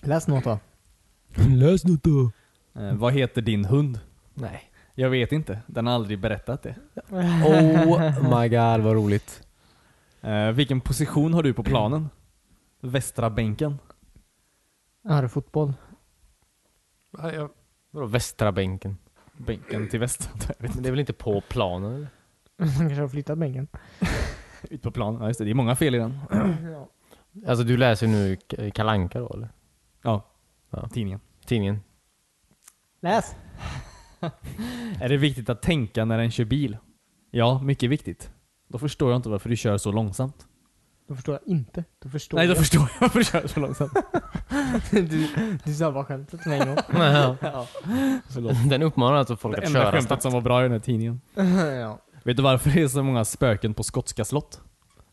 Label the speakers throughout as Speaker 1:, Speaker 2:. Speaker 1: Läs något då.
Speaker 2: Läs något då.
Speaker 3: Eh, vad heter din hund?
Speaker 1: Nej.
Speaker 3: Jag vet inte. Den har aldrig berättat det.
Speaker 2: Oh my god vad roligt.
Speaker 3: Eh, vilken position har du på planen? Västra bänken?
Speaker 1: Är det fotboll?
Speaker 2: Nej, jag... Vadå västra bänken?
Speaker 3: Bänken till väster? Jag vet
Speaker 2: Men det är väl inte på planen eller?
Speaker 1: Han kanske har flyttat bänken.
Speaker 3: inte. Ut på planen. Ja, just det. det är många fel i den.
Speaker 2: Alltså du läser nu K- Kalanka då eller?
Speaker 3: Ja.
Speaker 2: Ja.
Speaker 3: Tidningen.
Speaker 2: Tidningen?
Speaker 1: Läs!
Speaker 3: Är det viktigt att tänka när en kör bil? Ja, mycket viktigt. Då förstår jag inte varför du kör så långsamt.
Speaker 1: Då förstår jag inte. Då förstår
Speaker 3: Nej, då
Speaker 1: jag.
Speaker 3: förstår jag varför du kör så långsamt.
Speaker 1: du, du sa bara skämtet med en gång. ja.
Speaker 3: Förlåt.
Speaker 2: Den uppmanar alltså folk
Speaker 3: Det
Speaker 2: att
Speaker 3: enda
Speaker 2: köra
Speaker 3: skämtet
Speaker 2: snabbt.
Speaker 3: som var bra i den här tidningen.
Speaker 1: ja.
Speaker 3: Vet du varför det är så många spöken på skotska slott?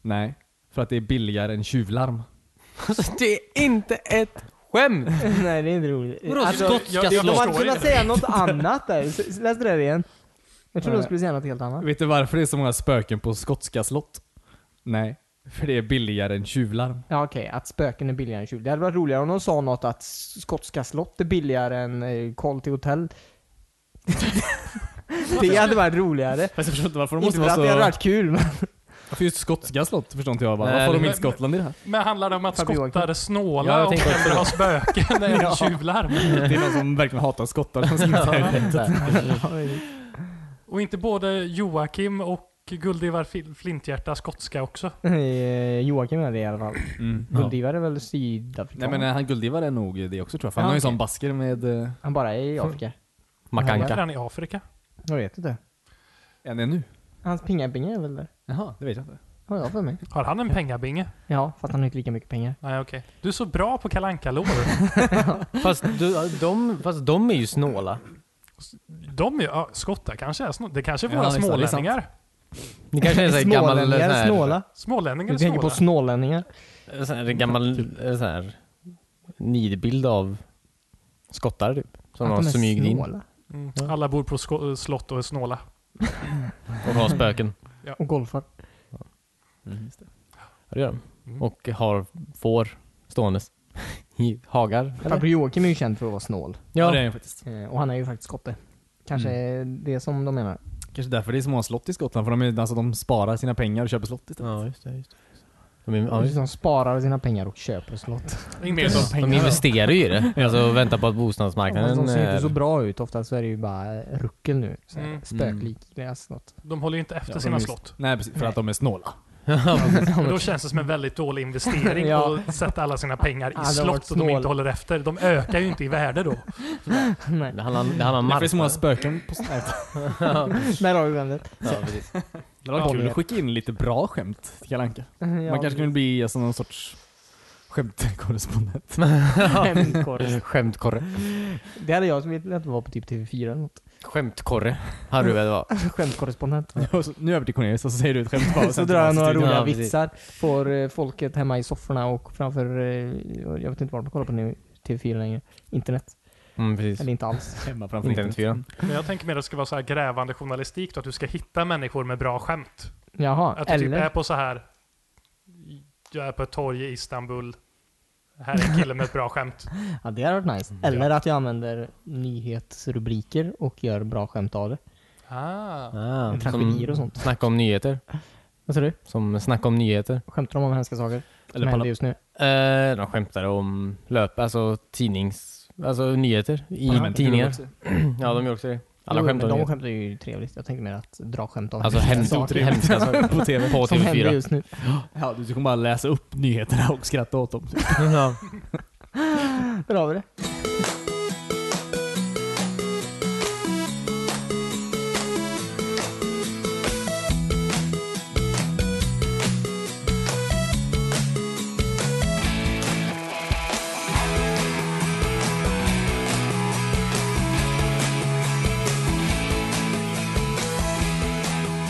Speaker 3: Nej, för att det är billigare än tjuvlarm.
Speaker 2: Alltså det är inte ett skämt! Alltså,
Speaker 1: Nej det är inte roligt.
Speaker 2: Vadå, skotska
Speaker 1: jag, jag,
Speaker 2: slott?
Speaker 1: De hade kunnat säga något annat där. S- s- Läs det där igen. Jag trodde de skulle säga något helt annat.
Speaker 3: Vet du varför det är så många spöken på skotska slott? Nej, för det är billigare än tjuvlarm.
Speaker 1: Ja okej, att spöken är billigare än tjuv. Det hade varit roligare om de sa något att skotska slott är billigare än eh, koll till hotell. det hade varit roligare.
Speaker 3: Fast jag förstår inte varför de
Speaker 1: Inte
Speaker 3: måste
Speaker 1: för att det hade
Speaker 3: vara så...
Speaker 1: varit kul men...
Speaker 3: För just skotska slott förstår inte jag bara.
Speaker 2: Nej,
Speaker 3: Varför har de
Speaker 2: det-
Speaker 3: in Skottland i det här?
Speaker 4: Men handlar det om att
Speaker 1: Fabio Johansson.
Speaker 4: skottar är snåla
Speaker 2: Ja, jag
Speaker 4: och
Speaker 2: tänkte också
Speaker 4: hellre
Speaker 2: det.
Speaker 4: har spöken än tjuvlarm?
Speaker 3: Det är någon som verkligen hatar skottar som skrivit det här.
Speaker 4: Och inte både Joakim och Guldivar Fil- Flinthjärta skotska också?
Speaker 1: Eh, Joakim är det i alla fall.
Speaker 3: Mm.
Speaker 1: Guldivar är väl
Speaker 3: Nej
Speaker 1: sydafrikan?
Speaker 3: men eh, han Guldivar är nog det också tror jag. För han
Speaker 1: Ja,
Speaker 3: har ju
Speaker 1: okej.
Speaker 3: sån basker med... eh,
Speaker 1: Han bara är i Afrika.
Speaker 4: Är
Speaker 2: Makanka.
Speaker 4: han i Afrika?
Speaker 1: Jag vet inte.
Speaker 3: En är nu.
Speaker 1: Hans pingabinge är väl där?
Speaker 3: Jaha, det vet jag inte.
Speaker 1: Har jag för mig.
Speaker 4: Har han en pengabinge?
Speaker 1: Ja, fast han har inte lika mycket pengar.
Speaker 4: Nej okej. Du är så bra på kalankalår.
Speaker 2: Fast, du, de, fast de är ju snåla.
Speaker 4: De är ja, skottar kanske är snåla. Det kanske är
Speaker 3: Ja,
Speaker 4: våra
Speaker 3: visst, det är sant.
Speaker 4: smålänningar.
Speaker 2: Ni kanske är såhär gammal... sån
Speaker 1: Smålänningar
Speaker 2: här-
Speaker 1: är snåla.
Speaker 4: Smålänningar
Speaker 1: Du
Speaker 4: är
Speaker 1: tänker på
Speaker 4: snåla.
Speaker 1: snålänningar.
Speaker 2: En sån här gammal eh, sån här nidbild av skottar typ. Som har
Speaker 1: Att de är
Speaker 2: smugit in
Speaker 1: snåla.
Speaker 4: Mm. Alla bor på sko- slott och är snåla.
Speaker 2: och har spöken.
Speaker 1: Och golfar.
Speaker 3: Mm.
Speaker 2: Ja, det gör de.
Speaker 4: Mm.
Speaker 2: Och har får ståendes i hagar.
Speaker 1: Farbror Joakim är ju känd för att vara snål.
Speaker 3: Ja. Det är
Speaker 2: Ja.
Speaker 3: han faktiskt.
Speaker 1: Eh, Och han är ju faktiskt skotte. Kanske
Speaker 2: Mm.
Speaker 1: är det som de menar.
Speaker 3: Kanske därför det är så många slott i Skottland. För de, är, alltså, de sparar sina pengar och köper slott istället.
Speaker 2: Ja, just det. Just det. De, in- ja,
Speaker 1: Ja,
Speaker 2: just det.
Speaker 1: de sparar sina pengar och köper slott.
Speaker 4: Inte
Speaker 3: Mer som
Speaker 4: s-
Speaker 2: de investerar ju i det. Alltså och väntar på att bostadsmarknaden...
Speaker 1: Fast de ser inte så
Speaker 2: är-
Speaker 1: bra ut. Ofta så är det ju bara ruckel nu. Så här,
Speaker 4: Mm.
Speaker 1: Spöklikliga slott.
Speaker 4: De håller ju inte efter
Speaker 3: Ja,
Speaker 4: sina
Speaker 3: de är-
Speaker 4: slott.
Speaker 3: Nej precis, för att de är snåla.
Speaker 4: Men då känns det som en väldigt dålig investering
Speaker 1: Ja.
Speaker 4: att sätta alla sina pengar i
Speaker 1: Ja, det har varit
Speaker 4: slott och de
Speaker 1: snål.
Speaker 4: inte håller efter. De ökar ju inte i värde då.
Speaker 1: Nej,
Speaker 2: eh, Det handlar, det handlar om
Speaker 3: Därför är det så många
Speaker 2: marknaden.
Speaker 3: spöken på
Speaker 1: där
Speaker 3: Nej,
Speaker 1: har vi skämtet.
Speaker 2: Ja, precis.
Speaker 3: Det var
Speaker 4: Ja.
Speaker 3: kul att skicka in lite bra skämt till Kalle Anka. Man
Speaker 1: Ja,
Speaker 3: kanske kunde bli alltså, någon sorts skämtkorrespondent.
Speaker 1: skämtkorre.
Speaker 2: Skämtkorre.
Speaker 1: Det hade jag velat vara på typ TV4 eller något.
Speaker 2: Skämtkorre. Hade du velat vara.
Speaker 1: Skämtkorrespondent.
Speaker 3: Och så- nu över till Cornelius och så säger du ett skämt bara. och
Speaker 1: Så
Speaker 3: sen
Speaker 1: drar jag
Speaker 3: tillbaka
Speaker 1: några
Speaker 3: till
Speaker 1: roliga
Speaker 2: Ja, precis.
Speaker 1: vitsar. Får eh, folket hemma i sofforna och framför, eh, jag vet inte vad de kollar på nu, TV4 längre. Internet.
Speaker 2: Mm, precis.
Speaker 1: Eller inte alls.
Speaker 3: studion. Hemma framför
Speaker 2: Internetfyran.
Speaker 4: Men jag tänker mer att det ska vara så här grävande journalistik då, att du ska hitta människor med bra skämt.
Speaker 1: Jaha,
Speaker 4: Att du typ är
Speaker 1: eller?
Speaker 4: på så här, jag är på ett torg i Istanbul, här är en kille med ett bra skämt.
Speaker 1: Mm, Ja, det hade varit nice. Eller att jag använder nyhetsrubriker och gör bra skämt av det.
Speaker 4: Ah.
Speaker 2: Ah,
Speaker 1: Med tragedier och sånt.
Speaker 2: Snacka om nyheter.
Speaker 1: Vad säger du?
Speaker 2: Som snacka om nyheter.
Speaker 1: Skämtar de om hemska saker? Eller som
Speaker 3: Eller på
Speaker 1: händer just nu?
Speaker 2: Eh, de skämtade om löp, alltså tidnings... Alltså nyheter i
Speaker 3: Ja, men-
Speaker 2: tidningar. Ja, de gör också det. Alla
Speaker 1: Jo,
Speaker 2: skämtar
Speaker 1: men
Speaker 2: om
Speaker 1: De
Speaker 2: det.
Speaker 1: skämtar ju trevligt. Jag tänkte mer att dra skämt om
Speaker 2: Alltså hemskt
Speaker 1: saker.
Speaker 2: hemska saker.
Speaker 3: På TV.
Speaker 2: På
Speaker 1: Som händer
Speaker 2: TV4.
Speaker 1: just nu.
Speaker 3: Ja, du kommer bara läsa upp nyheterna och skratta åt dem.
Speaker 2: Ja.
Speaker 1: Där har vi det.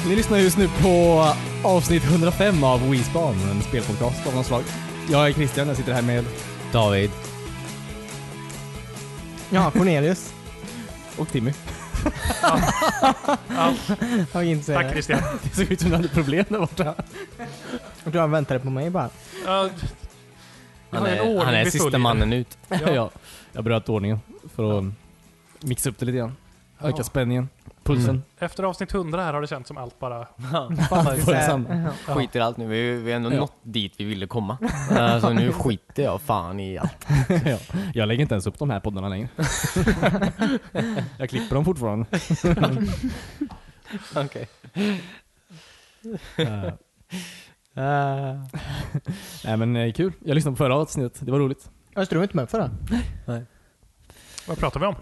Speaker 3: Ni lyssnar just nu på avsnitt 105 av WeSpan, en spelpodcast av något slag. Jag är Christian, jag sitter här med...
Speaker 2: David.
Speaker 1: Ja, Cornelius.
Speaker 3: Och Timmy.
Speaker 4: Ja,
Speaker 1: Jag vill inte säga
Speaker 4: tack
Speaker 1: det.
Speaker 4: Christian.
Speaker 3: Det såg ut som du hade problem där borta.
Speaker 1: Jag tror han väntade på mig bara.
Speaker 4: Ja,
Speaker 2: Han
Speaker 4: har en
Speaker 2: är, han
Speaker 4: ordning
Speaker 2: är
Speaker 4: vi
Speaker 2: sista
Speaker 4: följer.
Speaker 2: mannen ut.
Speaker 4: Ja.
Speaker 3: ja, jag bröt ordningen för att mixa upp det lite grann. Öka
Speaker 4: Ja.
Speaker 3: spänningen, pulsen.
Speaker 2: Mm.
Speaker 4: Efter avsnitt 100 här har det känts som allt bara...
Speaker 3: För detsamma.
Speaker 4: Ja.
Speaker 2: Skiter i allt nu. Vi vi har ändå
Speaker 3: Ja.
Speaker 2: nått dit vi ville komma. Alltså nu skiter jag fan i allt.
Speaker 3: ja. Jag lägger inte ens upp de här poddarna längre. jag klipper dem fortfarande.
Speaker 2: Okej.
Speaker 3: Eh, Ah. Nej men eh, kul. Jag lyssnade på förra avsnittet, det var roligt.
Speaker 1: Östra var inte med förra.
Speaker 4: Vad pratar vi om?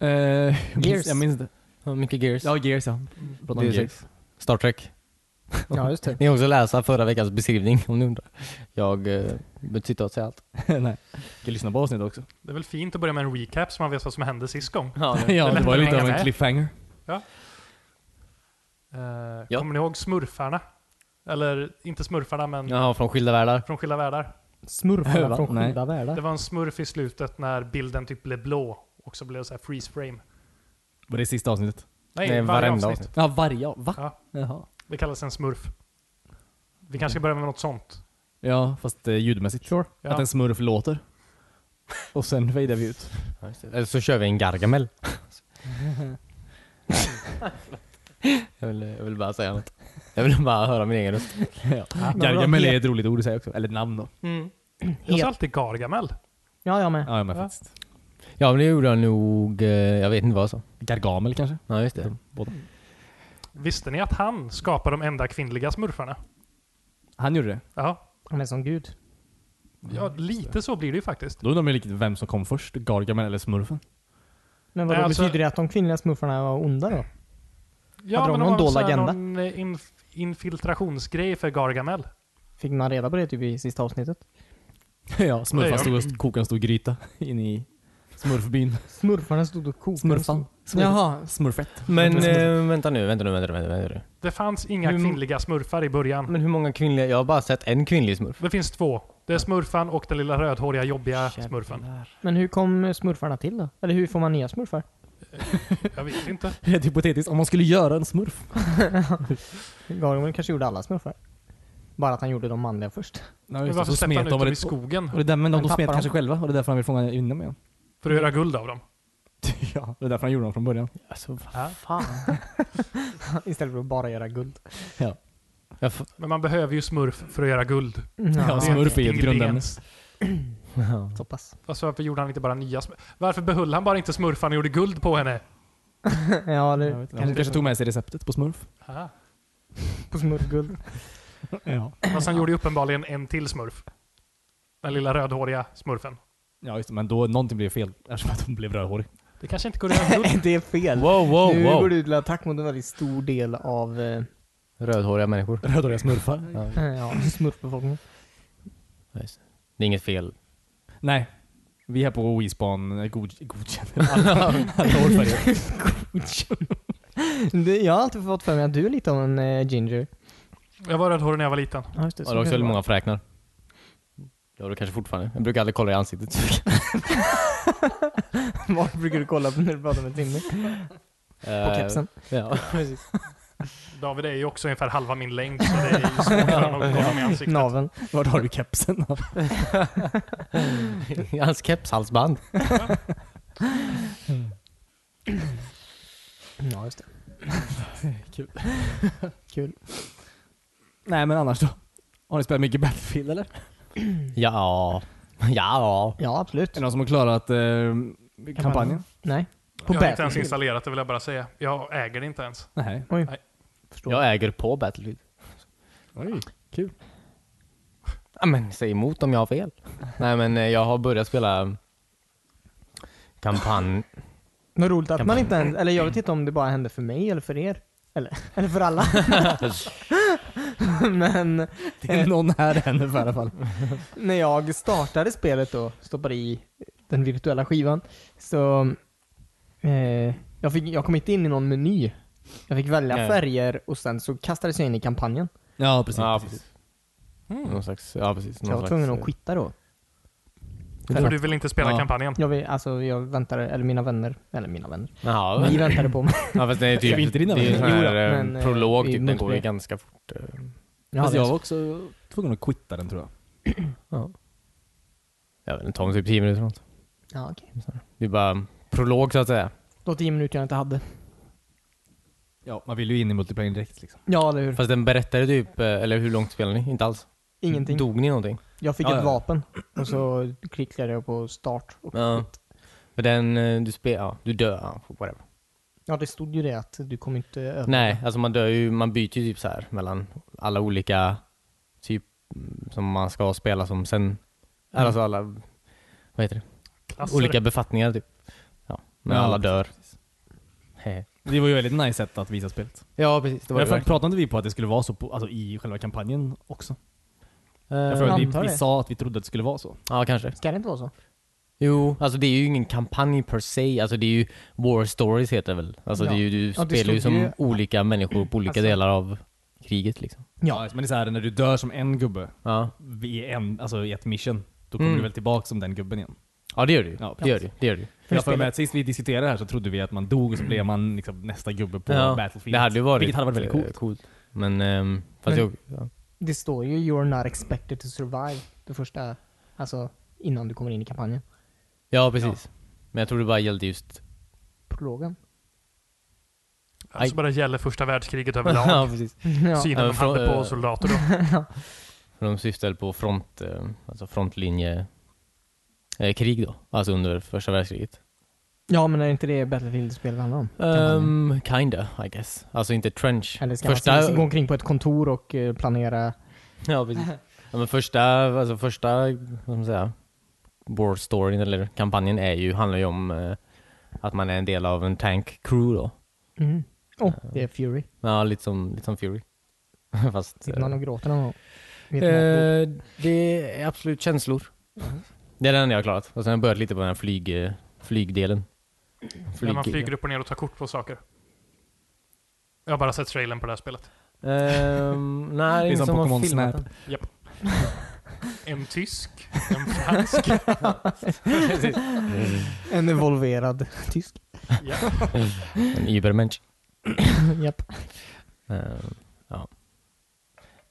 Speaker 3: Eh, jag minns-
Speaker 2: Gears.
Speaker 3: Jag minns det.
Speaker 2: Mycket gears.
Speaker 3: Ja, Gears ja. Pratade om
Speaker 2: Det är
Speaker 3: Gears.
Speaker 2: Star Trek.
Speaker 1: Ja, just det.
Speaker 2: Ni kan också läsa förra veckans beskrivning om ni undrar. Jag eh, behöver inte sitta och säga allt.
Speaker 3: Nej. Jag kan lyssna på avsnittet också.
Speaker 4: Det är väl fint att börja med en recap så man vet vad som hände sist gång.
Speaker 3: ja, det var ju
Speaker 4: lättare
Speaker 3: lite
Speaker 4: att
Speaker 3: av
Speaker 4: hänga
Speaker 3: en
Speaker 4: med.
Speaker 3: cliffhanger.
Speaker 4: Eh,
Speaker 2: Ja.
Speaker 4: Kommer ni ihåg smurfarna? Eller inte smurfarna men
Speaker 2: Jaha, från skilda världar.
Speaker 4: från skilda världar.
Speaker 1: Smurfarna
Speaker 3: Va?
Speaker 1: från
Speaker 3: Nej.
Speaker 1: skilda
Speaker 4: Det
Speaker 1: världar.
Speaker 4: var en smurf i slutet när bilden typ blev blå och så blev det så här freeze frame.
Speaker 3: Var det sista avsnittet?
Speaker 4: Nej,
Speaker 2: Nej,
Speaker 4: varje
Speaker 2: varenda
Speaker 4: avsnitt.
Speaker 2: avsnitt.
Speaker 3: Ja, varje av- Va?
Speaker 4: Ja.
Speaker 3: Jaha.
Speaker 4: Det kallas en smurf. Vi kanske ska börja med något sånt.
Speaker 3: Ja, fast eh, ljudmässigt. Sure.
Speaker 4: Ja.
Speaker 3: Att en smurf låter. Och sen fejdar vi ut.
Speaker 2: Ja, just det. Eller så kör vi en Gargamel. jag, vill, jag vill bara säga något. Jag vill bara höra min egen röst.
Speaker 3: ja.
Speaker 1: men
Speaker 3: Gargamel
Speaker 1: vadå?
Speaker 3: är ett roligt ord i sig också. Eller ett namn då.
Speaker 4: Jag
Speaker 1: Helt-
Speaker 4: sa alltid Gargamel.
Speaker 1: Ja, jag med.
Speaker 3: Ja, men
Speaker 4: Ja.
Speaker 3: faktiskt.
Speaker 2: Ja, men det gjorde jag nog... eh, Jag vet inte vad jag sa.
Speaker 3: Gargamel kanske?
Speaker 2: Ja, just det.
Speaker 3: De Båda.
Speaker 4: Visste ni att han skapade de enda kvinnliga smurfarna?
Speaker 3: Han gjorde det.
Speaker 4: Ja,
Speaker 1: Han är som gud.
Speaker 4: ja lite så blir det ju faktiskt.
Speaker 3: Då undrar man ju riktigt vem som kom först. Gargamel eller smurfen?
Speaker 1: Men vadå,
Speaker 4: Nej, alltså-
Speaker 1: betyder det att de kvinnliga smurfarna var onda då?
Speaker 4: Ja,
Speaker 1: Hade de
Speaker 4: men
Speaker 1: någon
Speaker 4: var väl
Speaker 1: dold
Speaker 4: så här
Speaker 1: agenda?
Speaker 4: Någon eh, inf- infiltrationsgrej för Gargamel.
Speaker 1: Fick man reda på det typ i sista avsnittet?
Speaker 3: ja,
Speaker 4: Det
Speaker 3: smurfan
Speaker 4: gör
Speaker 3: stod och kokade en stor gryta inne i smurfbyn.
Speaker 1: Smurfarna stod och kokade.
Speaker 3: Smurfan. Smurf.
Speaker 1: Jaha.
Speaker 3: Smurfett.
Speaker 2: Men eh, vänta nu, vänta nu, vänta nu, vänta nu, vänta nu.
Speaker 4: Det fanns inga
Speaker 2: Hur-
Speaker 4: kvinnliga smurfar i början.
Speaker 2: Men hur många kvinnliga? Jag har bara sett en kvinnlig smurf.
Speaker 4: Det finns två. Det är smurfan och den lilla rödhåriga jobbiga smurfen.
Speaker 1: Men hur kom eh, smurfarna till då? Eller hur får man nya smurfar?
Speaker 4: Jag vet inte.
Speaker 3: Rent hypotetiskt, om man skulle göra en smurf.
Speaker 1: Gargamel kanske gjorde alla smurfar. Bara att han gjorde de manliga först.
Speaker 3: Nej,
Speaker 4: Men varför släppte han ut dem i skogen?
Speaker 3: Och det är där, men de,
Speaker 1: Han
Speaker 3: de smet
Speaker 1: tappar
Speaker 3: kanske
Speaker 1: dem.
Speaker 3: själva och det är därför han vill fånga in dem igen.
Speaker 4: För att göra guld av dem?
Speaker 3: ja, det är därför han gjorde dem från början.
Speaker 2: Alltså,
Speaker 4: Ja.
Speaker 1: Istället för att bara göra guld.
Speaker 2: jag får...
Speaker 4: Men man behöver ju smurf för att göra guld.
Speaker 3: Ja,
Speaker 4: Det
Speaker 1: Ja,
Speaker 4: en
Speaker 3: smurf är ju ett
Speaker 4: ingrediens.
Speaker 3: grundämne.
Speaker 1: så pass.
Speaker 4: Fast Alltså, varför gjorde han inte bara nya smurf? Varför behöll han bara inte smurfan och gjorde guld på henne?
Speaker 1: Ja, det
Speaker 3: Jag vet inte, Hon kanske tog med sig receptet på smurf.
Speaker 4: Ah.
Speaker 1: på smurfguld.
Speaker 3: Ja,
Speaker 4: Fast han gjorde ju uppenbarligen en till smurf. Den lilla rödhåriga smurfen.
Speaker 3: ja just det, men då någonting blev fel eftersom att hon blev rödhårig.
Speaker 4: Det kanske inte går att göra guld.
Speaker 1: det är fel.
Speaker 2: Wow, wow,
Speaker 1: nu går
Speaker 2: wow.
Speaker 1: du till attack mot en väldigt stor del av eh,
Speaker 2: Rödhåriga människor.
Speaker 3: Rödhåriga smurfar?
Speaker 2: Ja,
Speaker 1: ja, smurfbefolkningen.
Speaker 2: just det. det är inget fel.
Speaker 3: Nej. Vi här på WeSpan god, godkänner alla, alla hårfärger.
Speaker 1: Det- Jag har alltid fått för mig att du är lite av en eh, ginger.
Speaker 4: Jag var rödhårig när jag var liten.
Speaker 1: Ja, just det.
Speaker 2: Har du också väldigt många fräknar? Jag har det kanske fortfarande. Jag brukar aldrig kolla i ansiktet.
Speaker 1: Vad brukar du kolla på när du pratar med Timmy? På kepsen.
Speaker 2: Eh, Ja.
Speaker 1: Precis.
Speaker 4: David är ju också ungefär halva min längd, så det är ju svårt för honom att kolla mig i ansiktet.
Speaker 1: Naveln.
Speaker 3: Vart har du kepsen?
Speaker 2: Hans kepshalsband.
Speaker 1: Ja, just det.
Speaker 3: Kul.
Speaker 1: Kul.
Speaker 3: Nej men annars då? Har ni spelat mycket Battlefield eller? Är
Speaker 2: Ja. Ja.
Speaker 1: Ja, absolut.
Speaker 3: det någon som har klarat eh, kampanjen?
Speaker 1: Nej. På
Speaker 4: Jag har inte ens
Speaker 1: Battlefield.
Speaker 4: installerat det vill jag bara säga. Jag äger det inte ens.
Speaker 3: Nej.
Speaker 1: Förstår.
Speaker 2: Jag äger på Battlefield.
Speaker 3: Oj, kul.
Speaker 2: Ja, men säg emot om jag har fel. Nej men eh, jag har börjat spela kampanj.
Speaker 1: Vad roligt att
Speaker 2: Kan
Speaker 1: man
Speaker 2: man-
Speaker 1: inte ens, eller jag vet inte om det bara hände för mig eller för er. Eller, eller för alla. Men
Speaker 3: Det är någon här ännu i alla fall.
Speaker 1: när jag startade spelet då, stoppade i den virtuella skivan, så eh, jag, fick, jag kom inte in i någon meny. Jag fick välja
Speaker 2: Nej.
Speaker 1: färger och sen så kastades jag in i kampanjen.
Speaker 3: Ja precis.
Speaker 2: Ja,
Speaker 3: precis.
Speaker 2: precis. Mm. Någon slags, ja precis.
Speaker 1: Så jag var
Speaker 2: Någon slags, eh,
Speaker 1: tvungen att quitta då.
Speaker 4: För du vill inte spela
Speaker 2: Ja.
Speaker 4: kampanjen.
Speaker 1: Jag, vill, alltså, jag väntade, eller mina vänner, eller mina vänner,
Speaker 2: Ja,
Speaker 1: ni
Speaker 2: men-
Speaker 1: väntade på mig.
Speaker 2: ja fast det är
Speaker 3: Ska
Speaker 2: typ,
Speaker 3: vi inte rinna
Speaker 2: det är
Speaker 3: med
Speaker 2: en sån
Speaker 1: det? Jo
Speaker 2: här
Speaker 1: då,
Speaker 2: eh,
Speaker 1: men, eh,
Speaker 2: prolog
Speaker 1: i
Speaker 2: typ, den går ju
Speaker 1: multiplayer.
Speaker 2: ganska fort. eh.
Speaker 1: Ja,
Speaker 3: Fast
Speaker 1: det är
Speaker 3: jag
Speaker 1: så.
Speaker 3: var också tvungen att quitta den tror jag.
Speaker 2: Ja. Jag vet inte, det tar typ 10 minuter eller något.
Speaker 1: Ja, okej.
Speaker 2: Det är bara prolog så att säga.
Speaker 1: De tio minuter jag inte hade.
Speaker 3: Ja, man vill ju in i multiplayer direkt liksom.
Speaker 1: Ja, eller hur?
Speaker 2: Fast den berättade typ, eh, eller hur långt spelade ni? Inte alls?
Speaker 1: Ingenting.
Speaker 2: Dog ni någonting?
Speaker 1: Jag fick
Speaker 2: Ja,
Speaker 1: ett
Speaker 2: ja.
Speaker 1: vapen och så klickade jag på start. Och
Speaker 2: Ja. För den, eh, du spelar, ja, du dör, ja, whatever.
Speaker 1: ja, det stod ju det att du kommer inte över.
Speaker 2: Nej, alltså man dör ju, man byter ju typ så här mellan alla olika typ mm, som man ska spela som sen, alltså alla, vad heter Alltså det?
Speaker 4: Klasser.
Speaker 2: Olika befattningar typ. Ja, men
Speaker 3: Ja,
Speaker 2: alla dör. Hehe.
Speaker 3: Det var ju väldigt nice sätt att visa spelet.
Speaker 2: ja, precis. Det var
Speaker 3: Men
Speaker 2: det
Speaker 3: för,
Speaker 2: verkligen.
Speaker 3: pratade inte vi på att det skulle vara så på, alltså, i själva kampanjen också? Jag
Speaker 2: Eh,
Speaker 3: för, vi,
Speaker 1: antar
Speaker 3: vi
Speaker 1: det.
Speaker 3: sa att vi trodde att det skulle vara så.
Speaker 2: Ja, kanske.
Speaker 1: Ska det inte vara så?
Speaker 2: Jo, alltså det är ju ingen kampanj per se. Alltså det är ju War Stories heter det väl? Alltså
Speaker 1: Ja.
Speaker 2: det är ju, du
Speaker 1: Ja, det
Speaker 2: spelar ju
Speaker 1: stod
Speaker 2: som
Speaker 1: ju-
Speaker 2: olika människor på olika
Speaker 1: Alltså-
Speaker 2: delar av kriget liksom.
Speaker 1: Ja.
Speaker 3: Men det är så här, när du dör som en gubbe
Speaker 2: Ja,
Speaker 3: i, en, alltså, i ett mission, då kommer
Speaker 2: Mm.
Speaker 3: du väl tillbaka som den gubben igen?
Speaker 2: ja det gör du ju.
Speaker 3: Ja,
Speaker 2: det gör du. Det gör du.
Speaker 1: För
Speaker 3: Jag får
Speaker 1: spelet-
Speaker 3: med att sist vi diskuterade det här så trodde vi att man dog och så blev man liksom nästa gubbe på
Speaker 2: Ja,
Speaker 3: Battlefield.
Speaker 2: Det hade ju varit,
Speaker 3: Vilket hade varit väldigt
Speaker 2: eh,
Speaker 3: coolt.
Speaker 2: Men, ehm, fast
Speaker 1: Men-
Speaker 2: jag, ja.
Speaker 1: Det står ju “You're not expected to survive” det första, alltså innan du kommer in i kampanjen.
Speaker 2: ja, precis. Men jag tror det bara gällde just...
Speaker 1: Prologen.
Speaker 2: Aj.
Speaker 4: Alltså bara gäller första världskriget
Speaker 2: ja,
Speaker 4: överlag.
Speaker 2: precis.
Speaker 1: Ja.
Speaker 4: Synen
Speaker 2: Ja,
Speaker 4: de
Speaker 2: från-
Speaker 4: hade
Speaker 2: eh,
Speaker 4: på soldater då.
Speaker 2: För de syftade på front, eh, alltså frontlinje eh, krig då, alltså under första världskriget.
Speaker 1: ja, men är inte det Battlefield-spel det handlar om? Kampanjen.
Speaker 2: Um, kinda, I guess. Alltså inte trench.
Speaker 1: Eller ska man
Speaker 2: första,
Speaker 1: se- gå omkring på ett kontor och eh, planera?
Speaker 2: ja, precis. Ja, men första, alltså första, vad ska man säga, war storyn eller kampanjen är ju, handlar ju om eh, att man är en del av en tank crew då.
Speaker 1: Mm. Oh, det är Fury.
Speaker 2: Ja, lite som, lite som Fury. Fast...
Speaker 1: Sitter man och gråter någon gång? Vet man att-
Speaker 2: Eh, det är absolut känslor. Det är den jag har klarat. Och sen har jag börjat lite på den här flyg, eh, flygdelen.
Speaker 4: När man
Speaker 2: Flyg-
Speaker 4: flyger upp och ner och tar kort på saker. Jag har bara sett trailern på det här spelet.
Speaker 2: Ehm, nej,
Speaker 3: Det är
Speaker 2: ingen
Speaker 3: som
Speaker 2: som har
Speaker 3: Pokémon
Speaker 2: filmat
Speaker 3: Snap.
Speaker 2: den.
Speaker 4: En tysk, en fransk.
Speaker 2: Precis.
Speaker 1: Eh, En evolverad tysk.
Speaker 4: Ja.
Speaker 2: en Übermensch.
Speaker 1: Japp.
Speaker 2: Ehm, ja.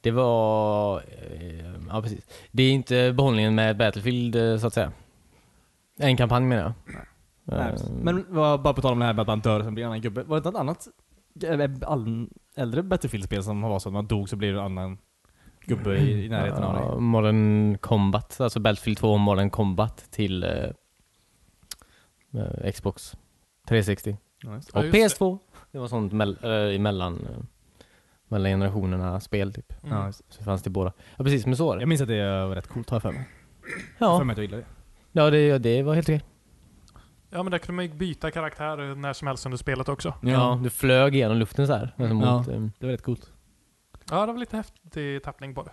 Speaker 2: Det var... ehm, ja, precis. Det är inte behållningen med Battlefield, eh, så att säga. En kampanj menar jag.
Speaker 3: Nej,
Speaker 2: Ehm,
Speaker 3: Men vad- bara på tal om det här med att man dör och sen blir en annan gubbe. Var det inte ett annat g- all, äldre Battlefield-spel som var så att man dog så blir du en annan gubbe i, i närheten av dig?
Speaker 2: Ja, Modern Combat, alltså Battlefield 2 Modern Combat till eh, eh, Xbox 360
Speaker 4: Ja,
Speaker 2: och
Speaker 4: just
Speaker 2: PS2. Det. var sånt mell- eh, emellan, eh, mellan generationerna spel typ.
Speaker 3: Ja,
Speaker 4: Mm.
Speaker 3: just det.
Speaker 2: Så fanns det båda. Ja precis, men så var det.
Speaker 3: jag minns att det var rätt coolt har jag för mig. För
Speaker 2: Ja,
Speaker 3: mig att jag gillade det.
Speaker 2: ja det, det var helt okej.
Speaker 4: ja, men där kunde man ju byta karaktär när som helst under spelet också.
Speaker 2: Ja. du flög genom luften så här. men
Speaker 3: Ja.
Speaker 2: Mot, ehm,
Speaker 3: det var rätt coolt.
Speaker 4: Ja, det var lite häftig tappning på det.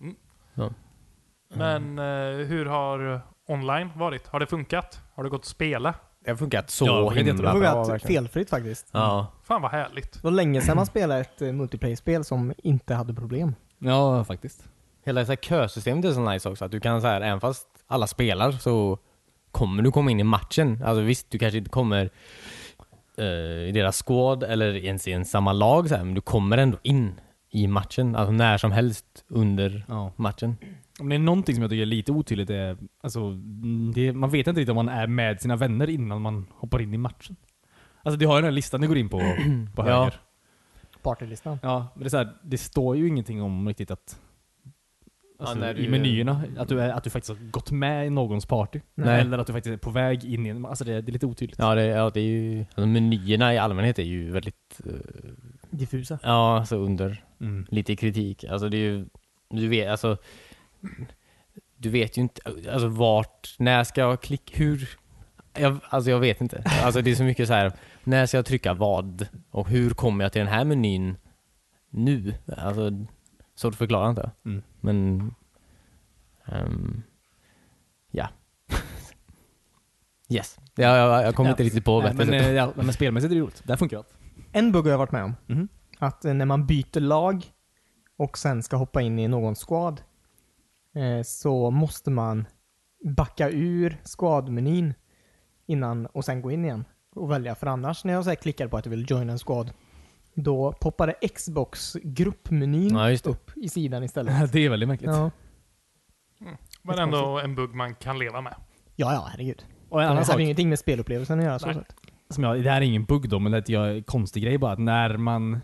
Speaker 4: Mm.
Speaker 2: Ja.
Speaker 4: Men eh, hur har online varit? Har det funkat? Har det gått att spela?
Speaker 2: Det har funkat så
Speaker 3: Ja, det funkar
Speaker 2: himla
Speaker 3: jättebra.
Speaker 1: Det
Speaker 2: bra.
Speaker 1: har funkat
Speaker 2: verkligen.
Speaker 1: felfritt faktiskt.
Speaker 2: Ja,
Speaker 4: Fan vad härligt.
Speaker 1: Det var länge sedan man spelade ett eh, multiplayer-spel som inte hade problem.
Speaker 3: Ja, faktiskt.
Speaker 2: Hela det här kösystemet är så nice också, att du kan så här, även fast alla spelar så kommer du komma in i matchen. Alltså visst, du kanske inte kommer eh, i deras squad eller ens i en samma lag så här, men du kommer ändå in i matchen, alltså när som helst under
Speaker 3: Ja.
Speaker 2: matchen.
Speaker 3: Om det är någonting som jag tycker är lite otydligt är, alltså, mm, det, man vet inte riktigt om man är med sina vänner innan man hoppar in i matchen. Alltså du har ju den här listan du går in på, på
Speaker 2: Ja.
Speaker 3: höger.
Speaker 1: Partylistan.
Speaker 3: Ja, men det, är så här, det står ju ingenting om riktigt att alltså,
Speaker 2: när du
Speaker 3: i
Speaker 2: är-
Speaker 3: menyerna, att du, är, att du faktiskt har gått med i någons party.
Speaker 2: Nej.
Speaker 3: Eller att du faktiskt är på väg in i en, alltså det, är- det är lite otydligt.
Speaker 2: Ja, det, ja, det är ju, alltså, menyerna i allmänhet är ju väldigt, eh,
Speaker 1: Diffusa.
Speaker 2: ja, alltså under
Speaker 3: Mm.
Speaker 2: lite kritik. Alltså det är ju, du vet, alltså, du vet ju inte, alltså vart, när ska jag klicka, hur? Jag, alltså jag vet inte. Alltså det är så mycket så här, när ska jag trycka vad? Och hur kommer jag till den här menyn nu? Alltså, så förklarar inte jag.
Speaker 3: Mm.
Speaker 2: Men, ehm, ja. yes. Jag, jag, jag kommer
Speaker 3: Ja.
Speaker 2: inte riktigt på
Speaker 3: Nej,
Speaker 2: bättre
Speaker 3: men,
Speaker 2: sätt.
Speaker 3: eh, ja, men spelmässigt är det roligt. Där funkar allt.
Speaker 1: En bugg har jag varit med om.
Speaker 3: Mhm.
Speaker 1: Att eh, när man byter lag och sen ska hoppa in i någon squad eh, så måste man backa ur squad-menyn innan och sen gå in igen och välja. För annars när jag så här klickar på att jag vill joina en squad då poppade Xbox gruppmenyn
Speaker 2: Ja, just det.
Speaker 1: upp i sidan istället.
Speaker 3: det är väldigt märkligt.
Speaker 1: ja.
Speaker 4: Men ändå en bugg man kan leva med.
Speaker 1: Ja, ja, herregud.
Speaker 3: Och en
Speaker 1: Det
Speaker 3: annan
Speaker 1: hade
Speaker 3: sak,
Speaker 1: ju ingenting med spelupplevelsen att göra. Så
Speaker 4: Nej.
Speaker 1: sett.
Speaker 3: som jag, det här är ingen bugg då, men det är en konstig grej bara. Att när man eh,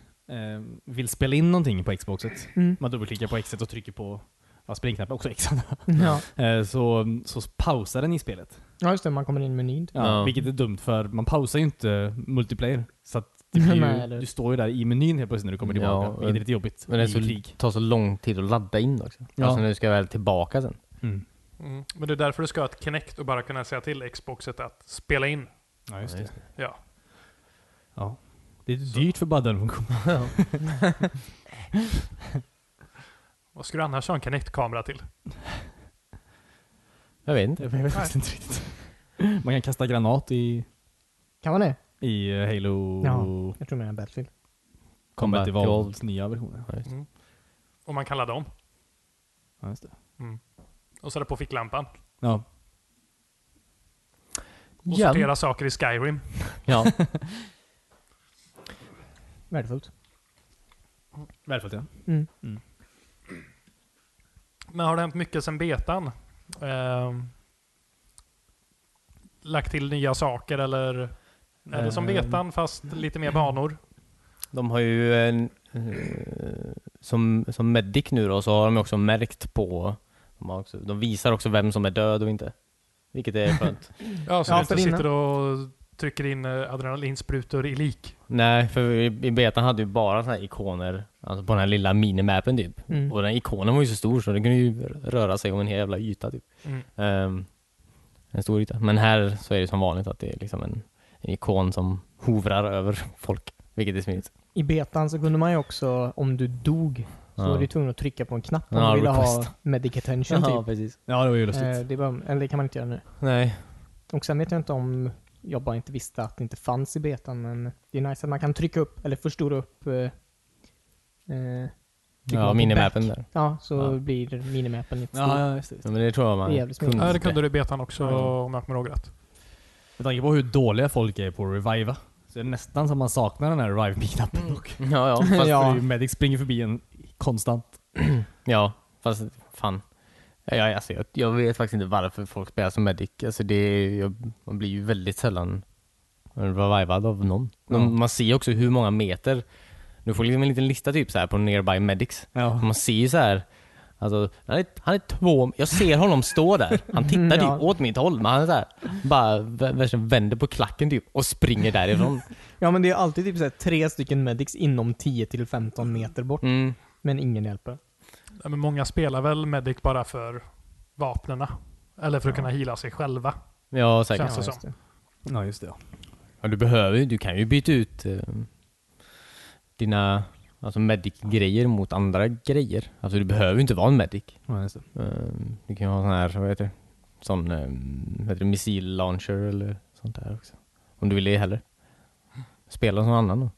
Speaker 3: vill spela in någonting på Xboxet,
Speaker 1: Mm.
Speaker 3: man dubbelklickar på Xet och trycker på ja, springknappen, också X,
Speaker 1: Ja.
Speaker 3: eh, så, så pausar den i spelet.
Speaker 1: ja, just det. Man kommer in i menyn.
Speaker 3: Ja,
Speaker 2: Ja.
Speaker 3: Vilket är dumt för man pausar ju inte multiplayer. Så att det blir ju,
Speaker 1: Nej, eller-
Speaker 3: du står ju där i menyn helt plötsligt när du kommer
Speaker 2: Ja,
Speaker 3: tillbaka,
Speaker 2: och-
Speaker 3: vilket är lite jobbigt
Speaker 2: Men
Speaker 3: i
Speaker 2: det så,
Speaker 3: krig.
Speaker 2: tar så lång tid att ladda in också.
Speaker 3: Ja.
Speaker 2: Alltså när du ska väl tillbaka sen.
Speaker 3: Mm.
Speaker 4: Mm. Men det är därför du ska ha ett Kinect och bara kunna säga till Xboxet att spela in.
Speaker 3: Ja, just
Speaker 2: Ja,
Speaker 3: det.
Speaker 2: just
Speaker 4: Ja.
Speaker 3: Ja. Det är dyrt för bara den funktionen.
Speaker 4: Vad ska du annars ha en Kinect-kamera till?
Speaker 2: Jag vet inte.
Speaker 3: Jag vet faktiskt inte riktigt. Man kan kasta granat i,
Speaker 1: Kan man det?
Speaker 3: i eh, Halo Oh.
Speaker 1: Ja. Jag tror mer än Battlefield.
Speaker 3: Combat
Speaker 2: Combat
Speaker 3: Evolved
Speaker 2: Evolved.
Speaker 3: nya versioner.
Speaker 2: Ja, just det.
Speaker 4: Mm. Och man kan ladda om.
Speaker 3: Ja, just det.
Speaker 4: Och sätta på ficklampan.
Speaker 3: Ja.
Speaker 4: Och
Speaker 2: Ja.
Speaker 4: sortera saker i Skyrim.
Speaker 2: Ja.
Speaker 1: Värdefullt.
Speaker 3: Värdefullt ja.
Speaker 1: Mm.
Speaker 4: Men har det hänt mycket sen betan? Ehm, lagt till nya saker eller? Är det som
Speaker 2: Ehm.
Speaker 4: betan fast lite mer banor?
Speaker 2: De har ju en, eh, som, som medic nu då, så har de också märkt på, de, har också, de visar också vem som är död och inte. Vilket är skönt.
Speaker 4: Ja, så
Speaker 1: Ja,
Speaker 4: du inte
Speaker 1: för innan.
Speaker 4: sitter och trycker in eh, adrenalinsprutor i lik.
Speaker 2: Nej, för i i betan hade ju bara såna här ikoner, alltså på den här lilla minimappen typ.
Speaker 1: Mm.
Speaker 2: Och den här ikonen var ju så stor så den kunde ju röra sig om en hel jävla yta typ.
Speaker 4: Mm.
Speaker 2: Ehm, en stor yta. Men här så är det som vanligt att det är liksom en, en ikon som hovrar över folk, vilket är smidigt.
Speaker 1: I betan så kunde man ju också, om du dog, så
Speaker 2: Ja.
Speaker 1: var du tvungen att trycka på en knapp om
Speaker 2: Ja,
Speaker 1: du ville
Speaker 2: request.
Speaker 1: ha medic attention typ.
Speaker 2: precis.
Speaker 3: Ja, det var ju lustigt.
Speaker 1: Eh, det, var, eller det kan man inte göra nu.
Speaker 2: Nej.
Speaker 1: Och sen vet jag inte om jag bara inte visste att det inte fanns i betan, men det är nice att man kan trycka upp, eller förstora upp, eh, eh, Tycker man
Speaker 2: Ja,
Speaker 1: på
Speaker 2: minimappen
Speaker 1: back.
Speaker 2: där.
Speaker 1: ja, så
Speaker 2: Ja.
Speaker 1: blir minimappen lite stor.
Speaker 3: ja, ja, just det.
Speaker 2: Ja, men det tror jag
Speaker 1: Det är
Speaker 2: man
Speaker 1: jävligt smidigt.
Speaker 4: Ja, det kunde du i betan också
Speaker 3: Ja.
Speaker 4: om jag kommer ihåg rätt.
Speaker 3: Med tanke på hur dåliga folk är på att reviva, så är det nästan som man saknar den här revive-knappen dock.
Speaker 2: Ja, ja.
Speaker 3: Fast
Speaker 1: Ja.
Speaker 3: Mm. ja. Medic springer förbi en konstant.
Speaker 2: Ja, fast fan. Ja, ja, alltså, jag, jag vet faktiskt inte varför folk spelar som medic. Alltså, det, är- jag, man blir ju väldigt sällan revivad av någon. De,
Speaker 3: Ja.
Speaker 2: Man ser ju också hur många meter. Du får liksom en liten lista typ så här på nearby medics.
Speaker 3: Ja.
Speaker 2: Man ser ju så här. Alltså, han, är, han är två, jag ser honom stå där. Han tittar
Speaker 1: Mm,
Speaker 2: typ
Speaker 1: ja.
Speaker 2: åt mitt håll, men han är så här, bara vä- verkligen vänder på klacken typ och springer därifrån.
Speaker 1: Ja, men det är alltid typ så här, tre stycken medics inom 10 till 15 meter bort,
Speaker 2: Mm.
Speaker 1: men ingen hjälper.
Speaker 4: Ja, men många spelar väl Medic bara för vapnena. Eller för att
Speaker 3: Ja.
Speaker 4: kunna hila sig själva.
Speaker 2: Ja, säkert.
Speaker 4: Känns det som.
Speaker 1: just det.
Speaker 3: ja, just det. Ja.
Speaker 2: Ja, du behöver ju, du kan ju byta ut eh, dina alltså medic-grejer mot andra grejer. Alltså du behöver ju inte vara en medic.
Speaker 3: Ja, just det.
Speaker 2: Eh, du kan ju ha sån här, vad heter det? Sån, eh, vad heter det, missil launcher eller sånt där också. Om du vill det heller. Spela som någon annan då.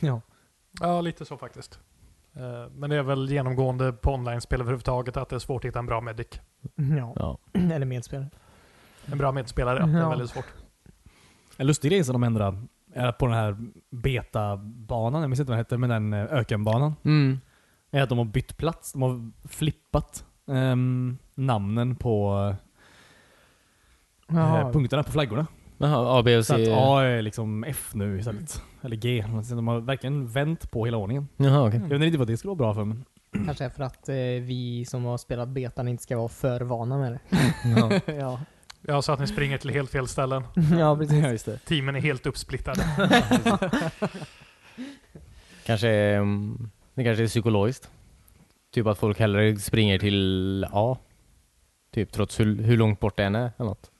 Speaker 1: Ja.
Speaker 4: Ja, lite så faktiskt. Eh, Men det är väl genomgående på online-spel överhuvudtaget att det är svårt att hitta en bra Medic.
Speaker 1: ja.
Speaker 2: Ja.
Speaker 1: Eller medspelare.
Speaker 4: En bra medspelare, ja. det är
Speaker 1: Ja.
Speaker 4: väldigt svårt.
Speaker 3: En lustig grej som de ändrade är att på den här beta-banan, jag minns inte vad den hette, men den eh, ökenbanan,
Speaker 2: Mm.
Speaker 3: är att de har bytt plats. De har flippat ehm, namnen på eh,
Speaker 1: Jaha.
Speaker 3: punkterna på flaggorna.
Speaker 2: Jaha, A, B och
Speaker 3: Så att
Speaker 2: C.
Speaker 3: A är liksom F nu istället. Eller G. Så de har verkligen vänt på hela ordningen.
Speaker 2: Jaha, okej.
Speaker 3: Jag vet inte riktigt vad det skulle vara bra för, men
Speaker 1: Kanske är för att eh, vi som har spelat betan inte ska vara för vana med det.
Speaker 2: Ja.
Speaker 1: ja.
Speaker 4: Ja, så att ni springer till helt fel ställen.
Speaker 1: ja, precis.
Speaker 3: Ja, just det.
Speaker 4: Teamen är helt uppsplittrade.
Speaker 2: Kanske, är, mm, det kanske är psykologiskt. Typ att folk hellre springer till A. Typ trots hur, hur långt bort det än är eller något.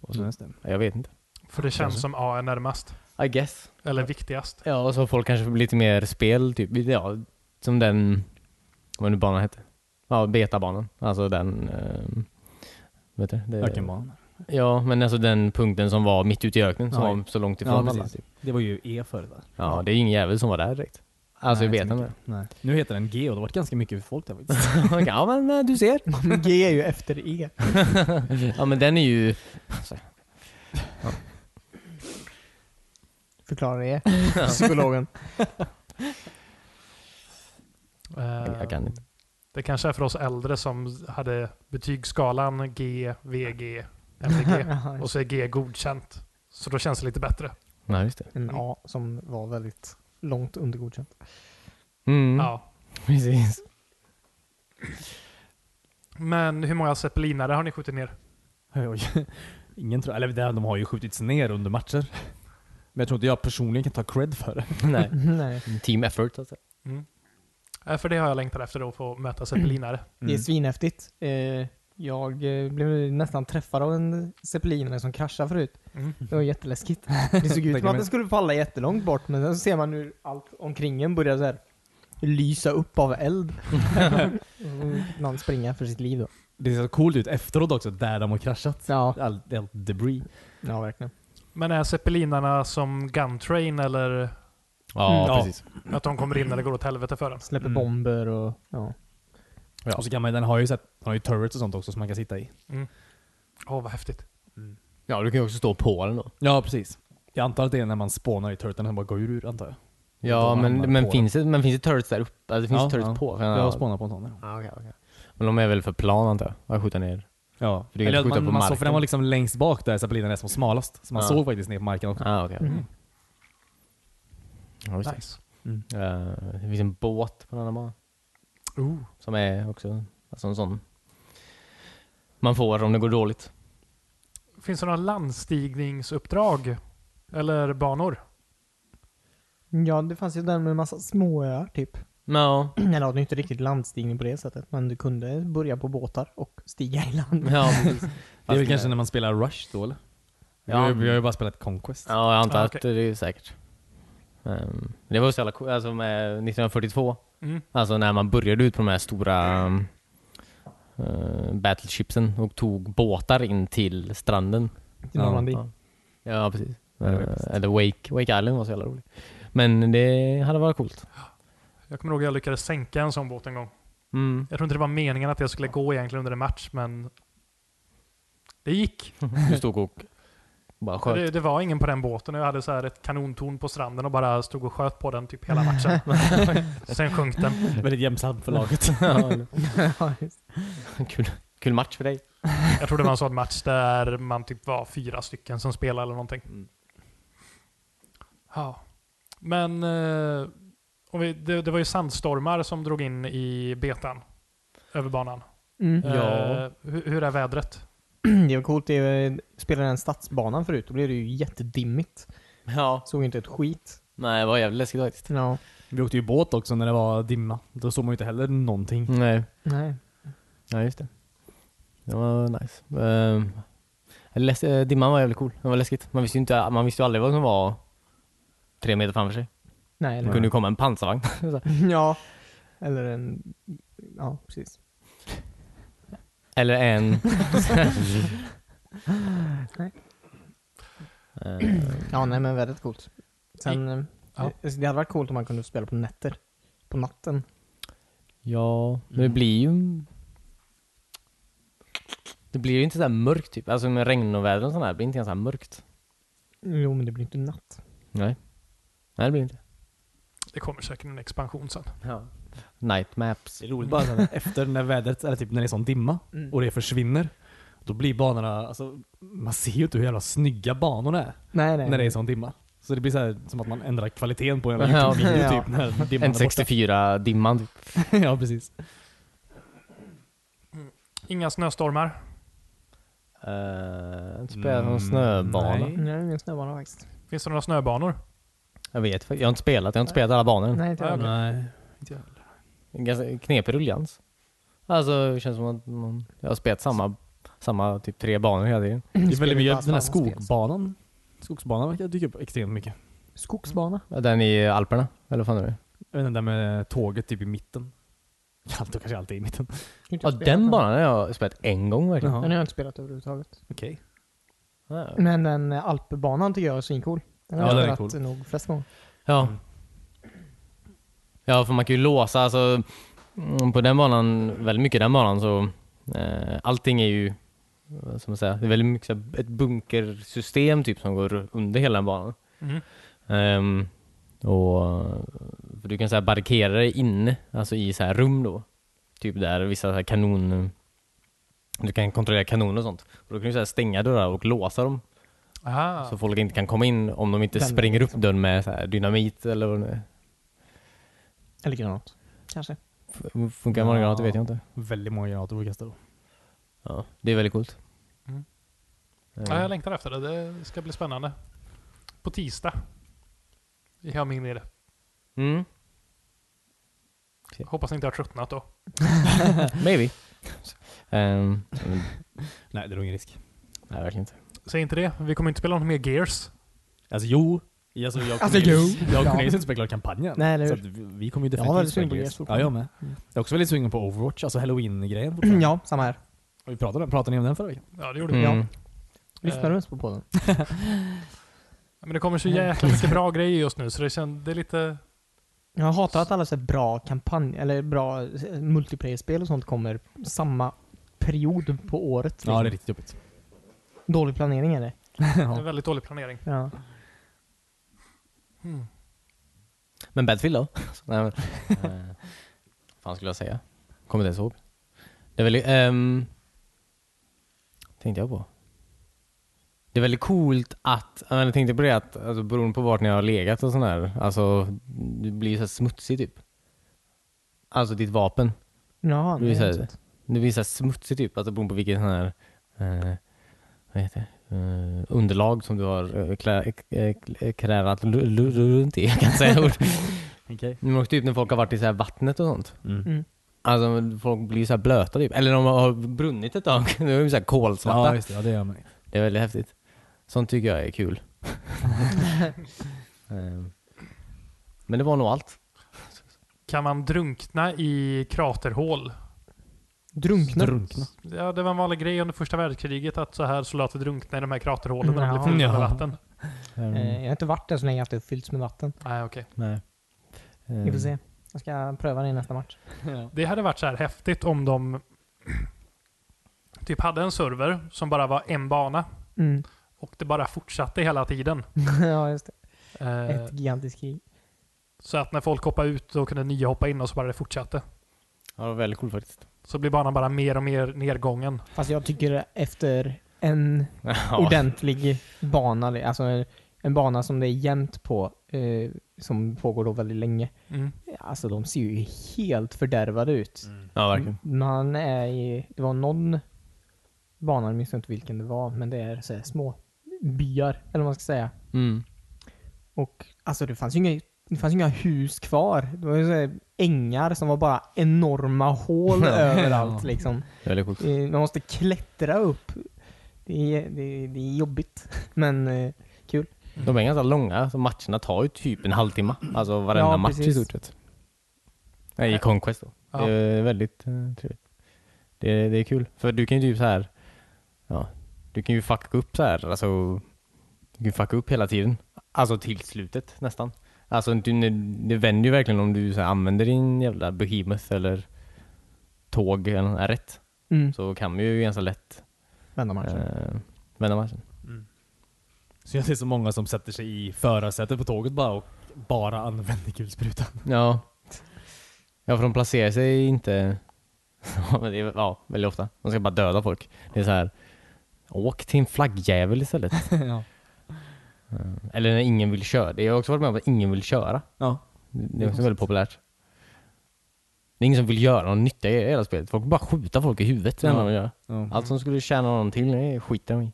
Speaker 2: Och så,
Speaker 3: Just det.
Speaker 2: Jag vet inte.
Speaker 4: För det känns
Speaker 2: Kanske.
Speaker 4: som A är närmast.
Speaker 2: I guess.
Speaker 4: Eller viktigast.
Speaker 2: Ja, och så folk kanske får lite mer spel, typ. Ja, som den, vad nu banan hette? Ja, betabanan. Alltså den, eh, vet du?
Speaker 1: Eh,
Speaker 2: Det,
Speaker 3: Ökenbanan.
Speaker 2: Ja, men alltså den punkten som var mitt ute i öknen, som
Speaker 3: Ja.
Speaker 2: var så långt
Speaker 3: Ja,
Speaker 2: ifrån alla.
Speaker 3: precis.
Speaker 2: Typ.
Speaker 3: Det var ju E förut va?
Speaker 2: Ja, det är ju ingen jävel som var där direkt. Alltså
Speaker 3: Nej,
Speaker 2: Nej,
Speaker 3: inte
Speaker 2: jag vet
Speaker 3: så
Speaker 2: inte.
Speaker 3: Nej. Nu heter den G och det har varit ganska mycket folk där faktiskt.
Speaker 2: ja, men eh, du ser.
Speaker 1: Men G är ju efter E.
Speaker 2: ja, men den är ju...
Speaker 1: Förklarar E. Psykologen.
Speaker 4: Eh,
Speaker 2: jag kan inte.
Speaker 4: Det kanske är för oss äldre som hade betygsskalan G, VG, MVG
Speaker 1: Ja,
Speaker 4: och så är G godkänt. Så då känns det lite bättre.
Speaker 2: Nej, just det.
Speaker 1: en A som var väldigt långt under godkänt.
Speaker 2: Mm,
Speaker 4: Ja.
Speaker 2: precis.
Speaker 4: Men hur många zeppelinare har ni skjutit ner?
Speaker 3: Oj. Ingen tror... Eller det- de har ju skjutits ner under matcher. Men jag tror inte jag personligen kan ta cred för det.
Speaker 2: Nej.
Speaker 1: Nej.
Speaker 2: Team effort alltså.
Speaker 4: Eh, För det har jag längtat efter då, få möta zeppelinare.
Speaker 1: Det är svинhäftigt. Eh, jag eh, blev nästan träffad av en zeppelinare som kraschade förut.
Speaker 4: Mm.
Speaker 1: Det var jätteläskigt. Det såg ut
Speaker 3: Tänker
Speaker 1: som att
Speaker 3: mig.
Speaker 1: den skulle falla jättelångt bort, men sen så ser man hur allt omkring en börjar så här lysa upp av eld. Och Någon springer för sitt liv då.
Speaker 3: Mm. Det ser så coolt ut efteråt också, där de har kraschat.
Speaker 1: Ja,
Speaker 3: Allt all debris.
Speaker 1: ja verkligen.
Speaker 4: Men är zeppelinarna som Guntrain eller
Speaker 2: Ja,
Speaker 3: Mm.
Speaker 2: precis.
Speaker 4: att de kommer in när det går åt helvete för den?
Speaker 1: Släpper
Speaker 3: Mm.
Speaker 1: bomber och ja.
Speaker 3: Ja. Och så kan man, den har ju, sett, den har ju turrets och sånt också som man kan sitta i.
Speaker 4: Åh, vad häftigt.
Speaker 2: Ja, du kan ju också stå på den då.
Speaker 3: Ja, precis. Jag antar att det är när man spånar i turreten den bara går ur, antar jag.
Speaker 2: Ja,
Speaker 3: De hamnar
Speaker 2: men, men,
Speaker 3: på
Speaker 2: finns det, men finns det turrets där uppe? Alltså, finns
Speaker 3: Ja,
Speaker 2: det turrets
Speaker 3: ja.
Speaker 2: på? För-
Speaker 3: Jag har spånat på en sån. ja.
Speaker 2: Ja, okej, okej. Men de är väl för plan antar jag? Att skjuta ner?
Speaker 3: Ja.
Speaker 2: För du kan
Speaker 3: Eller
Speaker 2: inte skjuta
Speaker 3: man,
Speaker 2: på
Speaker 3: man såg,
Speaker 2: marken.
Speaker 3: för den var liksom längst bak där zeppelinen är som smalast. Så man
Speaker 2: Ja.
Speaker 3: såg faktiskt ner på marken också.
Speaker 2: Ah, okej. okej.
Speaker 1: Mm.
Speaker 2: Ja, just det.
Speaker 4: Nice.
Speaker 2: Eh, det finns en båt på den andra banan.
Speaker 4: Ooh.
Speaker 2: Som är också alltså en sån man får om det går dåligt.
Speaker 4: Finns det några landstigningsuppdrag? Eller banor?
Speaker 1: Mm. ja, det fanns ju den med en massa småöar typ.
Speaker 2: Ja,
Speaker 1: Eller ja, det är inte riktigt landstigning på det sättet, men du kunde börja på båtar och stiga i land.
Speaker 2: ja precis.
Speaker 3: Det är väl
Speaker 2: Fast-
Speaker 3: kanske när man spelar Rush då eller? Vi, har,
Speaker 2: Ja.
Speaker 3: ju- vi har ju bara spelat Conquest.
Speaker 2: Ja, jag antar
Speaker 4: Ah,
Speaker 2: att det är säkert. Ehm, det var ju så jävla coolt, alltså med 1942,
Speaker 4: Mm.
Speaker 2: alltså när man började ut på de här stora um, eh, battleshipsen och tog båtar in till stranden.
Speaker 1: I Normandie.
Speaker 2: Ja, ja precis.
Speaker 3: det var
Speaker 2: Eh,
Speaker 3: bäst.
Speaker 2: eller Wake, Wake Island var så jävla rolig. Men det hade varit coolt.
Speaker 4: Jag kommer ihåg att jag lyckades sänka en sån båt en gång.
Speaker 2: Mm.
Speaker 4: Jag tror inte det var meningen att jag skulle gå egentligen under en match, men det gick.
Speaker 2: Du stod och bara sköt.
Speaker 4: Det, det var ingen på den båten och jag hade så här ett kanontorn på stranden och bara stod och sköt på den typ hela matchen. Sen sjönk den.
Speaker 3: Väldigt jämsamt för laget.
Speaker 2: Ja, kul, kul match för dig.
Speaker 4: Jag tror det var en sån match där man typ var fyra stycken som spelade eller någonting.
Speaker 3: Mm.
Speaker 4: Ja. Men eh, om vi, det, det var ju sandstormar som drog in i betan. Över banan.
Speaker 1: Mm.
Speaker 4: Eh, hur, hur är vädret?
Speaker 1: Det var coolt, det spelade den stadsbanan förut, då blev det ju jättedimmigt.
Speaker 2: Ja.
Speaker 1: Såg inte ett skit.
Speaker 2: Nej, det var jävligt läskigt faktiskt.
Speaker 1: Ja.
Speaker 3: vi åkte ju båt också när det var dimma. Då såg man ju inte heller någonting.
Speaker 2: Nej,
Speaker 1: Nej.
Speaker 2: ja, just det. Det var nice. Ehm, jag läste, dimman var jävligt cool. Det var läskigt. Man visste ju, inte, man visste ju aldrig vad som var tre meter framför sig.
Speaker 1: Nej,
Speaker 2: Det
Speaker 1: eller
Speaker 2: kunde ju komma en pansarvagn.
Speaker 1: Ja. Eller en... Ja, precis.
Speaker 2: Eller en...
Speaker 1: Nej.
Speaker 2: Ehm,
Speaker 1: Ja, nej men väldigt coolt. Sen, eh,
Speaker 4: Ja.
Speaker 1: det, det hade varit coolt om man kunde spela på nätter. På natten.
Speaker 2: ja, men det blir ju... Det blir ju inte så här mörkt typ. Alltså med regn och väder och sånt här, det blir inte ens så här mörkt.
Speaker 1: Jo, men det blir inte natt.
Speaker 2: Nej. Nej, det blir det inte.
Speaker 4: Det kommer säkert en expansion sen.
Speaker 2: Ja. Night maps.
Speaker 3: Det är roligt bara såhär, efter när vädret, eller typ när det är sån dimma
Speaker 1: Mm.
Speaker 3: och det försvinner. Då blir banorna, alltså man ser ju inte hur jävla snygga banorna är
Speaker 1: Nej, nej.
Speaker 3: när det är sån dimma. Så det blir så här, som att man ändrar kvaliteten på en
Speaker 2: Ja,
Speaker 3: YouTube-video
Speaker 1: ja.
Speaker 3: typ när dimman är borta.
Speaker 2: N64-dimman typ.
Speaker 3: ja precis.
Speaker 4: Inga snöstormar.
Speaker 2: Uh, inte spelat någon
Speaker 3: Mm,
Speaker 2: snöbana.
Speaker 3: nej.
Speaker 1: Nej, ingen snöbana faktiskt.
Speaker 4: Finns det några snöbanor?
Speaker 2: Jag vet faktiskt- Jag har inte spelat. Jag har inte spelat alla
Speaker 3: Mm.
Speaker 2: banor än.
Speaker 1: Nej, inte jag.
Speaker 4: okej.
Speaker 3: Nej.
Speaker 2: En Ganska knepig ruljans. Alltså, det känns som att man, jag har spelat samma, samma typ tre banor hela tiden.
Speaker 3: Det är
Speaker 1: Spelar
Speaker 3: väldigt
Speaker 1: ju bara
Speaker 3: mycket, den här
Speaker 1: samma spel.
Speaker 3: skogbanan. Skogsbanan verkar dyka upp extremt mycket.
Speaker 1: Skogsbana.
Speaker 2: Ja, Den i Alperna, eller vad fan är det?
Speaker 3: Jag vet inte, Den där med tåget typ i mitten. Ja, då kanske alltid i mitten.
Speaker 1: Kan inte
Speaker 2: Ja,
Speaker 1: jag spela
Speaker 2: den
Speaker 1: på
Speaker 2: banan har jag spelat en gång verkligen.
Speaker 1: Den har jag inte spelat överhuvudtaget.
Speaker 3: Okej.
Speaker 2: Ja,
Speaker 1: Men den eh, alpbanan tycker jag är svincool. Den har
Speaker 3: Ja,
Speaker 1: jag
Speaker 3: den är
Speaker 1: spelat nog flest gånger.
Speaker 2: Ja.
Speaker 3: Mm.
Speaker 2: Ja, för man kan ju låsa. Alltså, mm, på den banan, väldigt mycket den banan, så eh, allting är ju vad ska man säga, det är väldigt mycket så här, ett bunkersystem typ som går under hela den banan.
Speaker 4: Mm.
Speaker 2: Ehm, och för du kan så här, barrikera dig inne, alltså i så här rum då. Typ där vissa så här kanon... Du kan kontrollera kanoner och sånt. Och då kan du så här stänga dörrar och låsa dem.
Speaker 4: Aha.
Speaker 2: Så folk inte kan komma in om de inte
Speaker 1: Den-
Speaker 2: spränger
Speaker 4: liksom.
Speaker 2: upp dörren med så här dynamit eller vad det nu är.
Speaker 1: Eller granat. Kanske.
Speaker 2: F- Funkar man
Speaker 3: Ja.
Speaker 2: granater vet jag inte.
Speaker 3: Väldigt många granater får kasta då.
Speaker 2: Ja, det är väldigt coolt.
Speaker 4: Mm.
Speaker 2: Eh,
Speaker 4: Ja, jag längtar efter det. Det ska bli spännande. På tisdag. Jag har min i det.
Speaker 2: Mm,
Speaker 4: Hoppas ni inte har tröttnat då.
Speaker 2: maybe. Ehm, mm,
Speaker 3: Nej, det är nog ingen risk.
Speaker 2: nej, verkligen inte.
Speaker 4: Säg inte det. Vi kommer inte spela något mer Gears.
Speaker 3: Alltså jo. Alltså, jag och
Speaker 1: Alltså,
Speaker 3: Cornelius-
Speaker 1: jo.
Speaker 3: Jag och
Speaker 1: Ja.
Speaker 3: Cornelius har inte spelat klart kampanjen.
Speaker 1: Nej, eller
Speaker 3: så att
Speaker 1: hur?
Speaker 3: vi, vi kommer ju
Speaker 1: var
Speaker 3: definitivt
Speaker 1: väldigt sugen på
Speaker 3: spela
Speaker 1: Gears
Speaker 3: Ja,
Speaker 1: fortfarande.
Speaker 3: jag med.
Speaker 1: Mm.
Speaker 3: Jag är också väldigt sugen på Overwatch, alltså halloween-grejen. fortfarande.
Speaker 1: ja, samma här.
Speaker 3: Och Vi pratade, pratade ni om den förra veckan?
Speaker 4: Ja, det gjorde vi.
Speaker 2: Mm.
Speaker 1: Ja. Lyssnar
Speaker 3: Eh.
Speaker 1: du ens på podden?
Speaker 4: Men det kommer så jäkla mycket bra grejer just nu så det, känns, det är lite...
Speaker 1: Jag hatar att alla så här bra kampanj eller bra eh, multiplayer-spel och sånt kommer samma period på året. liksom.
Speaker 3: Ja, det är riktigt jobbigt.
Speaker 1: Dålig planering är det.
Speaker 4: det är väldigt dålig planering.
Speaker 1: Ja.
Speaker 4: Mm.
Speaker 2: Men Battlefield då? Nej, men, eh, fan skulle jag säga? Kommer inte ens ihåg. Det är väldigt... ehm, tänkte jag på. Det är väldigt coolt att, ja, men jag tänkte på det att alltså, beroende på vart ni har legat och sån här, alltså det blir ju så här smutsigt typ. Alltså ditt vapen.
Speaker 1: Jaha, nej,
Speaker 2: Det blir så
Speaker 1: inte
Speaker 2: här,
Speaker 1: sant.
Speaker 2: det blir så här smutsigt typ, alltså beroende på vilket sån här, eh, vad heter det? Eh, underlag som du har eh, klä- eh, klä- krärat lu- lu- runt i. Jag kan inte säga ord.
Speaker 3: Okej.
Speaker 2: Men också typ när folk har varit i så här vattnet och sånt.
Speaker 3: Mm.
Speaker 1: Mm.
Speaker 2: Alltså folk blir ju så här blöta typ. Eller de har brunnit ett tag. Då är de så här
Speaker 3: Ja,
Speaker 2: kolsvarta.
Speaker 3: just det. Ja, det gör man.
Speaker 2: det är väldigt häftigt. Sånt tycker jag är kul. Ehm. Men det var nog allt.
Speaker 4: Kan man drunkna i kraterhål?
Speaker 1: Drunkna.
Speaker 3: Drunkna.
Speaker 4: Ja, det var en vanlig grej under första världskriget att så här soldater drunknade i de här kraterhålen när de blev
Speaker 1: Ja.
Speaker 4: fyllda med
Speaker 3: Ja.
Speaker 4: vatten.
Speaker 1: Eh, jag har inte varit där så länge att det har fyllts med vatten.
Speaker 4: Nej, okej.
Speaker 2: Nej.
Speaker 1: Vi får
Speaker 2: Ehm,
Speaker 3: Mm.
Speaker 1: se. Jag ska pröva det i nästa match.
Speaker 4: Det hade varit så här häftigt om de typ hade en server som bara var en bana
Speaker 1: Mm.
Speaker 4: och det bara fortsatte hela tiden.
Speaker 1: ja, just det.
Speaker 4: Eh,
Speaker 1: Ett gigantiskt krig.
Speaker 4: så att när folk hoppade ut då kunde nya hoppa in och så bara det fortsatte.
Speaker 2: Ja, det var väldigt coolt faktiskt.
Speaker 4: Så blir banan bara mer och mer nedgången.
Speaker 1: Fast jag tycker efter en
Speaker 2: Ja.
Speaker 1: ordentlig bana, det- alltså en, en bana som det är jämnt på, eh, som pågår då väldigt länge.
Speaker 4: Mm.
Speaker 1: Alltså de ser ju helt fördärvade ut.
Speaker 2: ja, verkligen.
Speaker 1: Man är i, det var någon bana, jag minns inte vilken det var, men det är så här små byar, eller vad man ska säga.
Speaker 2: Mm.
Speaker 1: Och alltså det fanns ju inga, det fanns ju inga hus kvar. Det var ju så här ängar som var bara enorma hål överallt liksom.
Speaker 2: Väldigt coolt.
Speaker 1: Eh, Man måste klättra upp. Det är, det är, det är jobbigt, men eh, kul.
Speaker 2: De är ganska långa, så matcherna tar ju typ en halvtimme. Alltså varenda
Speaker 1: Ja,
Speaker 2: match i
Speaker 1: precis.
Speaker 2: stort sett. Nej, i Conquest då.
Speaker 4: Ja.
Speaker 2: Det är väldigt eh, trevligt. Det, är- det är kul, för du kan ju typ så här, ja, du kan ju fucka upp så här, alltså, du kan ju fucka upp hela tiden. Alltså till slutet nästan. Alltså du, när- det vänder ju verkligen om du så här, använder din jävla behemoth eller tåg eller något här rätt.
Speaker 1: Mm.
Speaker 2: Så kan man ju ganska lätt
Speaker 1: Vända matchen.
Speaker 2: eh, vända matchen.
Speaker 3: Så jag ser så många som sätter sig i förarsätet på tåget bara och bara använder kulsprutan.
Speaker 2: Ja. Ja, för de placerar sig inte... Ja, men det är, ja, väldigt ofta. De ska bara döda folk. Det är så här. Åk till en flaggjävel istället.
Speaker 3: ja.
Speaker 2: Eller när ingen vill köra. Det har jag också varit med om att ingen vill köra.
Speaker 3: ja.
Speaker 2: Det är också väldigt populärt. Det är ingen som vill göra någon nytta i hela spelet. Folk vill bara skjuta folk i huvudet. Det är det enda
Speaker 3: Ja.
Speaker 2: de gör. Allt som skulle tjäna någon till, nej, skiter de i.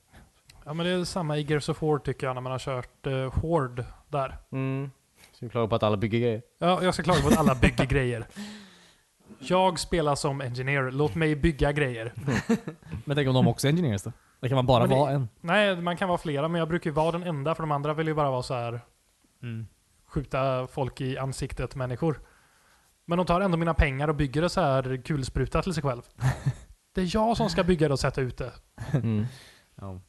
Speaker 4: Ja, men det är samma i Gears of War tycker jag när man har kört eh, Horde där.
Speaker 2: Mm. Så vi klagar på att alla bygger grejer.
Speaker 4: Ja, jag ska klaga på att alla bygger grejer. Jag spelar som engineer, låt mig bygga grejer.
Speaker 3: Men tänk om de också är engineers då? Då kan man bara
Speaker 4: Men det-
Speaker 3: vara en.
Speaker 4: Nej, man kan vara flera, men jag brukar ju vara den enda för de andra vill ju bara vara så här
Speaker 3: Mm.
Speaker 4: skjuta folk i ansiktet, människor. Men de tar ändå mina pengar och bygger det så här kulspruta till sig själv. Det är jag som ska bygga det och sätta ut det.
Speaker 2: Mm.
Speaker 3: Ja.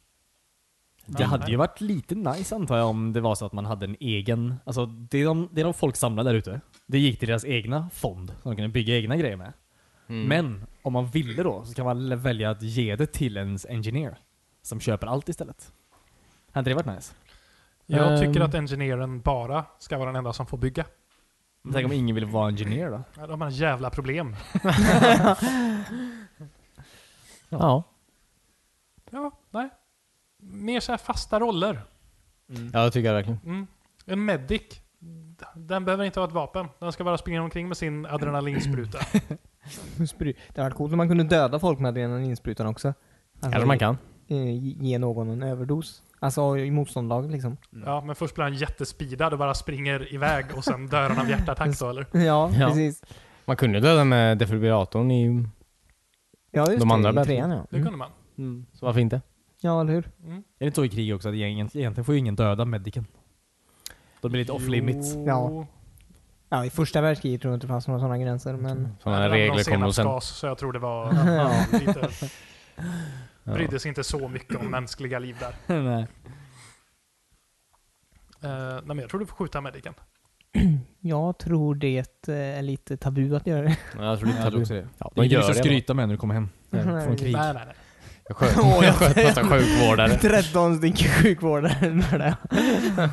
Speaker 3: Det
Speaker 4: Ja.
Speaker 3: hade ju varit lite nice antar jag om det var så att man hade en egen, alltså det de, det de folk samlade där ute, det gick till deras egna fond som de kunde bygga egna grejer med.
Speaker 2: Mm.
Speaker 3: Men om man ville då så kan man väl välja att ge det till ens engineer som köper allt istället. Hade det varit nice?
Speaker 4: Jag
Speaker 2: Ehm.
Speaker 4: tycker att ingenjören bara ska vara den enda som får bygga.
Speaker 3: Men Tänk om ingen vill vara ingenjör då?
Speaker 4: Ja, De har jävla problem.
Speaker 2: Ja.
Speaker 4: Ja, nej. Mer så här fasta roller.
Speaker 2: Ja, det tycker jag verkligen.
Speaker 4: Mm. En medic. Den behöver inte ha ett vapen. Den ska bara springa omkring med sin adrenalinspruta.
Speaker 1: Mm. Spry- Det hade varit coolt om man kunde döda folk med adrenalinsprutan också. Alltså,
Speaker 2: Kanske man kan.
Speaker 1: eh, Ge någon en överdos. Alltså i motståndarlaget liksom.
Speaker 4: Ja, men först blir han jättespeedad och bara springer iväg och sen dör han av hjärtattack då eller?
Speaker 1: Ja,
Speaker 2: Ja.
Speaker 1: precis.
Speaker 2: Man kunde döda med defibrillatorn i...
Speaker 1: Ja, just
Speaker 2: De andra
Speaker 1: det. I
Speaker 2: bättre.
Speaker 1: trean
Speaker 2: Mm.
Speaker 1: ja. Mm.
Speaker 4: Det kunde man.
Speaker 3: Mm.
Speaker 2: Så varför inte?
Speaker 1: Ja, eller hur?
Speaker 4: Mm.
Speaker 3: Är det inte så i krig också att gängen, egentligen får ju ingen döda mediken? De blir lite off limits.
Speaker 1: Ja. Ja, i första världskriget tror jag inte det fanns några sådana gränser, men...
Speaker 2: Sådana regler kommer nog
Speaker 4: sen.
Speaker 2: sen.
Speaker 4: Gas, så jag tror det var...
Speaker 1: Ja.
Speaker 4: Lite,
Speaker 2: Ja.
Speaker 4: brydde sig inte så mycket om mänskliga liv där.
Speaker 3: Nej.
Speaker 4: Eh, nej, men jag tror du får skjuta medicen.
Speaker 1: Jag tror det eh, är lite tabu att göra det.
Speaker 2: Ja, Jag tror det är tabu.
Speaker 3: det.
Speaker 2: Ja,
Speaker 3: Det är
Speaker 2: de
Speaker 3: inte
Speaker 2: gör
Speaker 3: så att
Speaker 2: det. va?
Speaker 3: skryta med när du kommer hem.
Speaker 1: Nej.
Speaker 3: Från krig.
Speaker 4: Nej, nej, nej.
Speaker 2: Jag sköt, jag sköt massa sjukvårdare.
Speaker 1: 13 stycken sjukvårdare med det.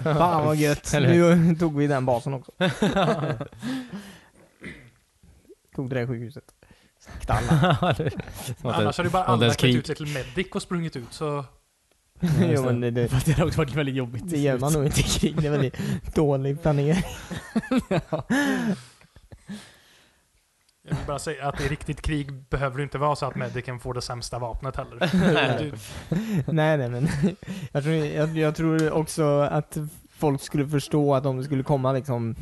Speaker 1: Fan vad gött. Nu tog vi den basen också. tog det där sjukhuset.
Speaker 4: Annars hade ju bara
Speaker 2: något
Speaker 4: alla
Speaker 2: ens
Speaker 4: klätt
Speaker 2: krig.
Speaker 4: ut sig till medic och sprungit ut så...
Speaker 1: jo, men det, det,
Speaker 3: Fast det hade också varit väldigt jobbigt.
Speaker 1: det gör man nog inte i krig. Det är väldigt dålig planering.
Speaker 4: Jag vill bara säga att i riktigt krig behöver det inte vara så att medicen får det sämsta vapnet heller. Du,
Speaker 1: nej, nej, men jag tror, jag, jag tror också att folk skulle förstå att om det skulle komma liksom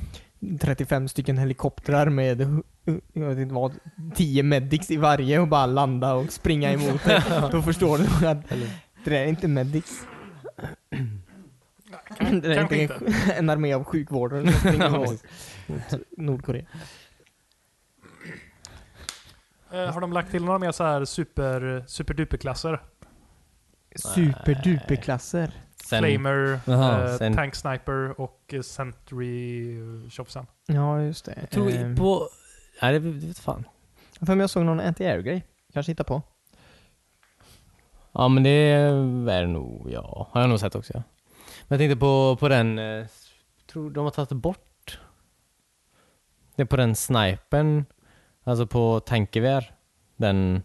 Speaker 1: 35 stycken helikoptrar med hu- hu- jag vet inte vad, 10 medics i varje och bara landa och springa emot dig. Då förstår du nog att det där är inte medics. Det
Speaker 4: kan,
Speaker 1: där är
Speaker 4: kanske
Speaker 1: inte
Speaker 4: inte.
Speaker 1: en, en armé av sjukvårdare som springer mot mot Nordkorea.
Speaker 4: Eh, har de lagt till några mer så här super, superduperklasser?
Speaker 1: Superduperklasser.
Speaker 2: Sen,
Speaker 4: Flamer,
Speaker 3: Jaha,
Speaker 4: eh,
Speaker 2: sen-
Speaker 4: Tank Sniper och eh, Sentry eh, tjofsan.
Speaker 1: Ja, just det. Ehm,
Speaker 2: jag tror på... Nej, det det vet fan.
Speaker 1: för mig jag såg någon anti-air-grej. Kanske hitta på.
Speaker 2: Ja, men det är nog... Ja, har jag nog sett också. Ja. Men jag tänkte på, på den... eh, Tror de har tagit bort... Det är på den snipern. Alltså på tankgevär. Den...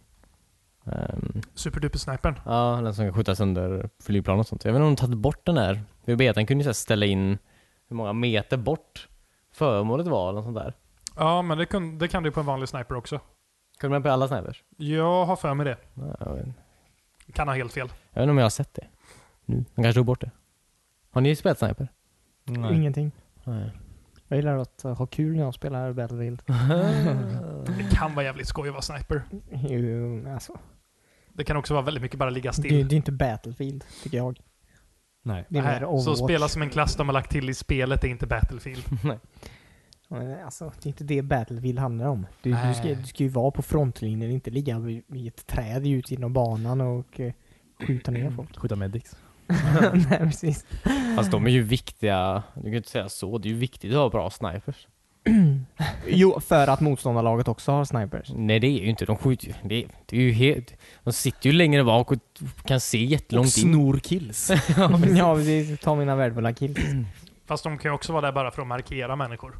Speaker 2: ehm,
Speaker 4: Superduper-snipern.
Speaker 2: Ja, den som kan skjuta sönder flygplan och sånt. Jag vet inte om de tagit bort den här. För betan kunde ju så här ställa in hur många meter bort föremålet var eller något sånt där.
Speaker 4: Ja, men det, kun, det kan du på en vanlig sniper också.
Speaker 2: Kunde man på alla snipers?
Speaker 4: Jag har för mig det.
Speaker 2: Ja, Jag vet, inte.
Speaker 4: Kan ha helt fel.
Speaker 2: jag vet inte om jag har sett det. Nu. De kanske tog bort det. Har ni spelat sniper?
Speaker 3: Nej.
Speaker 1: Ingenting.
Speaker 2: Nej.
Speaker 1: Jag gillar att eh, ha kul när jag spelar Battlefield.
Speaker 4: Det kan vara jävligt skoj att vara sniper.
Speaker 1: Jo, alltså.
Speaker 4: Det kan också vara väldigt mycket bara ligga
Speaker 1: Det, det
Speaker 4: still.
Speaker 1: är inte Battlefield, tycker jag.
Speaker 3: Nej.
Speaker 1: Det är
Speaker 4: Nej,
Speaker 1: mer
Speaker 4: så
Speaker 1: Overwatch.
Speaker 4: spela som en klass de har lagt till i spelet är inte Battlefield.
Speaker 1: Men Alltså, det är inte det Battlefield handlar om. Du, du, ska,
Speaker 4: Nej.
Speaker 1: du ska ju vara på frontlinjen, inte ligga vid vid ett träd ut genom banan och eh, skjuta ner folk.
Speaker 3: Skjuta medics.
Speaker 1: Nej, precis.
Speaker 2: Fast de är ju viktiga. Du kan ju inte säga så. Det är ju viktigt att ha bra snipers.
Speaker 1: Jo, för att motståndarlaget också har snipers.
Speaker 2: Nej det är ju inte. De skjuter ju. Det är, det är ju helt... De sitter ju längre bak och kan se jättelångt in.
Speaker 3: snor kills.
Speaker 1: ja, precis. Ta mina värdefulla kills.
Speaker 4: Fast de kan ju också vara där bara för att markera människor.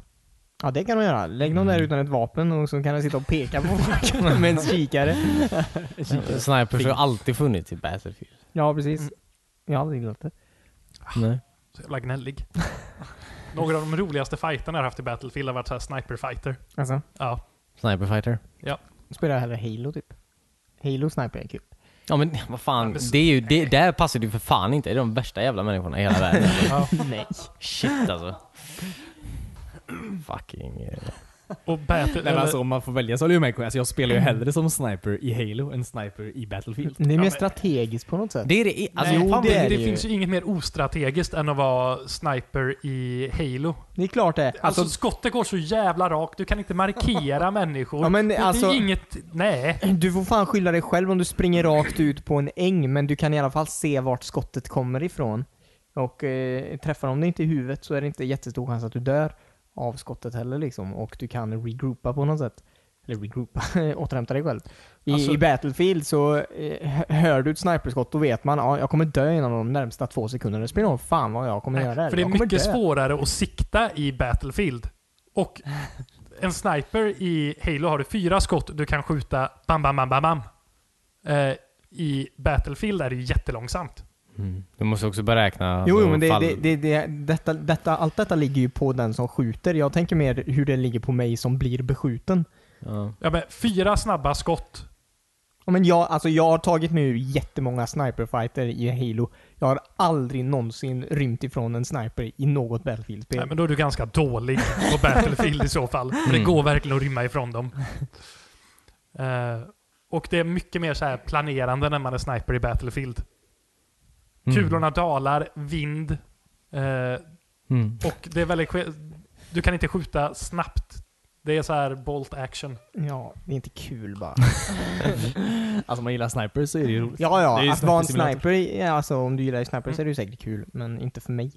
Speaker 1: Ja, det kan de göra. Lägg dem där utan ett vapen och så kan de sitta och peka på folk med en kikare.
Speaker 2: Snipers har ju alltid funnits i Battlefield.
Speaker 1: Ja, precis. Jag har aldrig gillat det.
Speaker 2: Nej.
Speaker 4: Så jävla gnällig. Några av de roligaste fighterna jag har haft i Battlefield har varit så här sniper-fighter.
Speaker 1: Alltså,
Speaker 4: Ja.
Speaker 2: Sniper fighter.
Speaker 1: spelar jag hellre Halo typ. Halo sniper är kul.
Speaker 2: Ja men vad fan,
Speaker 4: men så-
Speaker 2: det är ju, det, där passar du för fan inte. Det är de värsta jävla människorna i hela världen.
Speaker 4: ja.
Speaker 1: Nej.
Speaker 2: Shit alltså. Fucking... eh,
Speaker 4: Och battle,
Speaker 3: Nej, men
Speaker 4: eller-
Speaker 3: alltså, om man får välja så håller jag med. Alltså, jag spelar ju hellre som sniper i Halo än sniper i Battlefield.
Speaker 1: Det är mer
Speaker 4: men-
Speaker 1: strategiskt på något sätt.
Speaker 2: Det är det, alltså,
Speaker 4: Nej,
Speaker 2: fan,
Speaker 4: det,
Speaker 2: det,
Speaker 4: det, finns ju inget mer ostrategiskt än att vara sniper i Halo.
Speaker 1: Det är klart det.
Speaker 4: Alltså,
Speaker 1: Alltså,
Speaker 4: skottet går så jävla rakt, du kan inte markera människor.
Speaker 1: Ja, men
Speaker 4: det,
Speaker 1: alltså-
Speaker 4: det är inget... Nej.
Speaker 1: du får fan skylla dig själv om du springer rakt ut på en äng, men du kan i alla fall se vart skottet kommer ifrån. Och eh, träffar de dig inte i huvudet så är det inte jättestor chans att du dör av skottet heller liksom. Och du kan regroupa på något sätt. Eller regroupa, återhämta dig själv. I,
Speaker 4: Alltså-
Speaker 1: I Battlefield så eh, hö- hör du ett sniperskott då vet man ja, jag kommer dö inom de närmsta två sekunderna. Det spelar ingen roll fan vad jag kommer
Speaker 4: nej.
Speaker 1: göra.
Speaker 4: För det är
Speaker 1: jag kommer
Speaker 4: mycket
Speaker 1: dö.
Speaker 4: svårare att sikta i Battlefield. Och en sniper i Halo har du fyra skott du kan skjuta bam, bam, bam, bam, bam. Eh, I Battlefield är det ju jättelångsamt.
Speaker 2: Mm. Du måste också beräkna...
Speaker 1: jo,
Speaker 2: alltså,
Speaker 1: jo, men det,
Speaker 2: fall-
Speaker 1: det, det, det, detta, detta, allt detta ligger ju på den som skjuter. Jag tänker mer hur det ligger på mig som blir beskjuten.
Speaker 2: Ja.
Speaker 4: Ja, men fyra snabba skott.
Speaker 1: Ja, Men jag, alltså jag har tagit mig ur jättemånga sniperfighter i Halo. Jag har aldrig någonsin rymt ifrån en sniper i något
Speaker 4: Nej,
Speaker 1: Battlefield-spel.
Speaker 4: men då är du ganska dålig på Battlefield i så fall. För det
Speaker 2: Mm.
Speaker 4: går verkligen att rymma ifrån dem. Eh, och det är mycket mer så här planerande när man är sniper i Battlefield. Kulorna dalar, vind. eh,
Speaker 3: Mm.
Speaker 4: och det är väldigt... ske- Du kan inte skjuta snabbt. Det är så här bolt action.
Speaker 1: Ja, det är inte kul bara.
Speaker 3: Alltså man gillar snipers så är det ju roligt.
Speaker 1: Ja,
Speaker 3: Det är
Speaker 1: ja,
Speaker 3: ju
Speaker 1: att vara en
Speaker 3: sniper-simulator.
Speaker 1: sniper, i- ja, alltså om du gillar sniper så är det ju säkert kul, men inte för mig.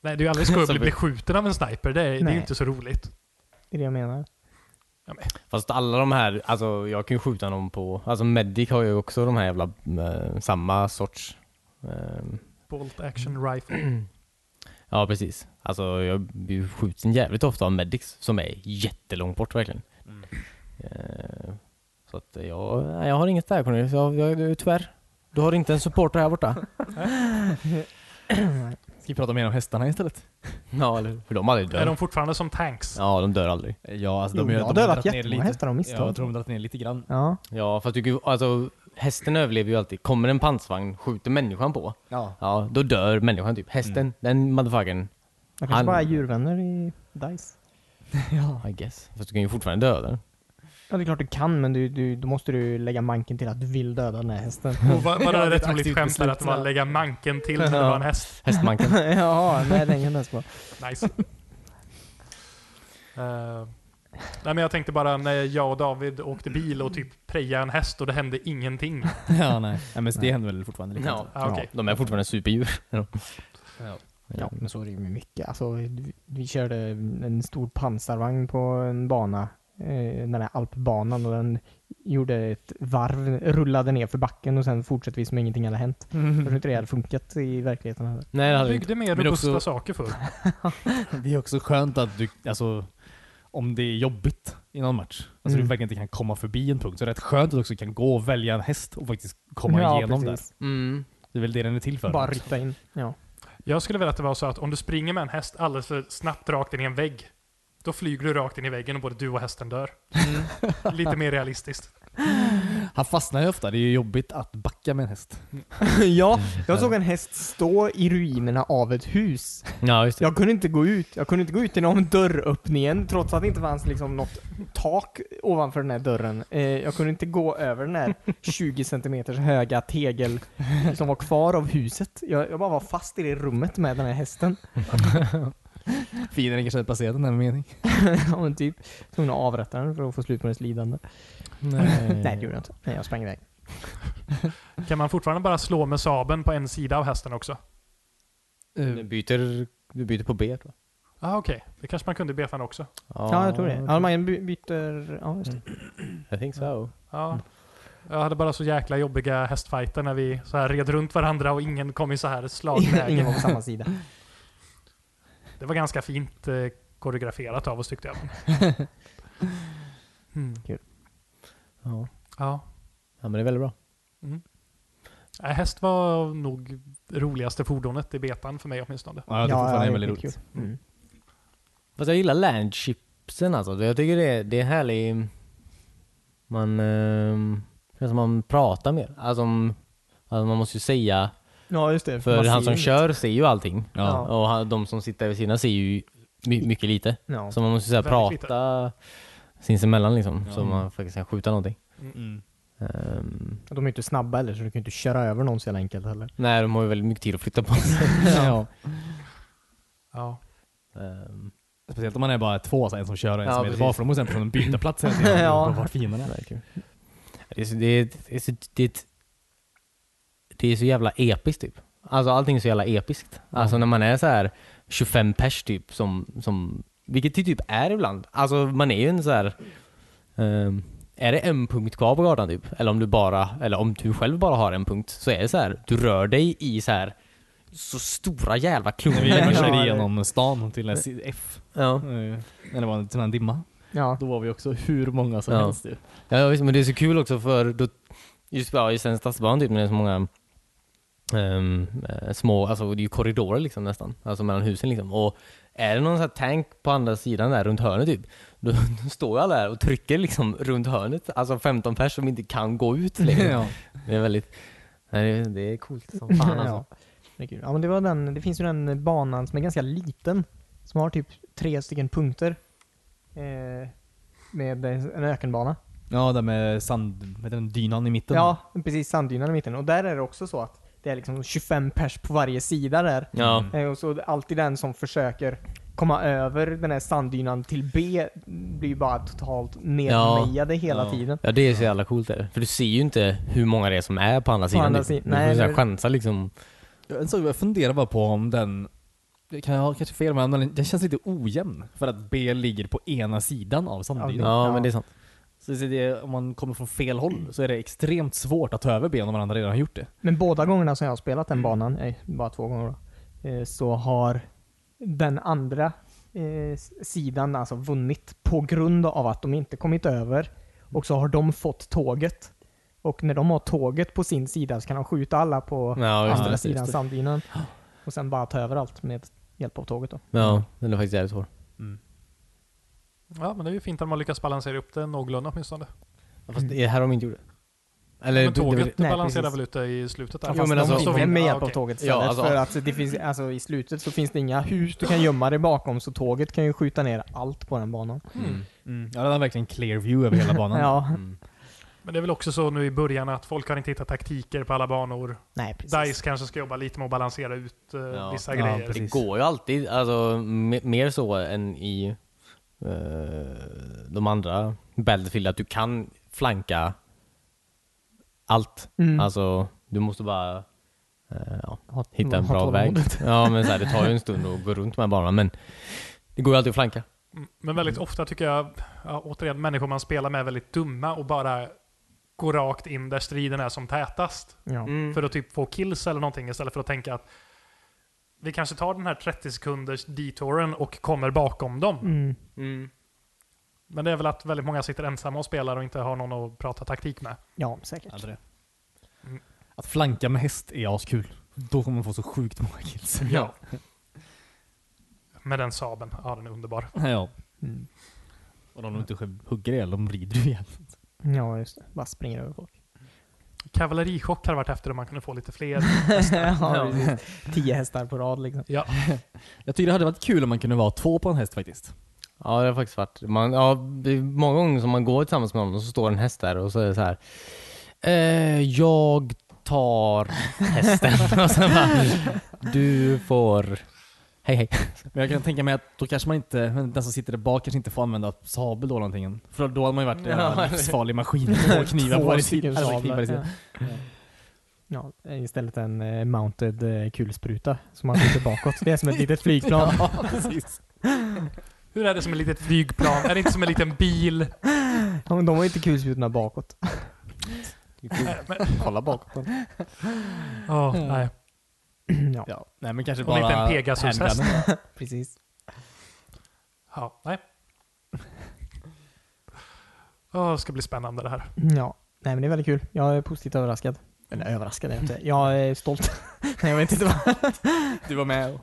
Speaker 4: Nej, det är ju aldrig skoj att
Speaker 2: Som
Speaker 4: bli
Speaker 2: vi-
Speaker 4: beskjuten av en sniper. Det är, det är
Speaker 1: Nej.
Speaker 4: ju inte så roligt.
Speaker 1: Det är det jag menar.
Speaker 2: Fast alla de här, alltså jag kan ju skjuta någon på... Alltså Medic har ju också de här jävla... eh, samma sorts... eh,
Speaker 4: Bolt action rifle.
Speaker 2: ja, precis. Alltså jag blir ju skjuten jävligt ofta av Medics som är jättelångt bort verkligen. Eh, så att jag, nej, jag har inget där Cornelius, jag, jag, jag, tyvärr. Du har inte en supporter här borta?
Speaker 3: Ska vi prata mer om hästarna istället?
Speaker 2: ja, eller hur? För de aldrig
Speaker 4: Är
Speaker 2: dör.
Speaker 4: de fortfarande som tanks?
Speaker 2: Ja, de dör aldrig.
Speaker 3: Ja, alltså
Speaker 1: Jo,
Speaker 3: de,
Speaker 1: jag
Speaker 3: de
Speaker 1: har dödat jättemånga hästar av misstag.
Speaker 3: Ja, jag tror de har dragit ner lite grann.
Speaker 1: Ja.
Speaker 2: Ja, fast du, kan ju- alltså, hästen överlever ju alltid. Kommer en pansarvagn, skjuter människan på.
Speaker 3: Ja.
Speaker 2: Ja, då dör människan typ. Hästen, den motherfuckern,
Speaker 1: Jag kanske
Speaker 2: Han-
Speaker 1: bara är djurvänner i DICE.
Speaker 2: ja. I guess. Fast du kan ju fortfarande döda den.
Speaker 1: Ja, det är klart du kan, men du, du, då måste du lägga manken till att du vill döda den här hästen.
Speaker 4: Och var, var det
Speaker 3: Ja, det är
Speaker 4: rätt
Speaker 3: ett
Speaker 4: roligt
Speaker 3: aktivt
Speaker 4: skämt där
Speaker 3: beslut,
Speaker 4: att det var
Speaker 3: ja.
Speaker 4: lägga manken till när det
Speaker 2: Ja.
Speaker 4: var en häst?
Speaker 2: Hästmanken.
Speaker 1: ja, nej den kan jag inte ens
Speaker 4: Nice. Eh, nej men jag tänkte bara när jag och David åkte bil och typ prejade en häst och det hände ingenting.
Speaker 3: ja, nej. nej men det
Speaker 1: Nej.
Speaker 3: händer väl fortfarande lite.
Speaker 2: ja,
Speaker 4: Ah, okej.
Speaker 2: de är fortfarande superdjur.
Speaker 3: Ja.
Speaker 1: Ja, men så är det ju med mycket. Alltså, vi, vi körde en stor pansarvagn på en bana, eh, den här alpbanan, och den gjorde ett varv, rullade ner för backen och sen fortsatte vi som ingenting hade hänt. Jag tror inte det hade funkat i verkligheten heller.
Speaker 2: Nej, det hade vi inte.
Speaker 4: byggde mer
Speaker 3: Men
Speaker 4: robusta
Speaker 3: också-
Speaker 4: saker förr.
Speaker 3: Det är också skönt att du, alltså, om det är jobbigt i någon match, alltså
Speaker 1: Mm.
Speaker 3: du verkligen inte kan komma förbi en punkt, så är det rätt skönt att du också kan gå och välja en häst och faktiskt komma igenom där.
Speaker 2: Mm.
Speaker 3: Det är väl det den är till för.
Speaker 1: Bara rytta in. Ja.
Speaker 4: Jag skulle vilja att det var så att om du springer med en häst alldeles för snabbt rakt in i en vägg, då flyger du rakt in i väggen och både du och hästen dör.
Speaker 2: Mm.
Speaker 4: Lite mer realistiskt.
Speaker 3: Han fastnar ju ofta, det är ju jobbigt att backa med en häst.
Speaker 1: ja,
Speaker 3: Mm.
Speaker 1: jag såg en häst stå i ruinerna av ett hus.
Speaker 2: Ja, just det.
Speaker 1: Jag kunde inte gå ut. Jag kunde inte gå ut genom dörröppningen trots att det inte fanns liksom något tak ovanför den här dörren. Eh, jag kunde inte gå över den här 20 centimeters höga tegel som var kvar av huset. Jag, jag bara var fast i det rummet med den här hästen.
Speaker 3: Fienden kanske hade passerat den här meningen.
Speaker 1: Ja men typ tvungen att avrätta den för att få slut på dess lidande.
Speaker 2: Nej.
Speaker 1: Nej det gjorde jag inte. Nej jag sprang iväg.
Speaker 4: Kan man fortfarande bara slå med sabeln på en sida av hästen också?
Speaker 1: Eh,
Speaker 3: Ehm,
Speaker 2: Du byter, du byter på B va?
Speaker 4: Ah, okej. Det kanske man kunde i betan också.
Speaker 1: Ja jag tror det. Ja, man by- byter... Ja just det.
Speaker 2: I think so.
Speaker 4: Ja. Jag hade bara så jäkla jobbiga hästfighter när vi så här red runt varandra och ingen kom i så här
Speaker 1: Ingen var
Speaker 4: slagläge.
Speaker 1: på samma sida.
Speaker 4: Det var ganska fint eh, koreograferat av oss tyckte jag. Mm.
Speaker 2: Ja.
Speaker 4: Ja.
Speaker 2: ja, men det är väldigt bra.
Speaker 4: Nej, Häst var nog det roligaste fordonet i betan för mig åtminstone.
Speaker 3: Ja, jag tycker fortfarande det är väldigt
Speaker 1: det är
Speaker 3: roligt.
Speaker 1: kul. Mm.
Speaker 2: Fast jag gillar landchipsen alltså. Jag tycker det är, det är härlig... Man... ehm, det känns som man pratar mer. Alltså, om- alltså man måste ju säga...
Speaker 1: Ja just det.
Speaker 2: För
Speaker 1: man
Speaker 2: han
Speaker 1: ser
Speaker 2: som
Speaker 1: ju-
Speaker 2: kör ser ju allting.
Speaker 1: Ja.
Speaker 2: Och han, de som sitter vid sidan ser ju my, mycket lite.
Speaker 1: Ja.
Speaker 2: Så man måste så här,
Speaker 4: Väldigt
Speaker 2: prata sinsemellan liksom. Så
Speaker 3: Ja.
Speaker 2: man faktiskt kan skjuta någonting.
Speaker 3: Mm.
Speaker 2: Ehm,
Speaker 1: De är ju inte snabba heller så du kan ju inte köra över någon så jävla enkelt heller.
Speaker 2: nej, de har ju väldigt mycket tid att flytta på sig.
Speaker 3: ja.
Speaker 4: Ja.
Speaker 2: Ehm,
Speaker 3: Speciellt om man är bara två, så en som kör och en
Speaker 2: Ja,
Speaker 3: som är
Speaker 2: precis.
Speaker 3: bakom. Då måste den personen byta plats hela tiden.
Speaker 1: Ja.
Speaker 3: ja. Vart fienden är.
Speaker 2: det är kul. Det är så- det är- det är så- det är ett- det är så jävla episkt typ. Alltså allting är så jävla episkt. Alltså när man är så här 25 pers typ som, som vilket det typ är ibland. Alltså man är ju en så här ehm, är det en punkt kvar på gatan typ? Eller om du bara, eller om du själv bara har en punkt så är det så här du rör dig i så här så stora jävla
Speaker 3: När vi
Speaker 2: klungar.
Speaker 1: Ja,
Speaker 3: körde
Speaker 1: det-
Speaker 3: igenom stan till SIF.
Speaker 2: ja.
Speaker 3: Eh, När det var en sån här dimma.
Speaker 1: Ja.
Speaker 3: Då var vi också hur många som
Speaker 2: Ja.
Speaker 3: helst ju.
Speaker 2: Ja, ja, visst, men det är så kul också för då, just, ja, just den stadsbanan typ, när det är så många ehm, eh, små, alltså det är ju korridorer liksom nästan, alltså mellan husen liksom. Och är det någon sån här tank på andra sidan där runt hörnet typ, då, då står ju alla där och trycker liksom runt hörnet, alltså 15 pers som inte kan gå ut längre.
Speaker 3: Ja.
Speaker 2: Det är väldigt, nej, det, det är coolt som fan alltså.
Speaker 1: Ja. Det, är kul. ja, men det, var den, det finns ju den banan som är ganska liten. Som har typ tre stycken punkter. Eh, med en ökenbana.
Speaker 3: ja, där med sand... Vad heter den? Dynan i mitten.
Speaker 1: Ja, precis. Sanddynan i mitten. Och där är det också så att det är liksom 25 pers på varje sida där.
Speaker 2: Ja.
Speaker 3: Mm.
Speaker 1: Eh, Och så är det alltid den som försöker komma över den här sanddynan till B blir ju bara totalt nedmejade hela
Speaker 3: Ja.
Speaker 1: tiden.
Speaker 2: Ja det är så jävla coolt är det. För du ser ju inte hur många det är som är på andra sidan.
Speaker 1: andra
Speaker 2: typ.
Speaker 1: sidan.
Speaker 2: Du
Speaker 1: Nej,
Speaker 2: får så här
Speaker 1: det-
Speaker 2: chansa liksom.
Speaker 3: En sak jag funderar bara på om den... Jag kan ha kanske fel men den- den känns lite ojämn. För att B ligger på ena sidan av sanddynan.
Speaker 2: Ja,
Speaker 1: Ja.
Speaker 2: men det är sant.
Speaker 3: Så det är, om man kommer från fel håll så är det extremt svårt att ta över B om man andra redan har gjort det.
Speaker 1: Men båda gångerna som jag har spelat
Speaker 2: Mm.
Speaker 1: den banan, nej, bara två gånger då, eh, så har den andra eh, s- sidan alltså vunnit på grund av att de inte kommit över och så har de fått tåget. Och när de har tåget på sin sida så kan de skjuta alla på
Speaker 2: Ja, just
Speaker 1: andra
Speaker 3: det,
Speaker 1: sidan
Speaker 3: just det.
Speaker 1: sanddynan. Och sen bara ta över allt med hjälp av tåget då.
Speaker 2: Ja, den är faktiskt jävligt svår.
Speaker 4: Ja, men det är ju fint att man lyckas balansera upp det någorlunda åtminstone.
Speaker 2: Ja, Fast det här har de inte gjort det. Eller,
Speaker 4: men
Speaker 2: det- det-
Speaker 4: tåget
Speaker 1: nej,
Speaker 4: balanserar
Speaker 1: precis.
Speaker 4: väl ut det i slutet där?
Speaker 1: Ja,
Speaker 2: Jo,
Speaker 1: fast
Speaker 2: men
Speaker 1: de
Speaker 2: alltså-
Speaker 1: vinner
Speaker 4: Så-
Speaker 1: med
Speaker 4: ja,
Speaker 1: hjälp av
Speaker 4: okej.
Speaker 1: tåget istället.
Speaker 2: Ja, alltså-
Speaker 1: för att det finns, alltså, i slutet så finns det inga hus du kan gömma dig bakom så tåget kan ju skjuta ner allt på den banan.
Speaker 4: Mm.
Speaker 3: Ja, den har verkligen clear view över hela banan.
Speaker 1: Ja,
Speaker 2: Mm.
Speaker 4: Men det är väl också så nu i början att folk har inte hittat taktiker på alla banor.
Speaker 1: nej precis.
Speaker 4: DICE kanske ska jobba lite med att balansera ut eh,
Speaker 2: Ja.
Speaker 4: vissa
Speaker 3: Ja,
Speaker 4: grejer.
Speaker 3: precis.
Speaker 2: Det går ju alltid, alltså me- mer så än i eh, de andra Battlefield, att du kan flanka allt.
Speaker 1: Mm.
Speaker 2: Alltså, du måste bara eh, ja,
Speaker 1: Ha-
Speaker 2: hitta en
Speaker 1: ha
Speaker 2: bra väg.
Speaker 1: tålamodet.
Speaker 2: Ja, men så här, det tar ju en stund att gå runt de här banorna, men det går ju alltid att flanka.
Speaker 4: Mm, Men väldigt ofta tycker jag, ja, återigen, människor man spelar med är väldigt dumma och bara går rakt in där striden är som tätast.
Speaker 1: Ja.
Speaker 4: För att typ få kills eller någonting istället för att tänka att vi kanske tar den här 30 sekunders detouren och kommer bakom dem.
Speaker 1: Mm.
Speaker 4: Men det är väl att väldigt många sitter ensamma och spelar och inte har någon att prata taktik med.
Speaker 1: Ja, säkert.
Speaker 3: Aldrig.
Speaker 4: Mm.
Speaker 3: Att flanka med häst är askul. Då kommer man få så sjukt många kills.
Speaker 2: Ja.
Speaker 4: Med den saben. Ja, den är underbar.
Speaker 3: ja.
Speaker 1: Mm.
Speaker 3: Och de inte själv hugger ihjäl, de rider ju ihjäl.
Speaker 1: Ja, just det. Bara springer över folk.
Speaker 4: Kavallerichock hade varit efter om man kunde få lite fler.
Speaker 1: ja, precis. Tio hästar på rad liksom.
Speaker 4: Ja,
Speaker 3: Jag tycker det hade varit kul om man kunde vara två på en häst faktiskt.
Speaker 2: Ja, det har faktiskt varit. Man, ja, det är många gånger som man går tillsammans med någon och så står en häst där och så är det så här. Eh, jag tar hästen. och sen bara, du får... Hej hej.
Speaker 3: Men jag kan tänka mig att då kanske man inte, den som sitter där bak kanske inte får använda sabel då någonting. För då hade man ju varit en
Speaker 2: Ja.
Speaker 3: livsfarlig maskin. Två knivar på
Speaker 1: Två
Speaker 3: varje
Speaker 1: stycken
Speaker 3: sida. Alltså, knivar
Speaker 1: sablar.
Speaker 3: i sidan.
Speaker 1: Ja. Ja, istället en eh, mounted eh, kulspruta som man skjuter bakåt. Det är som ett litet flygplan.
Speaker 3: Ja, precis.
Speaker 4: hur är det som ett litet flygplan? Är det inte som en liten bil?
Speaker 1: Ja, men De har ju inte kulsprutorna bakåt.
Speaker 4: Eh,
Speaker 2: Kolla bakåt.
Speaker 4: Åh, nej.
Speaker 1: ja,
Speaker 3: Ja, nej men kanske
Speaker 4: Om inte
Speaker 3: bara
Speaker 4: en Pegasus-häst.
Speaker 3: handgunnen.
Speaker 1: precis.
Speaker 4: Ja, nej. Åh, det ska bli spännande det här.
Speaker 1: Ja. Nej men det är väldigt kul. Jag är positivt överraskad. Eller överraskad är jag inte. Jag är stolt. Nej jag vet inte vad.
Speaker 3: Du var med och...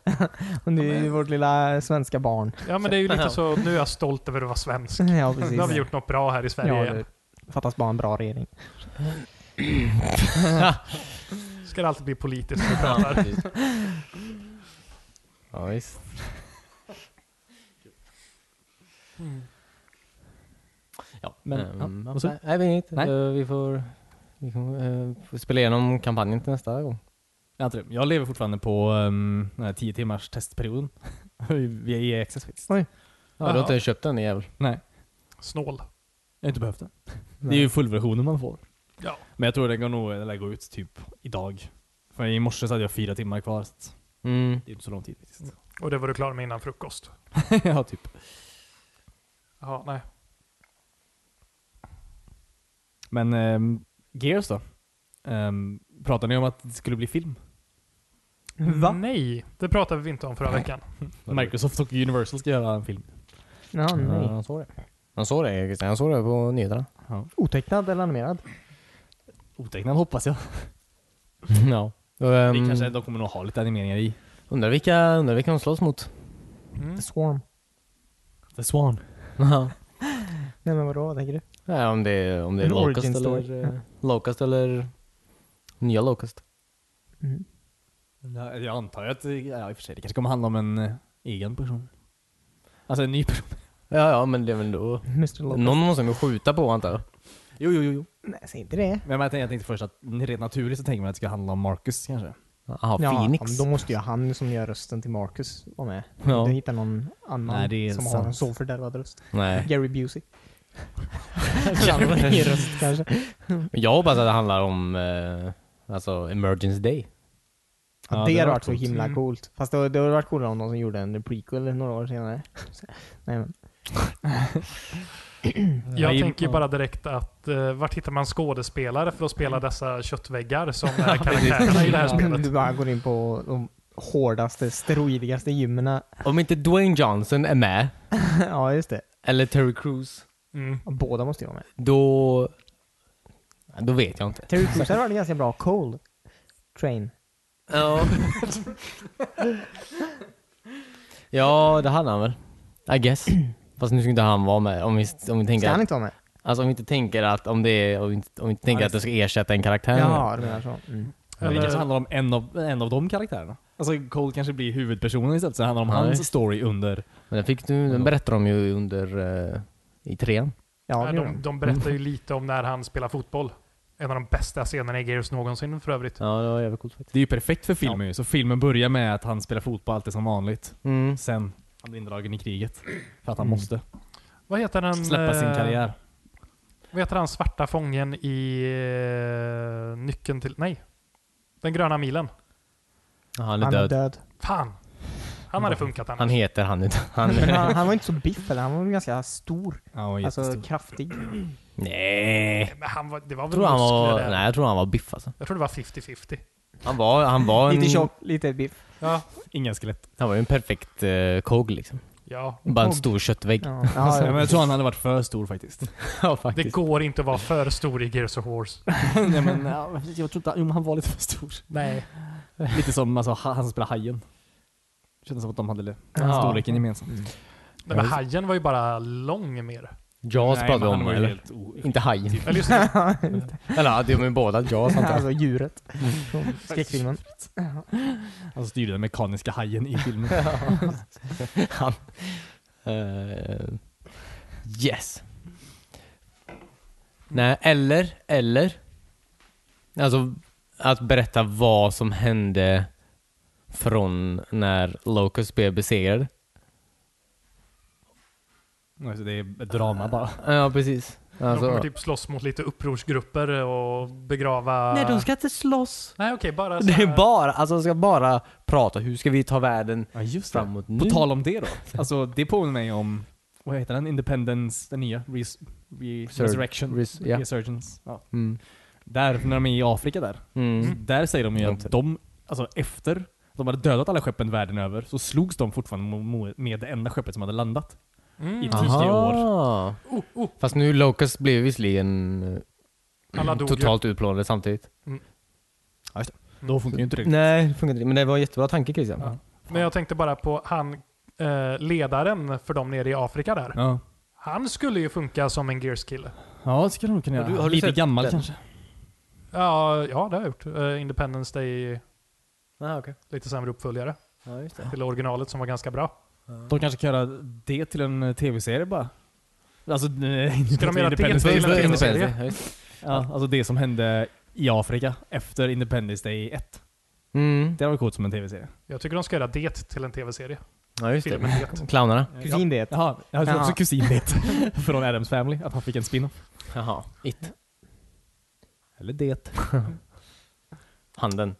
Speaker 1: Men Det är ju vårt lilla svenska barn.
Speaker 4: Ja, men det är ju lite så, nu är jag stolt över att vara svensk.
Speaker 1: Ja precis.
Speaker 4: Nu har vi gjort något bra här i Sverige
Speaker 1: Ja,
Speaker 4: igen.
Speaker 1: det fattas bara en bra regering.
Speaker 4: Ska det alltid bli politiskt när vi
Speaker 2: Ja,
Speaker 4: pratar.
Speaker 2: precis. ja, visst. Ja,
Speaker 3: Men,
Speaker 2: ehm,
Speaker 3: ja, och så?
Speaker 2: nej, nej, vi är inget.
Speaker 3: Nej.
Speaker 2: Eh, vi får... Vi får, eh, får spela igenom kampanjen till nästa gång.
Speaker 3: Jag, antar det. jag lever fortfarande på um, den här 10 timmars testperioden. Via EA Access faktiskt.
Speaker 2: Ja, du har
Speaker 4: Jaha.
Speaker 2: inte köpt den jävel.
Speaker 3: Nej,
Speaker 4: Snål.
Speaker 3: jag har inte behövt den. Det är ju fullversionen man får.
Speaker 4: Ja.
Speaker 3: Men jag tror den går nog, den lär gå ut typ idag. För i morse så hade jag fyra timmar kvar. Så att
Speaker 2: Mm.
Speaker 3: det är inte så lång tid faktiskt.
Speaker 4: Och det var du klar med innan frukost.
Speaker 3: ja, typ.
Speaker 4: Ja, nej.
Speaker 3: Men ehm, Gears då? Ehm, pratade ni om att det skulle bli film?
Speaker 1: Va?
Speaker 4: Nej, det pratade vi inte om förra veckan.
Speaker 3: Microsoft och Universal ska göra en film.
Speaker 1: Ja,
Speaker 2: Ja,
Speaker 1: nej.
Speaker 2: han såg det. Han såg det, Christian. Han såg det på nyheterna.
Speaker 1: Otecknad eller animerad?
Speaker 3: Otecknad hoppas jag.
Speaker 2: ja.
Speaker 3: det
Speaker 2: Um,
Speaker 3: kanske de kommer nog ha lite animeringar i.
Speaker 2: undrar, vilka, undrar vilka de slåss mot.
Speaker 4: Mm.
Speaker 1: The Swarm.
Speaker 3: The Swan.
Speaker 1: Nej men vadå, vad tänker du?
Speaker 2: Nej, om det är, om det är
Speaker 1: En
Speaker 2: Locust
Speaker 1: origin story.
Speaker 2: eller... eh, Locust eller... Nya Locust.
Speaker 1: Mm.
Speaker 3: Ja, Jag antar att ja, i och för sig, det kanske kommer handla om en eh, egen person. Alltså en ny person.
Speaker 2: Ja, ja, men det är väl då...
Speaker 1: Mr. Locust?
Speaker 2: Någon måste man skjuta på antar jag.
Speaker 3: Jo, jo, jo. jo.
Speaker 1: Nej, säg inte det.
Speaker 3: Men jag tänkte, jag tänkte först att rent naturligt så tänker man att det ska handla om Marcus kanske.
Speaker 2: Jaha, Phoenix.
Speaker 1: men Då måste ju han som gör rösten till Marcus vara med.
Speaker 2: Ja.
Speaker 1: Du hittar någon annan
Speaker 3: Nej, det är
Speaker 1: som
Speaker 3: sant.
Speaker 1: har en så fördärvad röst.
Speaker 2: Nej.
Speaker 1: Gary Busey.
Speaker 2: Kanske.
Speaker 1: Min röst kanske.
Speaker 2: Jag hoppas att det handlar om... Eh, alltså, Emergence Day.
Speaker 1: Ja,
Speaker 3: Ja,
Speaker 1: det
Speaker 3: det
Speaker 1: hade
Speaker 3: var
Speaker 1: varit så
Speaker 3: coolt.
Speaker 1: himla coolt. Fast det, det hade varit coolare om någon som gjorde en prequel några år senare. Så- Nej men.
Speaker 4: Jag
Speaker 3: Ja,
Speaker 4: tänker ju
Speaker 3: ja.
Speaker 4: bara direkt att eh, vart hittar man skådespelare för att spela dessa köttväggar som är
Speaker 2: precis.
Speaker 4: karaktärerna i det här
Speaker 1: Ja,
Speaker 4: spelet?
Speaker 1: Du bara går in på de hårdaste, steroidigaste gymmen.
Speaker 2: Om inte Dwayne Johnson är med,
Speaker 1: ja, just det.
Speaker 2: eller Terry Crews,
Speaker 4: Mm.
Speaker 1: Båda måste ju vara med.
Speaker 2: då... Då vet jag inte.
Speaker 1: Terry Crews hade varit en ganska bra Cold Train.
Speaker 2: Ja. ja, det hade han väl. I guess. Fast nu ska inte han vara med. Om vi, om vi tänker
Speaker 1: Ska
Speaker 2: att,
Speaker 1: han inte vara med?
Speaker 2: Alltså om vi inte tänker att, om det är, om vi inte, om vi inte tänker att det ska ersätta en karaktär.
Speaker 1: Ja, du menar så. Mm.
Speaker 3: Eller det kanske
Speaker 4: Eller,
Speaker 3: handlar om en av, en av de karaktärerna. Alltså Cole kanske blir huvudpersonen istället, så det handlar om
Speaker 2: Nej.
Speaker 3: hans story under...
Speaker 2: Men den, fick du, den berättade de ju under, eh, i trean.
Speaker 1: Ja, det
Speaker 4: nej,
Speaker 1: gör
Speaker 4: de,
Speaker 1: de. Mm.
Speaker 4: de berättar ju lite om när han spelar fotboll. En av de bästa scenerna i Gears någonsin för övrigt.
Speaker 2: Ja, det var jävligt coolt faktiskt.
Speaker 3: Det är ju perfekt för filmen ju, så filmen börjar med att han spelar fotboll alltid som vanligt.
Speaker 2: Mm.
Speaker 3: Sen, han blir indragen i kriget. För att han
Speaker 1: Mm.
Speaker 3: måste
Speaker 4: Vad heter den?
Speaker 3: släppa sin
Speaker 4: eh,
Speaker 3: karriär.
Speaker 4: Vad heter han svarta fången i eh, Nyckeln till... Nej. Den gröna milen.
Speaker 2: Ja, han är
Speaker 1: Han är
Speaker 2: död.
Speaker 1: död.
Speaker 4: Fan! Han hade funkat annars.
Speaker 2: Mm. Han heter han inte. Han,
Speaker 1: Men han, han var inte så biff eller han var väl ganska stor.
Speaker 3: Ja, och
Speaker 1: Alltså
Speaker 3: jättestor.
Speaker 1: kraftig.
Speaker 2: nej.
Speaker 4: Men han var, det var
Speaker 2: Jag
Speaker 4: väl
Speaker 2: tror han var,
Speaker 4: muskler där.
Speaker 2: nej, jag tror han var biff alltså.
Speaker 4: Jag tror det var 50-50.
Speaker 2: Han var, han var en...
Speaker 1: Lite tjock, lite biff.
Speaker 4: Ja.
Speaker 3: Inga skelett.
Speaker 2: Han var ju en perfekt uh, kog liksom.
Speaker 4: ja.
Speaker 2: Bara en
Speaker 1: Kog.
Speaker 2: stor köttvägg.
Speaker 1: Ja,
Speaker 3: Ja,
Speaker 1: ja,
Speaker 3: men
Speaker 1: ja.
Speaker 3: jag tror han hade varit för stor faktiskt.
Speaker 2: Ja,
Speaker 4: Det går inte att vara för stor i Gears of Wars.
Speaker 3: Nej, men, ja, jag tror inte, jo, men han var lite för stor.
Speaker 4: Nej.
Speaker 3: Lite som alltså, ha- han som spelar Hajen. Kändes som att de hade det-
Speaker 2: Ja.
Speaker 3: storleken gemensamt.
Speaker 4: Men hajen var ju bara lång mer.
Speaker 2: Jaws
Speaker 3: Nej,
Speaker 2: pratade vi
Speaker 3: men han
Speaker 2: om
Speaker 3: var ju
Speaker 2: eller?
Speaker 3: helt o-
Speaker 2: Inte hajen.
Speaker 4: Eller just det.
Speaker 2: eller ja, det är med båda Jaws antar jag.
Speaker 1: Alltså djuret. Från skräckfilmen.
Speaker 3: Han styrde den mekaniska hajen i filmen.
Speaker 2: Han... eh, yes. Nej, eller, eller. Alltså att berätta vad som hände från när Locust blev besegrad.
Speaker 3: alltså, det är ett drama bara.
Speaker 2: Ja, precis.
Speaker 4: De kommer
Speaker 2: Alltså,
Speaker 4: typ slåss mot lite upprorsgrupper och begrava...
Speaker 2: Nej, de ska inte slåss.
Speaker 4: Nej okej, bara så
Speaker 2: Det
Speaker 4: här.
Speaker 2: är bara, alltså de ska bara prata. Hur ska vi ta världen
Speaker 3: Ja, just
Speaker 2: framåt nu?
Speaker 3: På tal om det då. Alltså det påminner mig om, vad heter den? Independence, den nya? Res, re,
Speaker 2: Resur-
Speaker 3: resurrection?
Speaker 2: res- ja.
Speaker 3: Resurgence. Ja.
Speaker 2: Mm.
Speaker 3: Där, när de är i Afrika där.
Speaker 2: Mm.
Speaker 3: Där säger de ju
Speaker 2: Jag
Speaker 3: att de, alltså efter de hade dödat alla skeppen världen över, så slogs de fortfarande mo- mo- med det enda skeppet som hade landat.
Speaker 4: Mm.
Speaker 3: I tusen år.
Speaker 2: Aha.
Speaker 4: oh,
Speaker 2: Fast nu Locust blev visserligen eh,
Speaker 4: Alla dog ju.
Speaker 2: totalt utplånade samtidigt.
Speaker 3: Då funkar ju inte det.
Speaker 2: Nej, det funkar inte. Men det var en jättebra tanke Christian.
Speaker 3: Ja.
Speaker 4: Men jag tänkte bara på han, eh, ledaren för dem nere i Afrika där.
Speaker 3: Ja.
Speaker 4: Han skulle ju funka som en Gears-kille.
Speaker 3: Ja, det skulle de kunna göra.
Speaker 2: Har du- har du
Speaker 3: Lite
Speaker 2: sett
Speaker 3: gammal
Speaker 2: den?
Speaker 3: kanske.
Speaker 4: Ja, ja det har jag gjort. Eh, Independence Day,
Speaker 2: Ah, okay.
Speaker 4: lite sämre uppföljare
Speaker 2: ja, just det.
Speaker 4: till originalet som var ganska bra.
Speaker 3: De kanske kan göra det till en eh, tv-serie bara. Alltså, eh,
Speaker 4: Ska de göra det till en
Speaker 3: Independence Day.
Speaker 4: tv-serie?
Speaker 3: Ja, alltså det som hände i Afrika efter Independence Day 1.
Speaker 2: Mm.
Speaker 3: Det var coolt som en tv-serie.
Speaker 4: Jag tycker de ska göra det till en tv-serie.
Speaker 2: Ja, just
Speaker 4: Filmen
Speaker 2: det.
Speaker 4: det.
Speaker 2: Clownerna.
Speaker 1: Kusin det.
Speaker 3: Jaha, jag hade också
Speaker 1: Jaha.
Speaker 3: kusin det. Från Adams Family, att han fick en spin-off.
Speaker 2: Jaha. It.
Speaker 3: Eller det.
Speaker 2: Handen.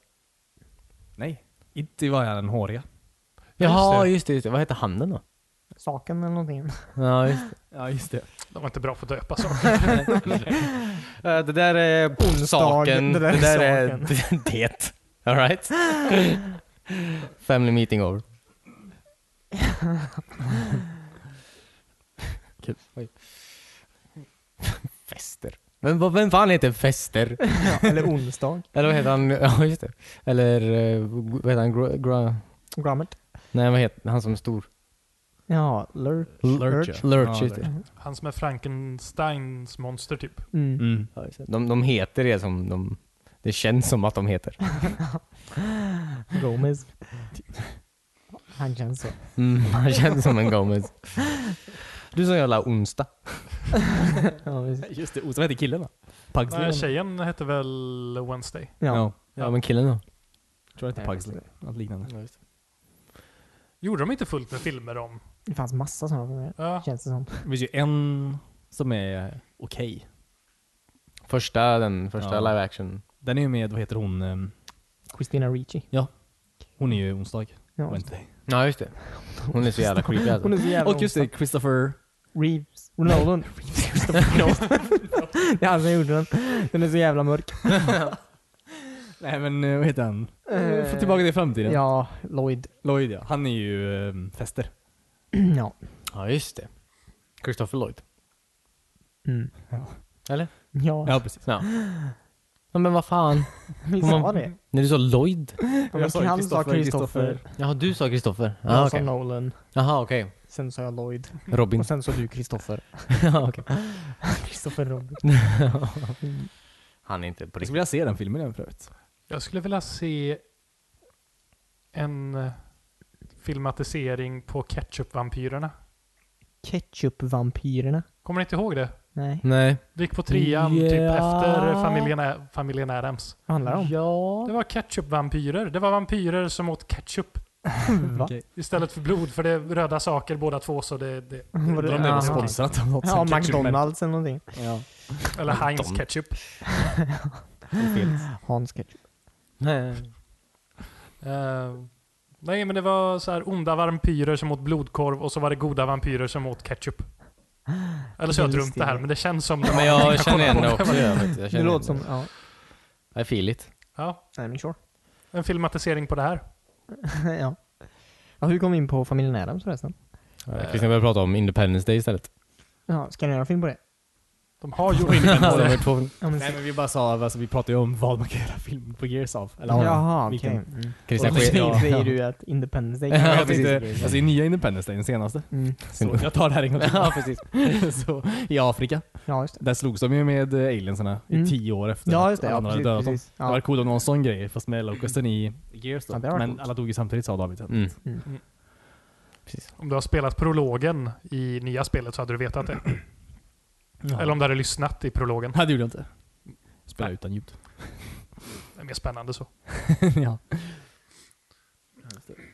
Speaker 3: Nej. Inte var jag den håriga.
Speaker 2: Jaha, just det. Just det. Vad heter handen då?
Speaker 1: Saken eller någonting.
Speaker 2: Ja, just
Speaker 3: Ja, just det.
Speaker 4: De var inte bra på att döpa saker.
Speaker 2: Eh, det. det där är
Speaker 1: Onsdagen.
Speaker 2: saken.
Speaker 1: Det där är
Speaker 2: det. All right. Family meeting over. Kul. Oj. Fester. Men vad- vem fan heter Fester?
Speaker 1: Eller onsdag.
Speaker 2: Eller vad heter han? Ja just det. Eller eh, vad heter han? Gro- Gro-
Speaker 1: Grommet.
Speaker 2: Nej vad heter han som är stor?
Speaker 1: Ja, lurch.
Speaker 3: Lurch, ja.
Speaker 2: Lurch
Speaker 3: Ja,
Speaker 2: just det.
Speaker 4: Han som är Frankensteins monster typ.
Speaker 1: Mm.
Speaker 3: Mm.
Speaker 2: Ja, just det. De, de heter det som de... Det känns som att de heter.
Speaker 1: Gomez. Han känns så.
Speaker 2: Mm, han känns som en Gomez. Du som jävla onsdag.
Speaker 1: Ja, visst.
Speaker 3: Just det, vad hette killen då?
Speaker 4: Nej, tjejen hette väl Wednesday?
Speaker 1: ja.
Speaker 2: Ja men killen då?
Speaker 3: Tror jag inte
Speaker 1: Nej,
Speaker 3: Pugsley. Något liknande.
Speaker 4: Gjorde de inte fullt med filmer om?
Speaker 1: det fanns massa sådana.
Speaker 4: Ja.
Speaker 1: Känns det som.
Speaker 3: Det finns ju en som är okej.
Speaker 2: Första den, första
Speaker 3: Ja.
Speaker 2: live action.
Speaker 3: Den är ju med, vad heter hon? ehm,
Speaker 1: Christina Ricci.
Speaker 3: Hon är ju onsdag.
Speaker 1: Ja.
Speaker 3: Wednesday.
Speaker 2: Ja just det. Hon är så jävla creepy alltså.
Speaker 1: Hon är så jävla
Speaker 3: Och just det, Christopher...
Speaker 1: Reeves. Nolan. det är han som gjorde den. Den är så jävla mörk.
Speaker 3: Nej men eh, vad heter han?
Speaker 1: Eh,
Speaker 3: Få tillbaka till framtiden.
Speaker 1: Ja, Lloyd.
Speaker 3: Lloyd ja. Han är ju ehm, fester.
Speaker 1: ja.
Speaker 2: Ja just det. Christopher Lloyd.
Speaker 1: Mm.
Speaker 2: Eller?
Speaker 1: Ja,
Speaker 3: Ja precis.
Speaker 2: Ja. ja men vad fan.
Speaker 1: vi
Speaker 2: Hon
Speaker 1: sa
Speaker 2: var-
Speaker 1: det.
Speaker 2: När du sa Lloyd?
Speaker 1: Ja, men
Speaker 3: sa ju
Speaker 1: han sa
Speaker 3: Christopher,
Speaker 1: Kristoffer.
Speaker 3: Christopher.
Speaker 2: Jaha du sa Christopher? Ja
Speaker 1: Jag sa
Speaker 2: Ah, okej.
Speaker 1: Nolan.
Speaker 2: Jaha okej.
Speaker 1: Sen sa jag Lloyd.
Speaker 2: Robin.
Speaker 1: Och sen sa du Kristoffer.
Speaker 2: ja, okej.
Speaker 1: Kristoffer Robin.
Speaker 2: Han är inte på
Speaker 3: Jag skulle
Speaker 2: riktigt.
Speaker 3: vilja se den filmen igen för övrigt.
Speaker 4: Jag skulle vilja se en eh, filmatisering på Ketchup-vampyrerna.
Speaker 1: Ketchup-vampyrerna.
Speaker 4: Kommer ni inte ihåg det?
Speaker 1: Nej.
Speaker 2: Nej.
Speaker 4: Det gick på trean typ
Speaker 2: Ja.
Speaker 4: efter familjen, Ä- familjen Adams.
Speaker 1: Vad handlar det om?
Speaker 2: Ja.
Speaker 4: Det var ketchupvampyrer. Det var vampyrer som åt ketchup
Speaker 1: Va?
Speaker 3: Okej.
Speaker 4: istället för blod. För det är röda saker båda två. Så det, det,
Speaker 1: Var
Speaker 3: Undrar
Speaker 1: det-
Speaker 3: om det
Speaker 1: ja,
Speaker 3: var
Speaker 1: okej.
Speaker 3: sponsrat av något
Speaker 1: Ja,
Speaker 3: sånt ketchup-
Speaker 1: McDonalds eller någonting.
Speaker 3: Ja.
Speaker 4: eller Heinz
Speaker 2: Tom.
Speaker 4: ketchup.
Speaker 1: Hans Ketchup.
Speaker 2: Nej.
Speaker 4: Eh, nej, men det var så här onda vampyrer som åt blodkorv och så var det goda vampyrer som åt ketchup. Eller så har jag drömt det här, men det känns som det.
Speaker 2: Men jag känner henne också. Jag, vet, jag
Speaker 1: Det
Speaker 2: känner
Speaker 1: låter som...
Speaker 2: henne.
Speaker 1: Ja.
Speaker 2: I feel it.
Speaker 4: Ja,
Speaker 1: Nej, men sure.
Speaker 4: en filmatisering på det här.
Speaker 1: ja. ja. Hur kom vi in på familjen Adams förresten?
Speaker 2: Christian börjar prata om Independence Day istället.
Speaker 1: Ja, ska ni göra en film på det?
Speaker 4: De har gjort det.
Speaker 2: Alltså, de är två-
Speaker 1: Ja, men...
Speaker 3: Nej men vi bara sa, alltså, vi pratade ju om vad man kan göra film på Gears av. Eller av
Speaker 1: Jaha, okej.
Speaker 3: vilken-
Speaker 1: Mm.
Speaker 2: Christian
Speaker 1: Och då
Speaker 2: Ske- ja.
Speaker 1: säger du att Independence Day
Speaker 2: Ja,
Speaker 1: kan vara
Speaker 3: jag tänkte,
Speaker 1: precis.
Speaker 3: alltså i nya Independence Day, den senaste.
Speaker 1: Mm.
Speaker 3: Så jag tar det här en gång till.
Speaker 2: Ja, precis.
Speaker 3: så, I Afrika,
Speaker 1: Ja, just det.
Speaker 3: där slogs de ju med eh, aliensarna
Speaker 1: Mm.
Speaker 3: i tio år efter
Speaker 1: Ja, just det.
Speaker 3: att
Speaker 1: Ja,
Speaker 3: han hade
Speaker 1: precis.
Speaker 3: dödat dem.
Speaker 1: precis.
Speaker 3: Det hade
Speaker 1: Ja.
Speaker 3: varit coolt om någon sån grej, fast med locusten i Gears då.
Speaker 1: Ja, det hade varit
Speaker 3: Men
Speaker 1: coolt.
Speaker 3: alla dog ju samtidigt sa David sen.
Speaker 2: Mm.
Speaker 1: Mm.
Speaker 4: Mm.
Speaker 2: Precis.
Speaker 4: Om du har spelat prologen i nya spelet så hade du vetat det.
Speaker 3: Ja.
Speaker 4: Eller om du hade lyssnat i prologen.
Speaker 3: Nej, det gjorde jag inte. Spela utan ljud.
Speaker 4: Det är mer spännande så.
Speaker 3: ja.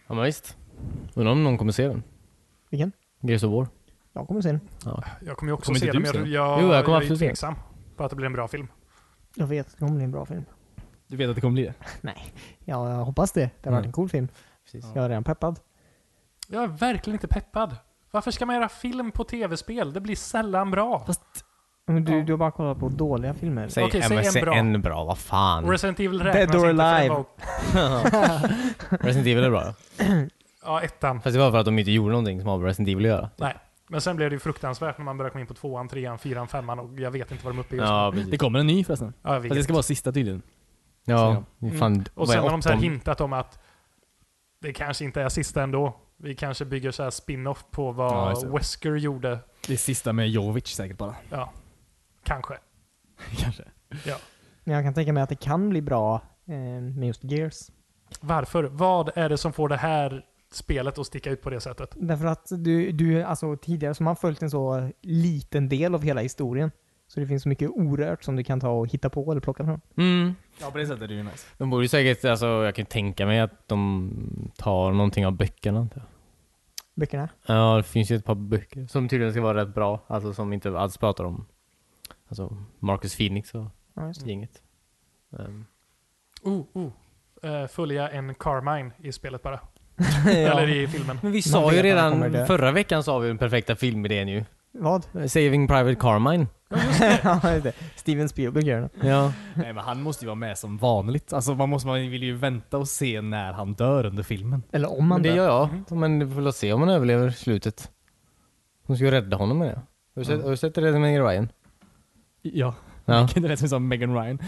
Speaker 2: Ja men visst. Undrar om någon kommer se den?
Speaker 1: Vilken?
Speaker 2: Gears of War.
Speaker 1: Jag kommer se den.
Speaker 4: Jag kommer ju också
Speaker 3: Kommer
Speaker 4: se
Speaker 3: inte
Speaker 4: den, men
Speaker 3: du
Speaker 4: jag,
Speaker 3: se
Speaker 4: jag,
Speaker 2: Jo, jag kommer
Speaker 4: är
Speaker 2: absolut se den.
Speaker 4: tveksam på att det blir en bra film.
Speaker 1: Jag vet, det kommer bli en bra film.
Speaker 3: Du vet att det kommer bli det?
Speaker 1: Nej, ja, jag hoppas det. Det har varit
Speaker 3: Mm.
Speaker 1: en cool film.
Speaker 2: Precis.
Speaker 1: Jag är redan peppad.
Speaker 4: Jag är verkligen inte peppad. Varför ska man göra film på tv-spel? Det blir sällan bra.
Speaker 1: Men du,
Speaker 4: Ja.
Speaker 1: du har bara kollat på dåliga filmer.
Speaker 2: Säg,
Speaker 4: Okej,
Speaker 2: en,
Speaker 4: säg en
Speaker 2: säg
Speaker 4: bra.
Speaker 2: en bra, vad fan.
Speaker 4: Resident Evil räknas
Speaker 1: Dead or
Speaker 4: inte, för den
Speaker 1: Alive.
Speaker 4: var-
Speaker 2: Resident Evil är bra.
Speaker 4: Ja, ettan.
Speaker 2: Fast det var för att de inte gjorde någonting som har med Resident Evil att göra.
Speaker 4: Nej. Men sen blev det ju fruktansvärt när man började komma in på tvåan, trean, fyran, femman och jag vet inte vad de är uppe i just nu.
Speaker 2: Ja,
Speaker 3: Det
Speaker 2: precis.
Speaker 3: kommer en ny förresten.
Speaker 4: Ja, jag vet.
Speaker 3: Fast det ska vara sista tydligen.
Speaker 2: Ja, fan,
Speaker 4: Och
Speaker 2: vad
Speaker 4: sen
Speaker 2: är
Speaker 4: har de så här
Speaker 2: åttonde?
Speaker 4: hintat om att det kanske inte är sista ändå. Vi kanske bygger så här spin-off på
Speaker 3: Ja,
Speaker 4: vad
Speaker 3: just det.
Speaker 4: Wesker gjorde.
Speaker 3: Det är sista med Jovic säkert bara.
Speaker 4: Ja, kanske.
Speaker 3: Kanske.
Speaker 1: Men jag kan tänka mig att det kan bli bra eh, med just Gears.
Speaker 4: Varför? Vad är det som får det här spelet att sticka ut på det sättet?
Speaker 1: Därför att du, du alltså tidigare så har man följt en så liten del av hela historien. Så det finns så mycket orört som du kan ta och hitta på eller plocka från.
Speaker 2: Mm.
Speaker 3: Ja på det sättet är det ju nice.
Speaker 2: De borde ju säkert, alltså jag kan ju tänka mig att de tar någonting av böckerna. antar jag.
Speaker 1: Böckerna.
Speaker 2: Ja, det finns ju ett par böcker som tydligen ska vara rätt bra. Alltså som inte alls pratar om alltså, Marcus Phoenix och
Speaker 1: Ja, just det.
Speaker 2: gänget. Ehm,
Speaker 4: Oh, oh. Eh, följa en Carmine i spelet bara.
Speaker 2: ja.
Speaker 4: Eller i filmen.
Speaker 2: Men vi
Speaker 1: Man
Speaker 2: sa ju
Speaker 1: vet att han kommer
Speaker 2: redan,
Speaker 1: dö.
Speaker 2: förra veckan sa vi den perfekta filmidén ju.
Speaker 1: Vad?
Speaker 2: Saving Private Carmine.
Speaker 1: Ja, just det. Steven Spielberg gör den.
Speaker 2: Ja.
Speaker 3: Nej men han måste ju vara med som vanligt. Alltså man, måste, man vill ju vänta och se när han dör under filmen.
Speaker 1: Eller om man
Speaker 2: Men det
Speaker 1: dör.
Speaker 2: gör jag. Men vi får väl se om han överlever slutet. De ska ju rädda honom med det. Har du sett, har du sett det med Ryan?
Speaker 3: Ja.
Speaker 2: Ja.
Speaker 3: Det lät som som Megan Ryan.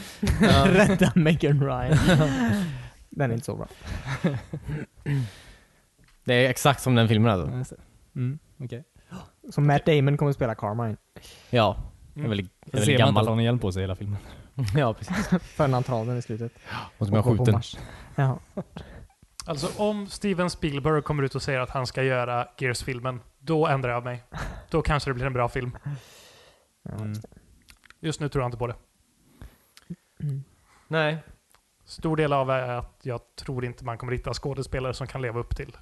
Speaker 1: Rädda Megan Ryan. den är inte så bra.
Speaker 2: Det är exakt som den filmen alltså.
Speaker 3: Mm, okej.
Speaker 1: Så Matt Damon kommer att spela Carmine.
Speaker 2: Ja. En väldigt, en
Speaker 3: Sen ser
Speaker 2: väldigt
Speaker 3: man inte att
Speaker 2: gammal.
Speaker 3: han har hjälm på sig hela filmen.
Speaker 2: Ja, precis.
Speaker 1: Förrän han tar den i slutet.
Speaker 2: Och som jag
Speaker 1: Och- och- och
Speaker 2: skjuten.
Speaker 1: Mars. Ja.
Speaker 4: Alltså om Steven Spielberg kommer ut och säger att han ska göra Gears-filmen, då ändrar jag mig. Då kanske det blir en bra film. Mm. Just nu tror jag inte på det.
Speaker 2: Nej.
Speaker 4: Stor del av är att jag tror inte man kommer hitta skådespelare som kan leva upp till.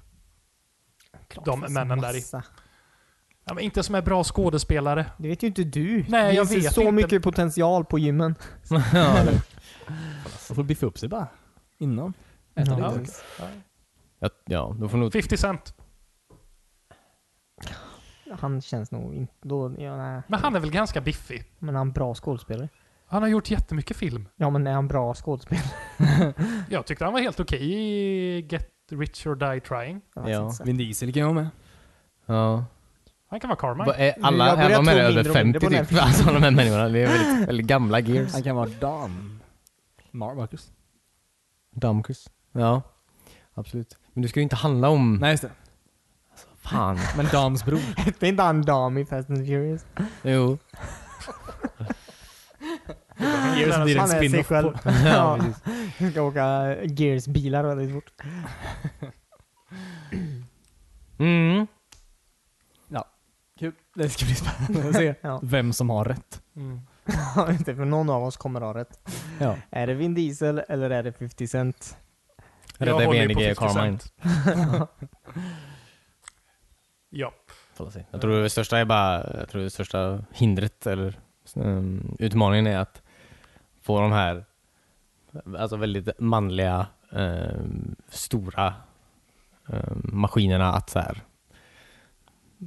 Speaker 1: Klart
Speaker 4: De
Speaker 1: finns
Speaker 4: männen där i.
Speaker 1: massa.
Speaker 4: Ja, men inte som är bra skådespelare.
Speaker 1: Det vet ju inte du.
Speaker 4: Nej,
Speaker 1: det
Speaker 4: jag
Speaker 1: finns ju
Speaker 4: vet
Speaker 1: så
Speaker 4: inte.
Speaker 1: mycket potential på gymmen.
Speaker 3: Då får biffa upp sig bara. Innan.
Speaker 1: Ja.
Speaker 4: lite.
Speaker 2: Ja, ja, då får nog...
Speaker 4: 50 Cent.
Speaker 1: Han känns nog inte... Då, ja, nej.
Speaker 4: Men han är väl ganska biffig?
Speaker 1: Men är han bra skådespelare?
Speaker 4: Han har gjort jättemycket film.
Speaker 1: Ja, men är han bra skådespelare?
Speaker 4: Jag tyckte han var helt okej i Get Rich or Die Trying.
Speaker 1: Jag vet
Speaker 2: Ja.
Speaker 1: inte.
Speaker 3: Vin Diesel kan jag med.
Speaker 2: Ja.
Speaker 4: Han kan vara Carmine.
Speaker 2: Va- är Alla
Speaker 1: Jag
Speaker 2: här
Speaker 1: börjar
Speaker 2: var med
Speaker 1: tro
Speaker 2: över
Speaker 1: mindre och mindre
Speaker 2: 50
Speaker 1: på den
Speaker 2: typ. Alltså de här människorna. Det är väldigt, väldigt gamla gears.
Speaker 3: Han kan vara Dan. Marcus.
Speaker 2: Damkus. Ja. Absolut. Men du ska ju inte handla om...
Speaker 3: Mm. Nej just det.
Speaker 2: Fan.
Speaker 3: Men Dams bror.
Speaker 1: Hette inte han Dam i Fast and Furious?
Speaker 2: Jo.
Speaker 3: Gears blir en
Speaker 1: Han är sig
Speaker 3: spin-off
Speaker 1: själv.
Speaker 3: på.
Speaker 1: Ja, Han ska åka Gears-bilar väldigt fort.
Speaker 2: Mm.
Speaker 3: Kul. Det ska bli spännande att se
Speaker 1: Ja.
Speaker 3: vem som har rätt.
Speaker 4: Mm.
Speaker 1: Ja, just det, för någon av oss kommer ha rätt.
Speaker 3: Ja.
Speaker 1: Är det Vin Diesel eller är det 50 Cent?
Speaker 4: Jag
Speaker 2: Rädda
Speaker 4: håller ju på
Speaker 2: menige
Speaker 4: 50
Speaker 2: Carmine.
Speaker 4: Cent. ja.
Speaker 2: Får se. Jag tror det största är bara, jag tror det största hindret eller ehm, utmaningen är att få de här alltså väldigt manliga ehm, stora ehm, maskinerna att så här,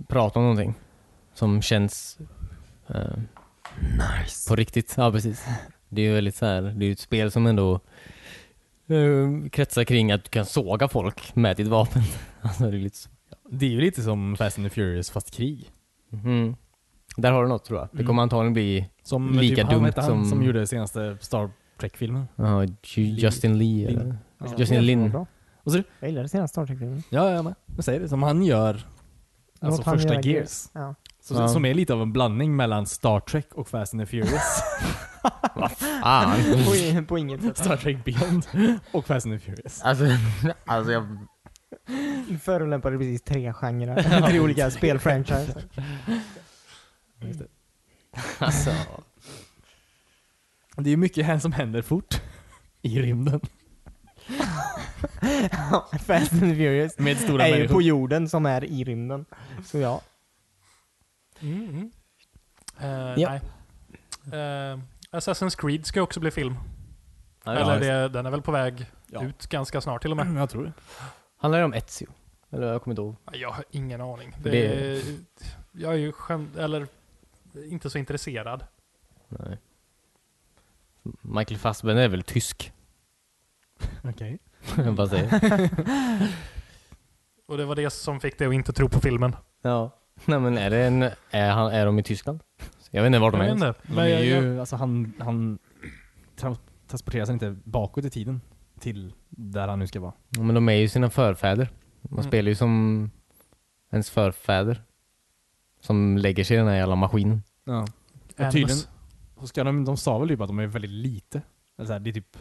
Speaker 2: prata om någonting som känns ehm, på riktigt. Ja, precis. Det är ju väldigt så här, det är ju ett spel som ändå ehm, kretsar kring att du kan såga folk med ditt vapen. Alltså, det är lite så.
Speaker 3: Det är ju lite som Fast and the Furious fast krig.
Speaker 2: Mhm. Där har du något tror jag. Det kommer
Speaker 4: Mm.
Speaker 2: antagligen bli
Speaker 3: Som
Speaker 2: Lika
Speaker 3: typ, han,
Speaker 2: dumt
Speaker 3: vet han som...
Speaker 2: som-
Speaker 3: gjorde senaste Star Trek-filmen.
Speaker 2: ja, uh, Ju- Justin Lee eller? Justin Lin.
Speaker 1: Bra.
Speaker 3: Vad sa du?
Speaker 1: Jag gillade senaste Star Trek-filmen.
Speaker 3: Ja, jag med. Men säger det. Som han gör. Alltså
Speaker 1: Låt han
Speaker 3: första
Speaker 1: göra
Speaker 3: Gears.
Speaker 1: Ja.
Speaker 3: Så,
Speaker 2: Ja.
Speaker 3: Som är lite av en blandning mellan Star Trek och Fast and the Furious.
Speaker 2: Ah,
Speaker 1: På, i- på inget sätt.
Speaker 3: Star Trek Beyond och Fast and the Furious.
Speaker 2: alltså, alltså jag...
Speaker 1: Du förolämpade precis tre genrer. tre olika spelfranchises.
Speaker 2: Alltså,
Speaker 3: Det är ju mycket här som händer fort. I rymden.
Speaker 1: Ja, Fast and Furious
Speaker 3: Med stora
Speaker 1: är ju
Speaker 3: människor.
Speaker 1: på jorden som är i rymden. Så ja.
Speaker 4: Mm, mm. Eh,
Speaker 2: Ja.
Speaker 4: nej. Eh, Assassin's Creed ska också bli film.
Speaker 2: ja,
Speaker 4: Eller
Speaker 2: det...
Speaker 4: det, den är väl på väg
Speaker 3: Ja. Mm,
Speaker 4: ut ganska snart till och med.
Speaker 3: Jag tror det.
Speaker 2: Handlar det om Ezio? Eller jag kommer inte ihåg.
Speaker 4: Jag har ingen aning. Det,
Speaker 2: Det-
Speaker 4: Jag är ju skäm, eller inte så intresserad.
Speaker 2: Nej. Michael Fassbender är väl tysk?
Speaker 3: Okej.
Speaker 2: Jag bara säger.
Speaker 4: Och det var det som fick dig att inte tro på filmen.
Speaker 2: Ja. Nej men är det en... Är, han, är de i Tyskland? Jag vet inte var de
Speaker 4: Jag
Speaker 2: är.
Speaker 4: vet inte.
Speaker 3: De
Speaker 4: Men
Speaker 3: är
Speaker 4: jag, jag,
Speaker 3: ju, alltså han, han tra- transporteras inte bakåt i tiden till där han nu ska vara.
Speaker 2: Ja, Men de är ju sina förfäder. Man
Speaker 4: Mm.
Speaker 2: spelar ju som ens förfäder. Som lägger sig i den här jävla maskinen.
Speaker 3: Ja.
Speaker 4: Ernest.
Speaker 3: Tydligen så ska de, de sa väl typ att de är väldigt lite. Eller så här, det är typ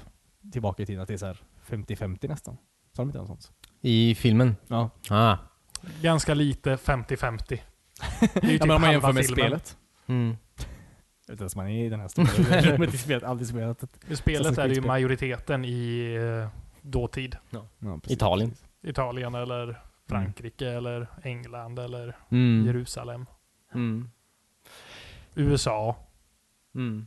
Speaker 3: tillbaka i tiden att det är så här 50-50 nästan. Sa de inte något sånt?
Speaker 2: I filmen?
Speaker 3: Ja.
Speaker 2: Ah.
Speaker 4: ganska lite 50-50. Det är ju typ
Speaker 3: ja men om man
Speaker 4: halva
Speaker 3: jämför med
Speaker 4: filmen.
Speaker 3: spelet.
Speaker 2: Mm.
Speaker 3: Utan att man är i den här stora rummet i spelet, aldrig spelat ett.
Speaker 4: I spelet
Speaker 3: Assassin's
Speaker 4: är det ju
Speaker 3: Creed-spel.
Speaker 4: majoriteten i eh, dåtid.
Speaker 3: Ja, precis.
Speaker 2: Italien.
Speaker 4: Italien eller Frankrike
Speaker 3: Mm.
Speaker 4: eller England eller
Speaker 2: Mm.
Speaker 4: Jerusalem.
Speaker 2: Mm.
Speaker 4: USA,
Speaker 2: Mm.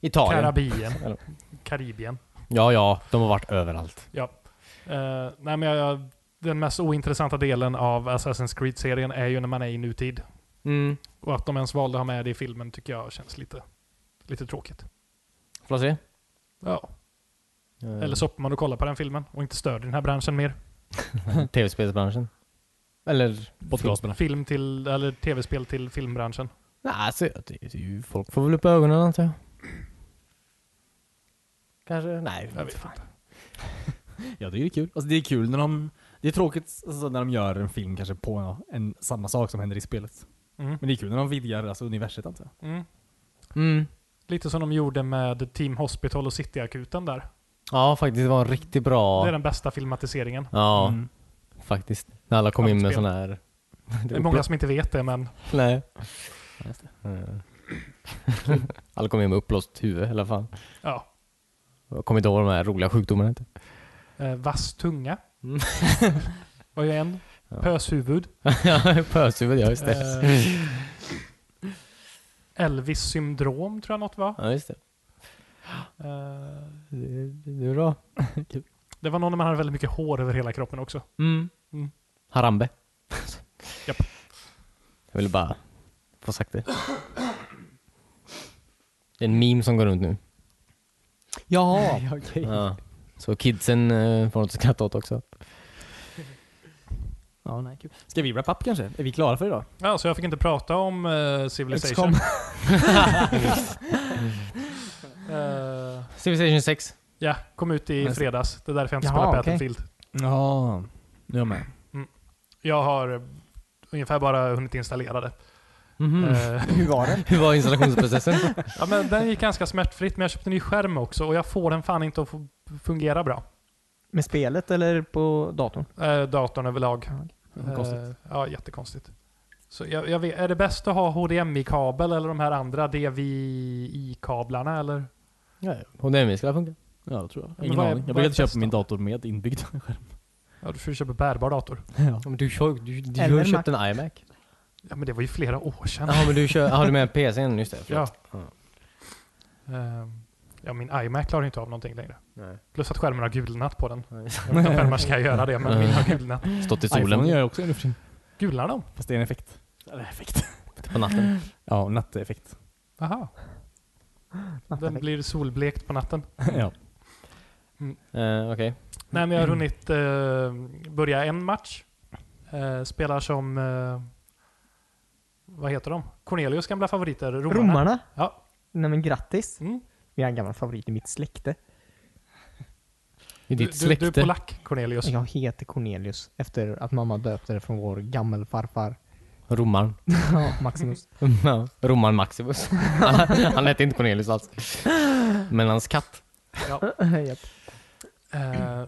Speaker 2: Italien.
Speaker 4: Karabien,
Speaker 2: Eller-
Speaker 4: Karibien.
Speaker 2: ja, ja. De har varit överallt.
Speaker 4: Ja. Eh, nej, men jag, den mest ointressanta delen av Assassin's Creed-serien är ju när man är i nutid.
Speaker 2: Mm.
Speaker 4: Och att de ens valde att ha med det i filmen tycker jag känns lite, lite tråkigt.
Speaker 2: Får jag se?
Speaker 4: Ja. Eller så hoppar man och kollar på den filmen och inte stödjer den här branschen mer.
Speaker 2: Tv-spelsbranschen. Eller...
Speaker 3: Podcastbranschen.
Speaker 4: Film till, eller tv-spel till filmbranschen.
Speaker 2: Nej, alltså, det, det, är ju- folk får väl upp ögonen antar jag. Kanske? Nej,
Speaker 4: Jag vet
Speaker 2: fan.
Speaker 4: inte.
Speaker 3: Ja, det är kul. Alltså det är kul när de... Det är tråkigt alltså, när de gör en film kanske på en, en, samma sak som händer i spelet.
Speaker 4: Mm.
Speaker 3: Men det är kul när de vidgar alltså, universet antar jag.
Speaker 4: Mm.
Speaker 2: Mm.
Speaker 4: Lite som de gjorde med Team Hospital och Cityakuten där.
Speaker 2: Ja, faktiskt. Det var en riktigt bra...
Speaker 4: Det är den bästa filmatiseringen.
Speaker 2: Ja,
Speaker 3: Mm.
Speaker 2: faktiskt. När alla kom in med
Speaker 4: Samspel.
Speaker 2: sån här...
Speaker 4: Det är många som inte vet det, men
Speaker 2: Nej. Mm. alla kom in med uppblåst huvud i alla fall.
Speaker 4: ja.
Speaker 2: Jag kommer inte ihåg vad de här roliga sjukdomarna hette.
Speaker 4: Eh, vass tunga.
Speaker 2: Mm.
Speaker 4: Var ju en. Pöshuvud.
Speaker 2: Ja, Pöshuvud, ja just det.
Speaker 4: Eh, Elvis syndrom tror jag något var.
Speaker 2: Ja, just det.
Speaker 4: Eh,
Speaker 2: Det, det är bra.
Speaker 4: det var någon när man hade väldigt mycket hår över hela kroppen också.
Speaker 2: Mm.
Speaker 4: Mm.
Speaker 2: Harambe.
Speaker 4: Japp.
Speaker 2: Jag ville bara få sagt det. Det är en meme som går runt nu.
Speaker 1: Ja,
Speaker 4: Typ.
Speaker 2: Ja. Så kidsen eh, får något att skratta åt också.
Speaker 3: Ja, nej, kul. Ska vi wrap up kanske? Är vi klara för idag?
Speaker 4: Ja, så jag fick inte prata om eh, Civilization.
Speaker 1: XCOM.
Speaker 4: Eh,
Speaker 2: Civilization 6.
Speaker 4: ja, kom ut i fredags. Det är därför jag inte
Speaker 1: Jaha,
Speaker 4: spelar
Speaker 1: okej.
Speaker 4: Battlefield.
Speaker 3: Ja, nu är jag med.
Speaker 4: Jag har ungefär bara hunnit installera det.
Speaker 2: Mm.
Speaker 4: Eh,
Speaker 1: hur var det?
Speaker 2: Mhm. Hur var installationsprocessen?
Speaker 4: ja, men den gick ganska smärtfritt, men jag köpte en ny skärm också och jag får den fan inte att få- fungera bra.
Speaker 1: Med spelet eller på datorn?
Speaker 4: Eh, datorn överlag.
Speaker 3: vad konstigt.
Speaker 4: Eh, ja, jättekonstigt. Så jag, jag vet, är det bäst att ha HDMI-kabel eller de här andra DVI-kablarna eller?
Speaker 2: ja, HDMI skulle ha funkat.
Speaker 3: Ja, det tror jag.
Speaker 4: Men
Speaker 3: Ingen
Speaker 4: vad är-
Speaker 3: aning.
Speaker 4: vad
Speaker 3: Jag
Speaker 4: är
Speaker 3: brukar
Speaker 4: bäst
Speaker 3: köpa min
Speaker 4: då?
Speaker 3: dator med inbyggd skärm.
Speaker 4: Ja, du får ju köpa bärbar dator.
Speaker 3: Ja.
Speaker 2: Men du kör, du, du
Speaker 1: Eller
Speaker 2: har ju köpt en iMac.
Speaker 4: Ja, men det var ju flera år sedan.
Speaker 2: Jaha, men du kör, jaha, du menar PCn? Just det.
Speaker 4: Ja.
Speaker 2: förlåt.
Speaker 4: Eh, ja, min iMac klarar ju inte av någonting längre.
Speaker 2: Nej.
Speaker 4: Plus att skärmen har gulnat på den. Jag vet inte om skärmar ska göra det, men min har gulnat.
Speaker 2: Stått i
Speaker 3: Solen gör
Speaker 2: solen
Speaker 3: jag också nu för tiden.
Speaker 4: Gulnar de?
Speaker 3: Fast det är en effekt. Eller effekt.
Speaker 2: på natten.
Speaker 3: Ja, natteffekt.
Speaker 4: Aha. Den blir solblekt på natten.
Speaker 2: Mm.
Speaker 3: ja.
Speaker 2: Eh, Okej.
Speaker 4: Nej, men jag har hunnit eh, börja en match. Eh, spelar som, eh, vad heter de? Cornelius gamla favoriter, romarna.
Speaker 1: Romarna?
Speaker 4: Ja.
Speaker 1: Nej men grattis.
Speaker 4: Mm.
Speaker 1: Vi har en gammal favorit i mitt släkte.
Speaker 4: Du,
Speaker 2: I ditt
Speaker 4: du, du
Speaker 2: släkte.
Speaker 4: är polack, Cornelius.
Speaker 1: Jag heter Cornelius efter att mamma döpte det från vår gammelfarfar
Speaker 2: Romaren.
Speaker 1: Ja, Maximus.
Speaker 2: Ja, Romaren Maximus. Han, han hette inte Cornelius alls. Men hans katt.
Speaker 4: Ja.
Speaker 1: Japp.
Speaker 4: Eh,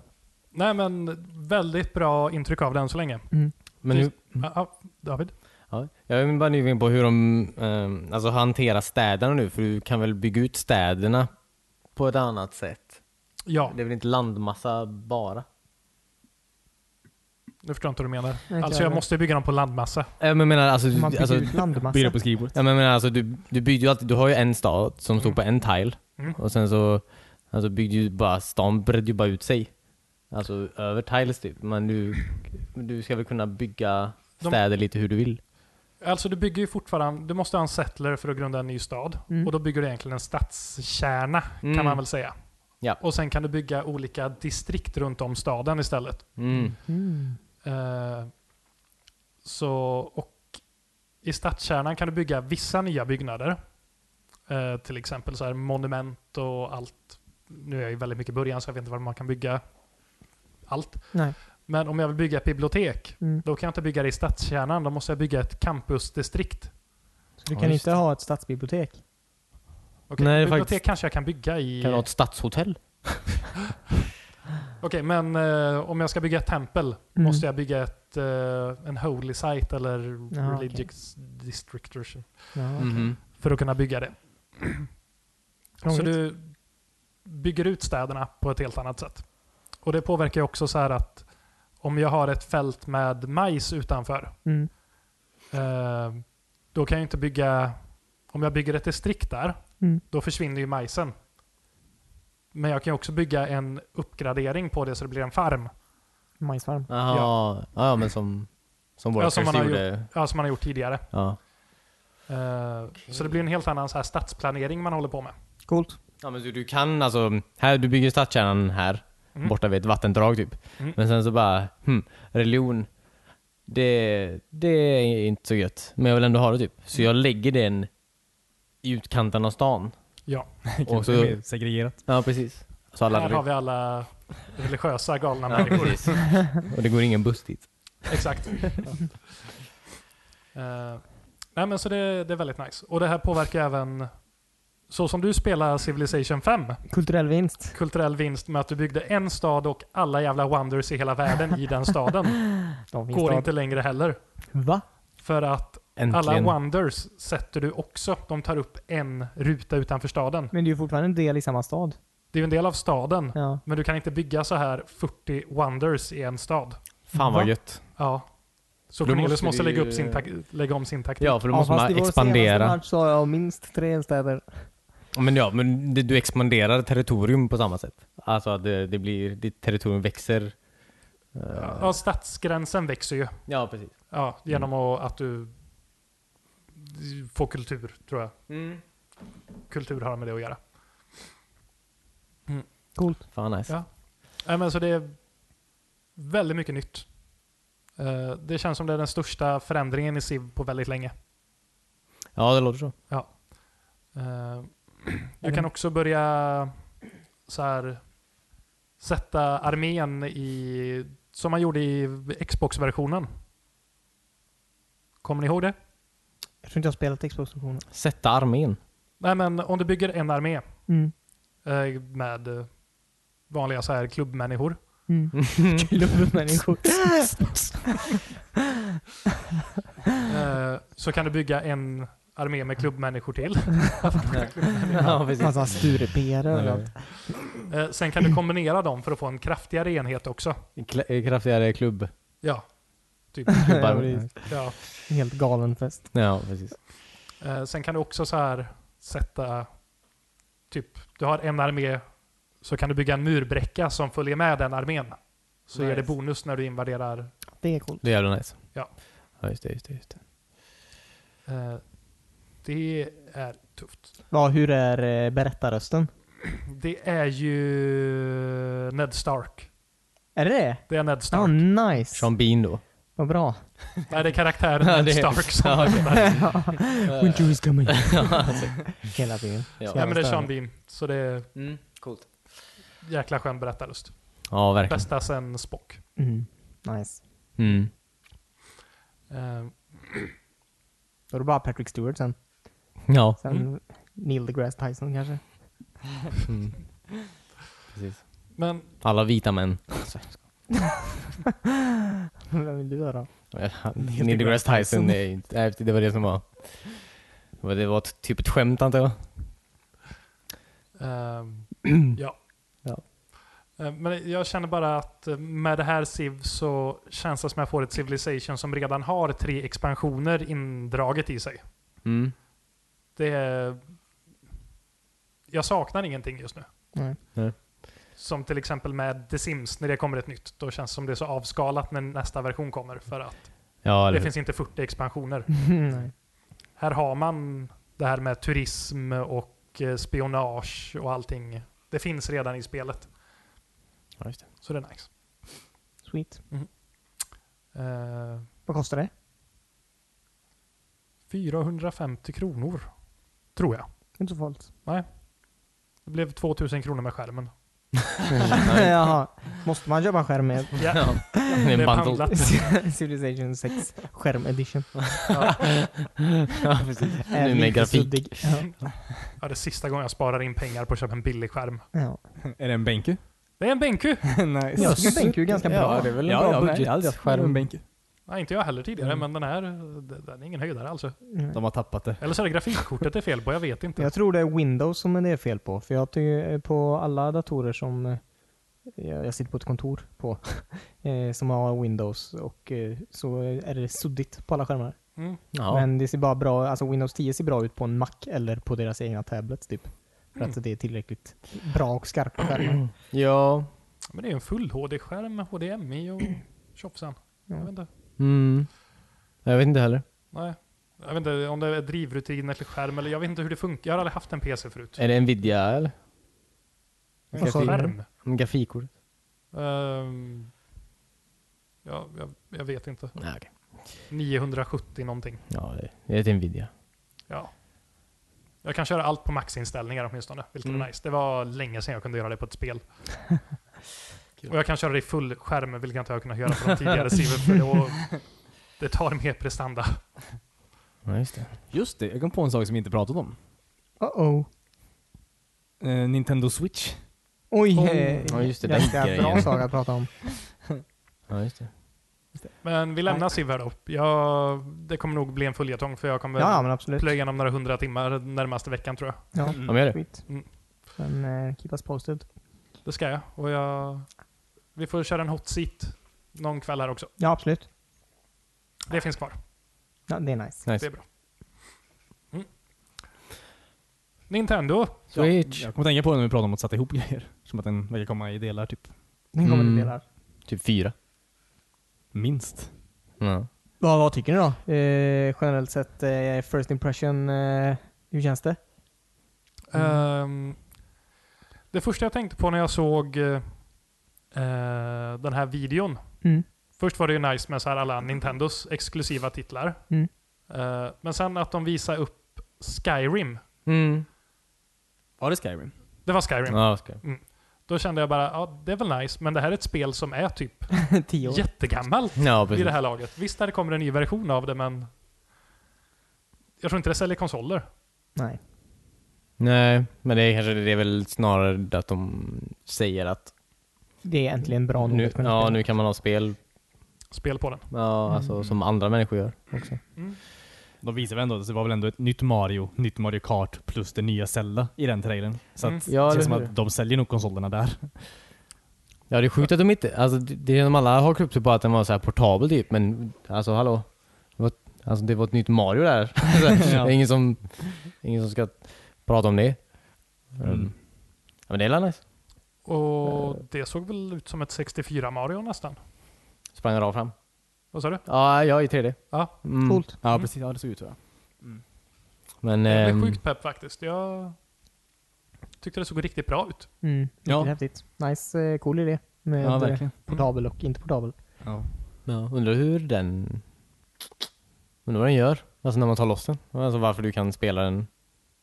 Speaker 4: nej, men väldigt bra intryck av den så länge.
Speaker 2: Men nu,
Speaker 4: Ja, ja, David?
Speaker 2: ja, jag är bara nyfiken på hur de eh, alltså hanterar städerna nu. För du kan väl bygga ut städerna på ett annat sätt?
Speaker 4: Ja,
Speaker 2: Det är väl inte landmassa bara?
Speaker 4: nu förstår jag inte vad du menar.
Speaker 1: klarar
Speaker 4: Alltså jag
Speaker 1: det.
Speaker 4: måste bygga dem på landmassa.
Speaker 2: Eh, Men jag menar alltså...
Speaker 1: Man bygger
Speaker 2: alltså
Speaker 1: ut landmassa.
Speaker 3: Blir det på skrivbordet.
Speaker 2: Ja, men, jag menar alltså du, du byggde ju alltid, du har ju en stad som stod på en tile.
Speaker 4: Mm.
Speaker 2: Och sen så alltså byggde ju bara, stan bredde ju bara ut sig. Alltså över tiles typ. Men du, du ska väl kunna bygga
Speaker 4: De-
Speaker 2: städer lite hur du vill?
Speaker 4: Alltså du bygger ju fortfarande, du måste ha en settler för att grunda en ny stad.
Speaker 1: Mm.
Speaker 4: Och då bygger du egentligen en stadskärna kan
Speaker 2: Mm.
Speaker 4: man väl säga.
Speaker 2: Ja.
Speaker 4: Och sen kan du bygga olika distrikt runt om staden istället.
Speaker 2: Mm.
Speaker 1: Mm.
Speaker 4: Eh, så, och i stadskärnan kan du bygga vissa nya byggnader. Eh, till exempel så här monument och allt. Nu är jag ju väldigt mycket i början så jag vet inte vad man kan bygga allt.
Speaker 1: Nej.
Speaker 4: Men om jag vill bygga ett bibliotek,
Speaker 1: Mm.
Speaker 4: då kan jag inte bygga det i stadskärnan. Då måste jag bygga ett campusdistrikt.
Speaker 1: Så du
Speaker 2: Ja,
Speaker 1: kan
Speaker 2: just
Speaker 1: inte
Speaker 2: det.
Speaker 1: ha ett stadsbibliotek?
Speaker 4: Okej,
Speaker 2: Nej,
Speaker 4: bibliotek
Speaker 2: faktiskt.
Speaker 4: kanske jag kan bygga i...
Speaker 2: Kan du ha ett stadshotell?
Speaker 4: Okej, men eh, om jag ska bygga ett tempel
Speaker 1: Mm.
Speaker 4: måste jag bygga ett, eh, en holy site eller
Speaker 1: Ja,
Speaker 4: religious district or så,
Speaker 1: Ja,
Speaker 2: Mhm.
Speaker 4: för att kunna bygga det. så
Speaker 1: Krångligt.
Speaker 4: du bygger ut städerna på ett helt annat sätt. Och det påverkar ju också så här att om jag har ett fält med majs utanför,
Speaker 1: Mm.
Speaker 4: eh, då kan jag inte bygga... Om jag bygger ett distrikt där,
Speaker 1: Mm.
Speaker 4: då försvinner ju majsen. Men jag kan ju också bygga en uppgradering på det så det blir en farm.
Speaker 1: Majsfarm.
Speaker 2: Jaha. Ja. ja, men som, som
Speaker 4: Ja,
Speaker 2: Workers
Speaker 4: som man har
Speaker 2: gjorde.
Speaker 4: Ja, som man har gjort tidigare.
Speaker 2: Ja.
Speaker 4: Eh, Så det blir en helt annan så här stadsplanering man håller på med.
Speaker 1: Coolt.
Speaker 2: Ja men du, du kan alltså, här, du bygger stadskärnan här,
Speaker 4: Mm.
Speaker 2: borta vid ett vattendrag typ.
Speaker 4: Mm.
Speaker 2: Men sen så bara, hm, religion, det, det är inte så gött. Men jag vill ändå ha det typ. Så jag lägger den i utkanten av stan.
Speaker 4: Ja.
Speaker 2: Och
Speaker 3: Det är
Speaker 2: så,
Speaker 3: mer segregerat.
Speaker 2: ja precis. Så alla
Speaker 4: Här
Speaker 2: hade
Speaker 4: har vi alla religiösa galna
Speaker 2: Ja,
Speaker 4: människor.
Speaker 2: precis. Och det går ingen buss dit.
Speaker 4: Exakt. Eh, nej men så det, det är väldigt nice. Och det här påverkar även så som du spelar Civilization 5,
Speaker 1: Kulturell vinst.
Speaker 4: kulturell vinst med att du byggde en stad och alla jävla wonders i hela världen i den staden.
Speaker 1: Då finns
Speaker 4: Går
Speaker 1: det-
Speaker 4: inte längre heller.
Speaker 1: Va?
Speaker 4: För att alla
Speaker 2: Äntligen.
Speaker 4: wonders sätter du också. De tar upp en ruta utanför staden.
Speaker 1: Men det är ju fortfarande en del i samma stad.
Speaker 4: Det är ju en del av staden.
Speaker 1: Ja.
Speaker 4: Men du kan inte bygga så här 40 wonders i en stad.
Speaker 2: Fan
Speaker 1: Va?
Speaker 2: vad gött.
Speaker 4: Ja. Så
Speaker 2: Då
Speaker 4: Cornelius måste,
Speaker 2: måste vi
Speaker 4: lägga,
Speaker 2: ju-
Speaker 4: upp sin tak- lägga om sin taktik.
Speaker 2: Ja för då
Speaker 1: Ja,
Speaker 2: måste
Speaker 1: fast
Speaker 2: man
Speaker 1: i vår
Speaker 2: expandera.
Speaker 1: senaste match så har jag minst tre städer.
Speaker 2: Men ja, men det, du expanderar territorium på samma sätt. Alltså att det, det blir, ditt territorium växer. Eh,
Speaker 4: Ja, stadsgränsen växer ju.
Speaker 2: Ja, precis.
Speaker 4: Ja, genom att- att du får kultur, tror jag. Kultur har med det att göra.
Speaker 1: Coolt.
Speaker 2: Fan nice.
Speaker 4: Ja. Nej, men så det är väldigt mycket nytt. Eh, Det känns som det är den största förändringen i SIV på väldigt länge.
Speaker 2: Ja, det låter så.
Speaker 4: Eh, Du kan också börja så här sätta armén i, som man gjorde i Xbox-versionen. Kommer ni ihåg det?
Speaker 1: Jag tror inte jag har spelat Xbox-versionen.
Speaker 2: Sätta armén.
Speaker 4: Nej men om du bygger en armé
Speaker 1: Mm.
Speaker 4: eh, med eh, vanliga så här klubbmänniskor.
Speaker 1: Mm. Klubbmänniskor.
Speaker 4: eh, Så kan du bygga en armé med klubbmänniskor till.
Speaker 2: ja, precis.
Speaker 1: Massa Sturepere överallt.
Speaker 4: Eh, Sen kan du kombinera dem för att få en kraftigare enhet också.
Speaker 2: Kla- Kraftigare klubb.
Speaker 4: Ja. Typ.
Speaker 1: Ja,
Speaker 2: Klubbar.
Speaker 1: precis.
Speaker 4: ja.
Speaker 1: Helt galen fest.
Speaker 2: ja, precis.
Speaker 4: Eh, sen kan du också så här sätta, typ, du har en armé, så kan du bygga en murbräcka som följer med den armén. Så ger det
Speaker 2: Nice.
Speaker 4: bonus när du invaderar.
Speaker 1: Det är coolt.
Speaker 2: Det är jävla nice.
Speaker 4: Ja.
Speaker 2: Ja, just det, just det, just det.
Speaker 4: Eh, det är tufft.
Speaker 1: Ja, hur är eh, berättarrösten?
Speaker 4: Det är ju Ned Stark.
Speaker 1: Är det det?
Speaker 4: Det är Ned
Speaker 1: Ja,
Speaker 2: Ah,
Speaker 4: Stark.
Speaker 1: nice.
Speaker 2: Sean Bean då.
Speaker 1: Vad bra.
Speaker 4: Nej, det är karaktären
Speaker 2: Ja,
Speaker 4: Ned
Speaker 2: det är-
Speaker 4: Stark som
Speaker 2: Ja, okej.
Speaker 1: Winter is coming. Hela tiden.
Speaker 2: Ja.
Speaker 4: Ja, men det är Sean Bean. Så det är
Speaker 2: Mm, coolt.
Speaker 4: jäkla skön berättarlust.
Speaker 2: Ja, verkligen.
Speaker 4: Bästa sen Spock.
Speaker 1: Mm. Nice.
Speaker 2: Mm.
Speaker 4: Eh,
Speaker 1: Då är det bara Patrick Stewart sen.
Speaker 2: Ja.
Speaker 1: Sen Neil deGrasse Tyson kanske.
Speaker 2: Mm. Precis.
Speaker 4: men
Speaker 2: Alla vita män.
Speaker 1: Vem vill du höra?
Speaker 2: Neil deGrasse Tyson, det, är ju inte- nej, det var det som var... det var- Det var ett- typ ett skämt antar jag.
Speaker 4: Ehm, ja.
Speaker 2: Ja.
Speaker 4: Ehm, Men jag känner bara att eh, med det här Civ så känns det som jag får ett Civilization som redan har tre expansioner indraget i sig.
Speaker 2: Mm.
Speaker 4: Det är... Jag saknar ingenting just nu.
Speaker 1: Nej.
Speaker 2: Nej.
Speaker 4: Som till exempel med The Sims, när det kommer ett nytt. Då känns det som det är så avskalat när nästa version kommer. För att
Speaker 2: Ja, eller
Speaker 4: det
Speaker 2: hur?
Speaker 4: finns inte 40 expansioner.
Speaker 1: Nej.
Speaker 4: Här har man det här med turism och eh, spionage och allting. Det finns redan i spelet.
Speaker 2: Ja, just det.
Speaker 4: Så det är nice.
Speaker 1: Sweet.
Speaker 4: Eh,
Speaker 1: Vad kostar det?
Speaker 4: 450 kronor, tror jag.
Speaker 1: Inte så farligt.
Speaker 4: Det blev 2000 kronor med skärmen.
Speaker 1: Mm, Jaha. Måste man köpa en skärm med
Speaker 4: Ja,
Speaker 2: Det är
Speaker 4: blev
Speaker 2: en bundle.
Speaker 4: handlat.
Speaker 1: Civilization 6 skärm edition?
Speaker 2: Ja, precis.
Speaker 1: Även
Speaker 2: med
Speaker 1: inte
Speaker 2: grafik.
Speaker 1: suddig. Ja.
Speaker 4: Ja, det är sista gången jag sparar in pengar på att köpa en billig skärm.
Speaker 1: Ja.
Speaker 3: Är det en bänke?
Speaker 4: Det är en bänku!
Speaker 3: nice.
Speaker 1: Jag tycker bänk är ju ganska bra.
Speaker 2: det är väl
Speaker 3: Ja, jag har aldrig haft en bänk.
Speaker 4: Nej, inte jag heller tidigare, men
Speaker 2: Mm.
Speaker 4: den här den den är ingen höjdare alltså.
Speaker 1: Mm.
Speaker 2: De har tappat det.
Speaker 4: Eller så är det grafikkortet det är fel på, jag vet inte.
Speaker 1: Jag tror det är Windows som det är fel på. För jag tycker eh, på alla datorer som eh, jag jag sitter på ett kontor på, eh, som har Windows och eh, så är det suddigt på alla skärmar.
Speaker 4: Mm.
Speaker 2: Ja.
Speaker 1: Men det ser bara bra, alltså Windows 10 ser bra ut på en Mac eller på deras egna tablets typ. För
Speaker 2: Mm.
Speaker 1: att det är tillräckligt bra och skarpa skärmar.
Speaker 2: Ja.
Speaker 4: Men det är ju en full HD-skärm med HDMI och tjofsan. Jag
Speaker 1: Ja.
Speaker 4: vet inte.
Speaker 2: Mm. Jag vet inte heller.
Speaker 4: Nej. Jag vet inte om det är drivrutin eller skärm eller jag vet inte hur det funkar. Jag har aldrig haft en PC förut.
Speaker 2: Är det Nvidia eller?
Speaker 1: Vad sa du?
Speaker 4: Skärm?
Speaker 2: Mm, Grafikkort?
Speaker 4: Ehm, ja, jag, jag vet inte.
Speaker 2: Nej, okej.
Speaker 4: 970 någonting.
Speaker 2: Ja, det- det är ett Nvidia.
Speaker 4: Ja. Jag kan köra allt på maxinställningar åtminstone, vilket är
Speaker 2: Mm.
Speaker 4: nice. Det var länge sedan jag kunde göra det på ett spel. Och jag kan köra det i full skärm, vilket jag inte har kunnat göra på de tidigare Civer, för då, det tar mer prestanda.
Speaker 2: Ja, just det.
Speaker 3: Just det, jag kom på en sak som vi inte pratat om.
Speaker 1: Uh-oh.
Speaker 3: Eh, Nintendo Switch.
Speaker 1: Oj!
Speaker 4: Oh.
Speaker 1: eh,
Speaker 2: Ja, just det, den
Speaker 1: Ganska
Speaker 2: grejen.
Speaker 1: bra sak att prata om.
Speaker 2: Ja, just det.
Speaker 4: Men vi lämnar Civ här då. Jag, det kommer nog bli en följetong, för jag kommer
Speaker 1: Ja, men absolut.
Speaker 4: plöja igenom några hundra timmar närmaste veckan tror jag.
Speaker 1: Ja,
Speaker 2: Ja, men gör det.
Speaker 1: skit.
Speaker 4: Mm.
Speaker 1: Men eh, keep us posted.
Speaker 4: Det ska jag. Och jag vi får köra en hot seat någon kväll här också.
Speaker 1: Ja, absolut.
Speaker 4: Det finns kvar.
Speaker 1: Ja, det är nice.
Speaker 4: Det är
Speaker 2: Nice.
Speaker 4: bra. Mm. Nintendo.
Speaker 2: Switch.
Speaker 3: Jag kommer tänka på det när vi pratade om att sätta ihop grejer. Som att den verkar komma i delar typ.
Speaker 1: Den kommer
Speaker 2: Mm.
Speaker 1: mm. delar.
Speaker 2: Typ fyra.
Speaker 3: Minst.
Speaker 2: Ja.
Speaker 1: Vad, vad tycker ni då? Eh, generellt sett, eh, first impression, eh, hur känns det?
Speaker 4: Ehm, det första jag tänkte på när jag såg eh, eh, den här videon.
Speaker 1: Mm.
Speaker 4: Först var det ju nice med så här alla Nintendos exklusiva titlar.
Speaker 1: Mm.
Speaker 4: Eh, men sen att de visar upp Skyrim.
Speaker 2: Mm.
Speaker 3: Var det Skyrim?
Speaker 4: Det var Skyrim.
Speaker 2: Ja, ska.
Speaker 4: Då kände jag bara, ja det är väl nice, men det här är ett spel som är typ
Speaker 1: Tio år?
Speaker 4: jättegammalt.
Speaker 2: Ja,
Speaker 4: vid
Speaker 2: precis.
Speaker 4: det här laget. Visst, där kommer en ny version av det, men jag tror inte det säljer konsoler.
Speaker 1: Nej.
Speaker 2: Nej, men det är kanske det är väl snarare att de säger att
Speaker 1: Det är äntligen bra nog
Speaker 2: nu,
Speaker 1: att kunna
Speaker 2: ja,
Speaker 1: spela.
Speaker 2: nu kan man ha spel
Speaker 4: Spel på den.
Speaker 2: ja, alltså, som andra människor gör också.
Speaker 3: De visade väl ändå, så det var väl ändå ett nytt Mario, nytt Mario Kart plus det nya Zelda i den trailern. Så
Speaker 4: Mm.
Speaker 3: att,
Speaker 2: Ja,
Speaker 3: det
Speaker 2: eller
Speaker 3: känns som
Speaker 2: hur?
Speaker 3: att de säljer nog konsolerna där.
Speaker 2: Ja, det är sjukt att de inte... Alltså, det- det är de alla hakar upp sig på att den var så här portabel typ, men alltså hallå? Det var, alltså, det var ett nytt Mario där. Alltså,
Speaker 3: Ja.
Speaker 2: Det är ingen som, ingen som ska prata om det.
Speaker 3: Mm.
Speaker 2: Ja, men det är väl nice.
Speaker 4: Och
Speaker 2: Eh.
Speaker 4: det såg väl ut som ett 64 Mario nästan.
Speaker 2: Sprang rakt fram.
Speaker 4: Vad sa du?
Speaker 2: Ja, jag är i 3D.
Speaker 4: Ja.
Speaker 2: Mm.
Speaker 1: Coolt.
Speaker 3: Ja, precis. Ja, det såg ut så.
Speaker 2: Men...
Speaker 4: Jag
Speaker 2: ehm,
Speaker 4: blev sjukt pepp faktiskt. Jag tyckte det såg riktigt bra ut.
Speaker 1: Mm.
Speaker 3: Ja.
Speaker 1: Ja. Häftigt. Nice, eh, cool idé. Med
Speaker 3: Ja,
Speaker 1: eh,
Speaker 3: verkligen.
Speaker 1: portabel och inte portabel.
Speaker 3: Ja.
Speaker 2: Ja, undrar hur den... Undrar vad den gör. Alltså när man tar loss den. Alltså varför du kan spela den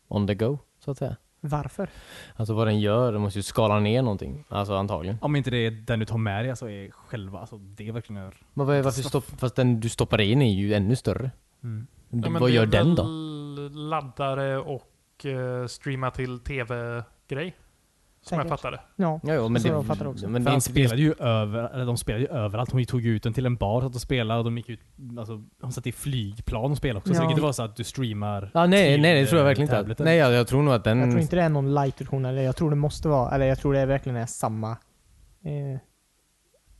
Speaker 2: on the go, så att säga.
Speaker 1: Varför?
Speaker 2: Alltså vad den gör, den måste ju skala ner någonting. Alltså antagligen.
Speaker 3: Om inte det är den du tar med dig, alltså är själva, alltså det är verkligen är...
Speaker 2: Men vad, varför stopp, fast den du stoppar in är ju ännu större.
Speaker 3: Mm.
Speaker 4: Ja, men
Speaker 2: vad
Speaker 4: det är
Speaker 2: gör den då?
Speaker 4: väl Laddare och eh, streama till tv-grej. Som
Speaker 1: Säkert.
Speaker 4: jag fattade.
Speaker 1: Ja.
Speaker 2: Ja, jo, men
Speaker 1: Så
Speaker 2: det,
Speaker 1: de fattar också.
Speaker 2: Men
Speaker 3: För
Speaker 2: det är
Speaker 3: han
Speaker 2: inte det,
Speaker 3: spelade ju över, eller de spelade ju överallt. Hon tog ju ut den till en bar satt och spelade och de gick ut, alltså, hon satt i flygplan och spelade också. Så
Speaker 1: Ja.
Speaker 3: det kan inte vara så att du streamar
Speaker 2: ja, nej,
Speaker 3: till,
Speaker 2: nej, det tror jag
Speaker 3: eh,
Speaker 2: verkligen inte.
Speaker 3: tableten.
Speaker 2: Nej, jag, jag tror nog att den...
Speaker 1: Jag tror inte det är någon light-version, eller jag tror det måste vara, eller jag tror det verkligen är samma eh,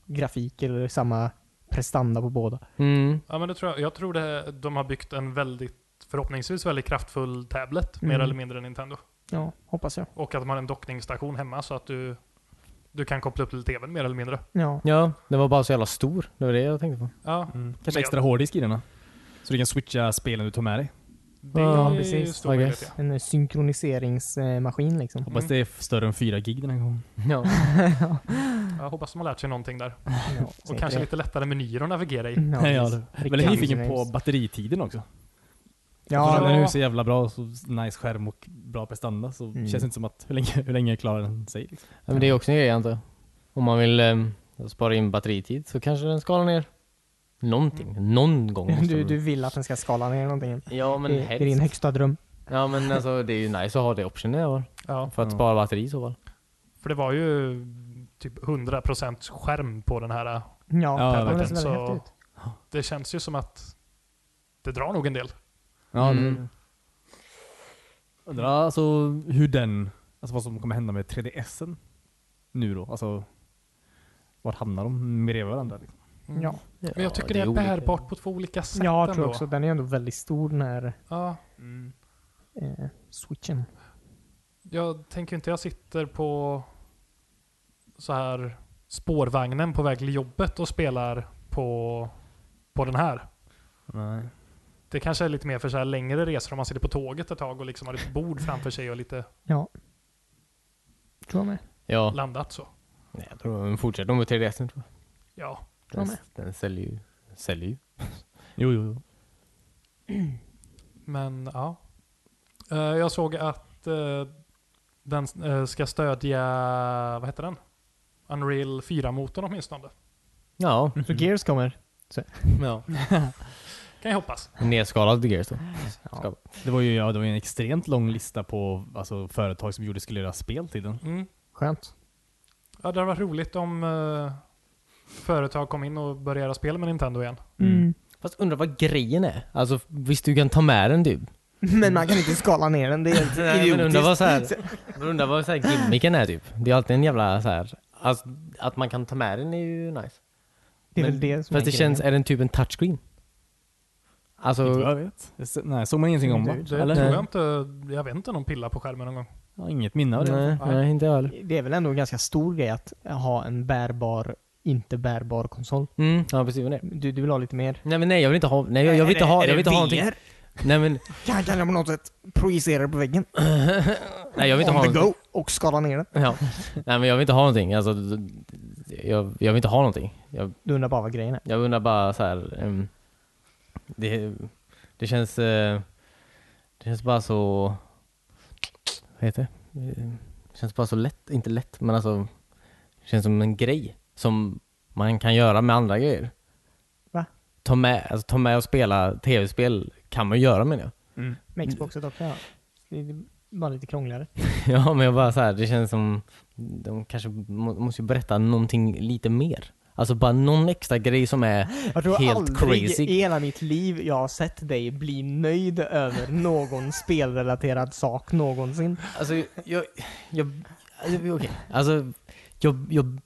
Speaker 1: grafik eller samma prestanda på båda.
Speaker 2: Mm,
Speaker 4: Ja, men det tror jag, jag tror det, de har byggt en väldigt, förhoppningsvis väldigt kraftfull tablet. Mer
Speaker 1: Mm.
Speaker 4: eller mindre Nintendo.
Speaker 1: Ja, hoppas jag.
Speaker 4: Och att man har en dockningsstation hemma så att du, du kan koppla upp till tvn mer eller mindre.
Speaker 1: Ja.
Speaker 2: ja, den var bara så jävla stor. Det var det jag tänkte på.
Speaker 4: Ja,
Speaker 3: Mm.
Speaker 4: Men
Speaker 3: Kanske
Speaker 4: jag-
Speaker 3: extra hårddisk i den då? Så du kan switcha spelen du tar med dig.
Speaker 4: det
Speaker 2: Ja,
Speaker 4: är
Speaker 1: precis.
Speaker 4: stor
Speaker 2: I
Speaker 4: möjlighet.
Speaker 2: guess.
Speaker 4: ja.
Speaker 1: En eh, synkroniseringsmaskin liksom.
Speaker 3: Hoppas det är f- större än 4 gig den här gången.
Speaker 2: Ja.
Speaker 4: Jag hoppas de har lärt sig någonting där.
Speaker 1: Ja,
Speaker 4: Och
Speaker 1: säkert
Speaker 4: kanske
Speaker 1: det.
Speaker 4: lite lättare menyer att navigera i.
Speaker 1: Ja,
Speaker 3: Ja,
Speaker 1: precis.
Speaker 3: det. Väldigt
Speaker 1: Riktiga
Speaker 3: nyfiken på
Speaker 1: usernames.
Speaker 3: batteritiden också.
Speaker 1: Ja,
Speaker 3: Eftersom
Speaker 1: men-
Speaker 3: Den är ju så jävla bra, så nice skärm och bra prestanda. Så
Speaker 1: Mm.
Speaker 3: känns det inte som att, hur länge, hur länge klarar den sig? Liksom.
Speaker 2: Ja, men det är också en grej antar jag. Om man vill ehm, spara in batteritid så kanske den skalar ner. Någonting. Någon gång måste
Speaker 1: du,
Speaker 2: den-
Speaker 1: du vill att den ska skala ner någonting.
Speaker 2: Ja men
Speaker 1: det, det är din
Speaker 2: helst.
Speaker 1: högsta dröm.
Speaker 2: Ja men alltså det är ju nice att ha det optionen i alla fall.
Speaker 4: Ja,
Speaker 2: För att
Speaker 3: Ja.
Speaker 2: spara batteri i så fall.
Speaker 4: för det var ju typ 100% skärm på den här.
Speaker 1: Ja,
Speaker 3: Ja,
Speaker 1: men det ser
Speaker 4: verkligen.
Speaker 1: väldigt
Speaker 4: Så-
Speaker 1: häftigt ut.
Speaker 4: Det känns ju som att det drar nog en del.
Speaker 3: Ja,
Speaker 2: Mm.
Speaker 3: mm. Undrar alltså hur den, alltså vad som kommer hända med 3DSen nu då? Alltså, vart hamnar de bredvid varandra? Liksom?
Speaker 2: mm.
Speaker 1: Ja.
Speaker 4: Men jag
Speaker 2: Ja,
Speaker 4: tycker det är,
Speaker 2: olika.
Speaker 4: bärbart på två olika sätt
Speaker 1: Ja, jag
Speaker 4: ändå.
Speaker 1: tror också. Den är ändå väldigt stor den här
Speaker 4: Ja,
Speaker 1: eh, switchen.
Speaker 4: jag tänker inte jag sitter på så här spårvagnen på väg till jobbet och spelar på, på den här.
Speaker 3: Nej.
Speaker 4: Det kanske är lite mer för så här längre resor om man sitter på tåget ett tag och liksom har ett bord framför sig och lite
Speaker 1: Ja. Tror jag med.
Speaker 3: Mm.
Speaker 2: Ja,
Speaker 4: landat så.
Speaker 2: nej, jag tror de fortsätter med tredjeresan tror jag.
Speaker 4: Ja.
Speaker 1: Jag
Speaker 2: Den,
Speaker 1: med.
Speaker 2: den säljer ju. Säljer ju.
Speaker 3: Jo, jo, jo.
Speaker 4: Men ja. Eh, jag såg att eh, den eh, ska stödja, vad heter den? Unreal 4-motorn åtminstone.
Speaker 2: Ja.
Speaker 1: Så Gears kommer.
Speaker 2: ja.
Speaker 4: Kan jag hoppas.
Speaker 2: Nedskalad Gears då.
Speaker 1: Ja.
Speaker 3: Det var ju ja, det var ju en extremt lång lista på alltså, företag som gjorde skulle göra spel till den.
Speaker 4: Mm.
Speaker 1: Skönt.
Speaker 4: Ja, det hade varit roligt om eh, företag kom in och började göra spel med Nintendo igen.
Speaker 3: Mm.
Speaker 2: Fast undrar vad grejen är? Alltså visst du kan ta med den typ?
Speaker 1: Men man kan inte skala ner den. Det är helt
Speaker 2: Nej, men
Speaker 1: idiotiskt.
Speaker 2: undrar vad så här, men undrar vad så här gimmicken är typ. Det är alltid en jävla så här, alltså, att man kan ta med den är ju nice.
Speaker 1: Det är
Speaker 2: Men-
Speaker 1: väl det som
Speaker 2: Fast det
Speaker 1: är grejen.
Speaker 2: känns, är den typ en touchscreen?
Speaker 3: Inte vad
Speaker 2: Alltså,
Speaker 3: jag vet. Jag se- Nej, såg man ingenting om va?
Speaker 4: Det
Speaker 3: Eller?
Speaker 4: tror jag inte. Jag vet inte om de pillar på skärmen någon gång.
Speaker 3: Jag har inget minne av det.
Speaker 2: nej, nej inte jag heller.
Speaker 1: Det är väl ändå en ganska stor grej att ha en bärbar, inte bärbar konsol.
Speaker 2: Mm, ja precis vad det är.
Speaker 1: Du, du vill ha lite mer?
Speaker 2: Nej men nej jag vill inte ha, nej jag, jag vill inte ha, jag vill inte ha någonting. Nej men,
Speaker 1: Kan, kan jag på något sätt projicera det på väggen?
Speaker 2: nej jag vill inte
Speaker 1: On
Speaker 2: ha
Speaker 1: the
Speaker 2: någonting.
Speaker 1: go och skala ner den.
Speaker 2: Ja. Nej men jag vill inte ha någonting, alltså, jag, jag vill inte ha någonting. Jag,
Speaker 1: Du undrar bara vad grejen är.
Speaker 2: Jag undrar bara så här. ehm, det, det känns... eh, det känns bara så... Vad heter det? Eh, Det känns bara så lätt. Inte lätt, men alltså... Det känns som en grej som man kan göra med andra grejer.
Speaker 1: Va?
Speaker 2: Ta med, alltså, ta med och spela tv-spel kan man ju göra menar jag.
Speaker 1: Med Xboxet också ja. Det är bara lite krångligare.
Speaker 2: ja, men jag bara så här, det känns som... De kanske må, måste ju berätta någonting lite mer. Alltså bara någon extra grej som är...
Speaker 1: Jag tror
Speaker 2: Helt
Speaker 1: aldrig
Speaker 2: crazy.
Speaker 1: i hela mitt liv jag har sett dig bli nöjd över någon spelrelaterad sak någonsin.
Speaker 2: Alltså, jag... jag, jag okej. Alltså, jag, jag,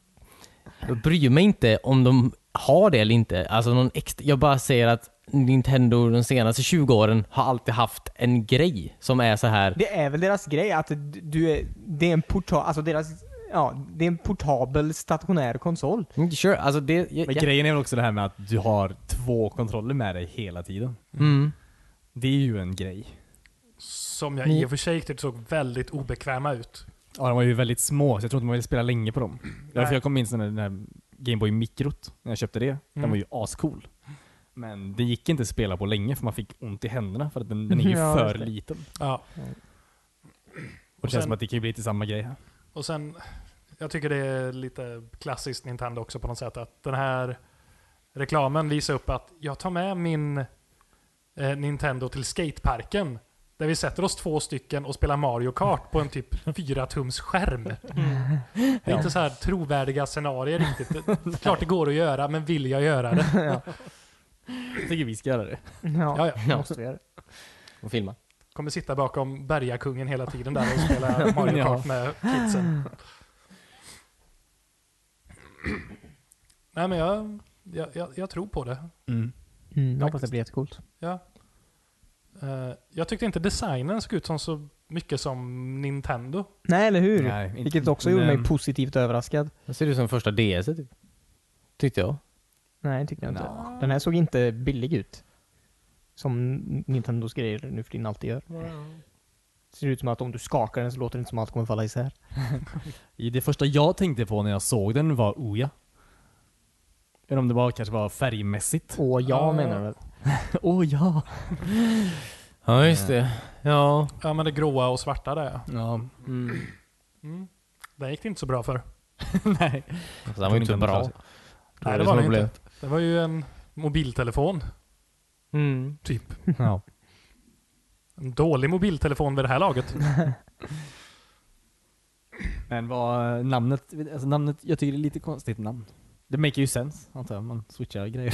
Speaker 2: jag bryr mig inte om de har det eller inte. Alltså, någon extra, jag bara säger att Nintendo de senaste 20 åren har alltid haft en grej som är så här.
Speaker 1: Det är väl deras grej att du är, det är en portabel, alltså deras, ja, det är en portabel stationär konsol.
Speaker 2: Mm, Sure, alltså det... Jag,
Speaker 3: Men
Speaker 2: jag,
Speaker 3: grejen är väl också det här med att du har två kontroller med dig hela tiden.
Speaker 2: mm,
Speaker 3: Det är ju en grej.
Speaker 4: Som jag
Speaker 2: Ni-
Speaker 4: i och för sig tyckte såg väldigt obekväma ut.
Speaker 3: Ja, de var ju väldigt små, så jag tror inte man ville spela länge på dem. Därför
Speaker 4: Nej.
Speaker 3: jag kommer minst när den här Gameboy Microt, när jag köpte det. Den
Speaker 4: Mm.
Speaker 3: var ju ascool. Men det gick inte att spela på länge för man fick ont i händerna för att den, den är ju
Speaker 1: Ja,
Speaker 3: för
Speaker 1: just det.
Speaker 3: liten.
Speaker 4: Ja.
Speaker 3: Och det känns
Speaker 4: sen-
Speaker 3: som att det kan ju bli lite samma grej här.
Speaker 4: Och sen, jag tycker det är lite klassiskt Nintendo också på något sätt att den här reklamen visar upp att jag tar med min eh, Nintendo till skateparken där vi sätter oss två stycken och spelar Mario Kart på en typ 4 tums skärm. Det är inte så här trovärdiga scenarier riktigt. Det, klart det går att göra, men vill jag göra det?
Speaker 3: Jag tycker vi ska göra det.
Speaker 1: Ja,
Speaker 4: Ja, ja.
Speaker 1: ja. måste vi göra.
Speaker 2: och filma.
Speaker 4: Kommer sitta bakom bergakungen hela tiden där och spela Mario Kart med kidsen. Nej men jag, jag, jag, jag tror på det.
Speaker 1: Mm, jag hoppas det blir jättecoolt.
Speaker 4: Ja. Eh, jag tyckte inte designen såg ut som så mycket som Nintendo.
Speaker 1: Nej, eller hur?
Speaker 3: Nej, inte-
Speaker 1: Vilket också gjorde mig
Speaker 3: men-
Speaker 1: positivt överraskad.
Speaker 2: Det ser ut som första DS typ. Tyckte jag.
Speaker 1: Nej, tyckte jag inte.
Speaker 3: Nja.
Speaker 1: Den här såg inte billig ut. Som Nintendos grejer nu för tiden alltid gör. Ser ut som att om du skakar den så låter det inte som att allt kommer falla isär.
Speaker 3: I Det första jag tänkte på när jag såg den var Oja. Eller om det var, kanske var färgmässigt.
Speaker 1: Åh, ja
Speaker 4: Ja.
Speaker 1: menar du väl?
Speaker 3: Åh ja!
Speaker 2: Ja, just det. Ja.
Speaker 4: Ja men det gråa och svarta där ja.
Speaker 3: Ja.
Speaker 2: Mm.
Speaker 4: Mm. Den gick det inte så bra för.
Speaker 3: Nej.
Speaker 2: Alltså, den var ju inte så bra.
Speaker 3: Nej,
Speaker 4: det
Speaker 2: Det som
Speaker 4: var den
Speaker 2: problemet.
Speaker 4: Det var ju en mobiltelefon,
Speaker 2: Mm.
Speaker 4: typ.
Speaker 3: Ja.
Speaker 4: En dålig mobiltelefon vid det här laget.
Speaker 3: Men vad namnet, alltså namnet, jag tycker det är lite konstigt namn. Det make ju sense, antar jag. Man switchar grejer.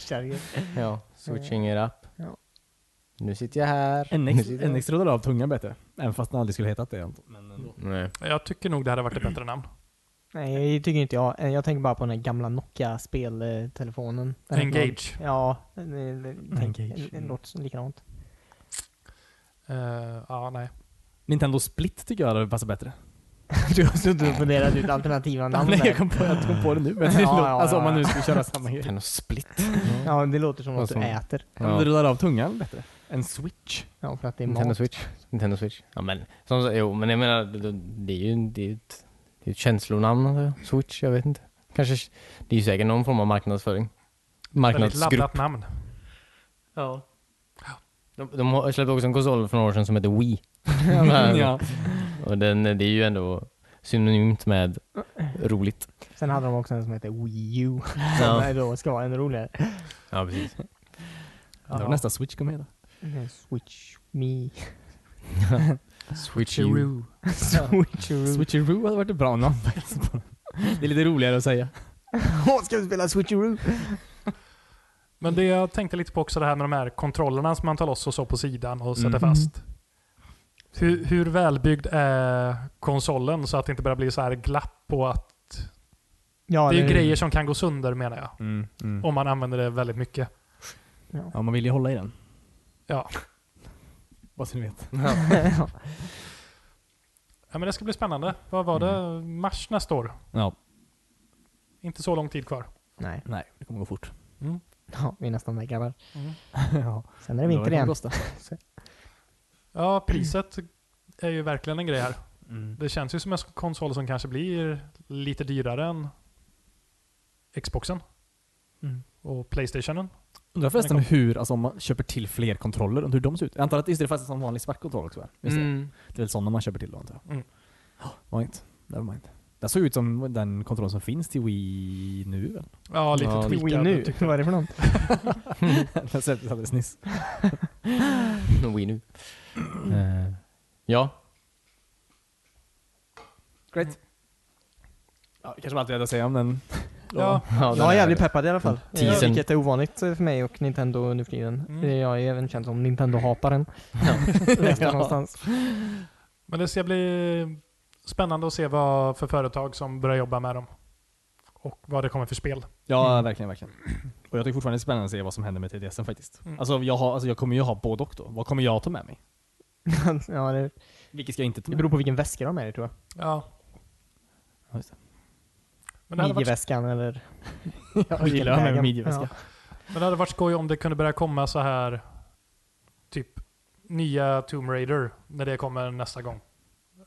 Speaker 1: Kärger.
Speaker 2: Ja, switching it up.
Speaker 1: Ja.
Speaker 2: Nu sitter jag här. Nu
Speaker 3: NX,
Speaker 2: sitter jag-
Speaker 3: NX rullade av tungan bättre. Även fast den aldrig skulle hetat det. antar jag. Men eh, ändå.
Speaker 2: Nej.
Speaker 4: Jag tycker nog det hade varit ett bättre namn.
Speaker 1: Nej, det tycker inte jag. Eh, Jag tänker bara på den här gamla Nokia-speltelefonen. Den här-
Speaker 4: Engage.
Speaker 1: Ja, den- den- tänk-
Speaker 3: Engage.
Speaker 1: den låter som likadant.
Speaker 4: Eh, ja, nej. Eh,
Speaker 3: Nintendo Split tycker jag hade passat bättre.
Speaker 1: Du har suttit och funderat ut alternativa namn
Speaker 3: Nej, jag
Speaker 1: där.
Speaker 3: kom på, jag kom på det nu. Men det
Speaker 1: Ja,
Speaker 3: låter,
Speaker 1: ja,
Speaker 3: alltså
Speaker 1: ja,
Speaker 3: om man
Speaker 1: ja.
Speaker 3: nu skulle köra samma grej.
Speaker 2: Kan och split.
Speaker 1: Ja, det låter som
Speaker 2: Vad
Speaker 1: något du
Speaker 2: som-
Speaker 1: äter.
Speaker 3: Ja.
Speaker 2: Ja.
Speaker 3: Du rullar av tungan bättre. En switch.
Speaker 1: Ja, för att det är
Speaker 2: Nintendo
Speaker 1: mat.
Speaker 2: Switch. Nintendo Switch. Ja men, som, sagt, jo men jag menar, det, det är ju det är ju ett, det är ett känslonamn antar jag. Switch, jag vet inte. Kanske, det är ju säkert någon form av marknadsföring.
Speaker 4: Väldigt
Speaker 2: Marknadsgrupp.
Speaker 4: laddat namn.
Speaker 2: Ja. De, de har- släppte också en konsol för några år sedan som heter Wii.
Speaker 3: ja.
Speaker 2: Och den, det är ju ändå synonymt med roligt.
Speaker 1: Sen hade de också en som heter Wii U. Som
Speaker 2: Ja,
Speaker 1: är då ska vara ännu roligare.
Speaker 2: ja precis.
Speaker 3: Undrar vad nästa switch kommer heta.
Speaker 1: Eh, Switch me.
Speaker 2: Switch U.
Speaker 1: Switcheroo.
Speaker 3: Switcheroo hade varit ett bra namn faktiskt. Det är lite roligare att säga.
Speaker 1: Åh, ska vi spela switcheroo?
Speaker 4: Men det jag tänkte lite på också det här med de här kontrollerna som man tar loss och så på sidan och sätter
Speaker 3: Mm.
Speaker 4: fast. Hur, hur välbyggd är konsolen så att det inte börjar bli så här glapp på att...
Speaker 1: Ja,
Speaker 4: det är ju
Speaker 1: eller-
Speaker 4: grejer som kan gå sönder menar jag.
Speaker 3: Mm, mm.
Speaker 4: Om man använder det väldigt mycket.
Speaker 1: Ja.
Speaker 3: Ja, man vill ju hålla i den.
Speaker 4: Ja.
Speaker 3: Vad så ni vet.
Speaker 4: ja men det ska bli spännande. Vad var det? Mars nästa år?
Speaker 3: Ja.
Speaker 4: Inte så lång tid kvar.
Speaker 1: Nej,
Speaker 3: Nej, det kommer gå fort.
Speaker 1: ja, vi är nästan där grabbar.
Speaker 4: Mm.
Speaker 3: ja.
Speaker 1: Sen är det vinter igen.
Speaker 4: Ja, priset är ju verkligen en grej här.
Speaker 3: Mm.
Speaker 4: Det känns ju som en konsol som kanske blir lite dyrare än Xboxen
Speaker 3: Mm.
Speaker 4: och Playstationen.
Speaker 3: Undrar förresten hur, alltså om man köper till fler kontroller, hur de ser ut. Jag antar att just det, fast som vanlig svart kontroll också va? Just det.
Speaker 2: Mm.
Speaker 3: det är väl sådana man köper till då antar jag.
Speaker 4: Mm.
Speaker 3: Ja, var inte. Never mind. Det såg ut som den kontroll som finns till Wii nu väl?
Speaker 4: Ja, lite
Speaker 2: Ja,
Speaker 1: Wii
Speaker 4: tweakad.
Speaker 1: nu,
Speaker 4: tyckte jag.
Speaker 1: vad är det för något?
Speaker 3: den släpptes alldeles nyss.
Speaker 2: Wii nu. Eh, Ja,
Speaker 3: Great. Ja, kanske var allt vi hade att säga om den.
Speaker 4: Ja,
Speaker 2: Ja, den
Speaker 1: Jag är
Speaker 2: är-
Speaker 1: jävligt peppad i alla fall.
Speaker 2: Teasern.
Speaker 1: Eh, Vilket är ovanligt eh, för mig och Nintendo nu för tiden.
Speaker 4: Mm.
Speaker 1: Eh, Jag är även känd som Nintendo-hataren. Läste jag någonstans.
Speaker 4: men det ska bli spännande att se vad för företag som börjar jobba med dem. Och vad det kommer för spel.
Speaker 3: Ja, verkligen, verkligen. Och jag tycker fortfarande det är spännande att se vad som händer med 3DSen faktiskt.
Speaker 4: Mm.
Speaker 3: Alltså, jag har, alltså jag kommer ju ha både och då. Vad kommer jag ta med mig?
Speaker 1: ja, det,
Speaker 3: Vilket ska jag inte ta
Speaker 1: det
Speaker 3: med
Speaker 1: beror på vilken väska de har med dig tror jag.
Speaker 4: Ja.
Speaker 3: Ja, just det.
Speaker 4: Men det, hade varit,
Speaker 1: Midjeväskan eller...
Speaker 3: mig? Jag gillar att ha med mig
Speaker 1: vägen.
Speaker 3: midjeväska.
Speaker 4: men det hade varit skoj om det kunde börja komma så här typ nya Tomb Raider när det kommer nästa gång.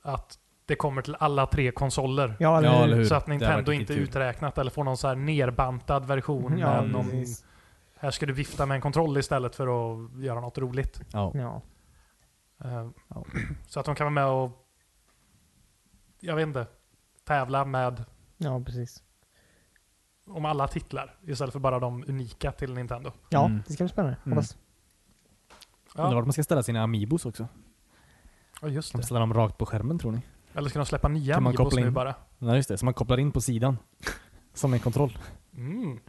Speaker 4: Att det kommer till alla tre konsoler.
Speaker 1: Ja, eller,
Speaker 3: Ja,
Speaker 1: ja,
Speaker 3: eller hur?
Speaker 4: Så att
Speaker 3: Det hade
Speaker 4: Nintendo
Speaker 3: varit
Speaker 4: inte
Speaker 3: riktigt kul.
Speaker 4: uträknat eller får någon så här nerbantad version.
Speaker 1: Ja,
Speaker 4: med någon,
Speaker 1: precis.
Speaker 4: här ska du vifta med en kontroll istället för att göra något roligt.
Speaker 3: Ja.
Speaker 1: Ja.
Speaker 4: Eh,
Speaker 3: Ja.
Speaker 4: Så att de kan vara med och, jag vet inte, tävla med
Speaker 1: ja, precis.
Speaker 4: om alla titlar istället för bara de unika till Nintendo.
Speaker 1: Ja,
Speaker 3: Mm.
Speaker 1: det ska bli spännande.
Speaker 3: Mm.
Speaker 1: Hoppas.
Speaker 3: Undrar
Speaker 4: Ja,
Speaker 3: vart man ska ställa sina Amiibos också.
Speaker 4: ja just
Speaker 3: Ska man
Speaker 4: det.
Speaker 3: ställa dem rakt på skärmen tror ni?
Speaker 4: Eller ska de släppa nya
Speaker 3: Kan man
Speaker 4: Amiibos
Speaker 3: koppla
Speaker 4: nu
Speaker 3: in?
Speaker 4: bara?
Speaker 3: Nej just det, så man kopplar in på sidan. Som en kontroll.
Speaker 4: Mm.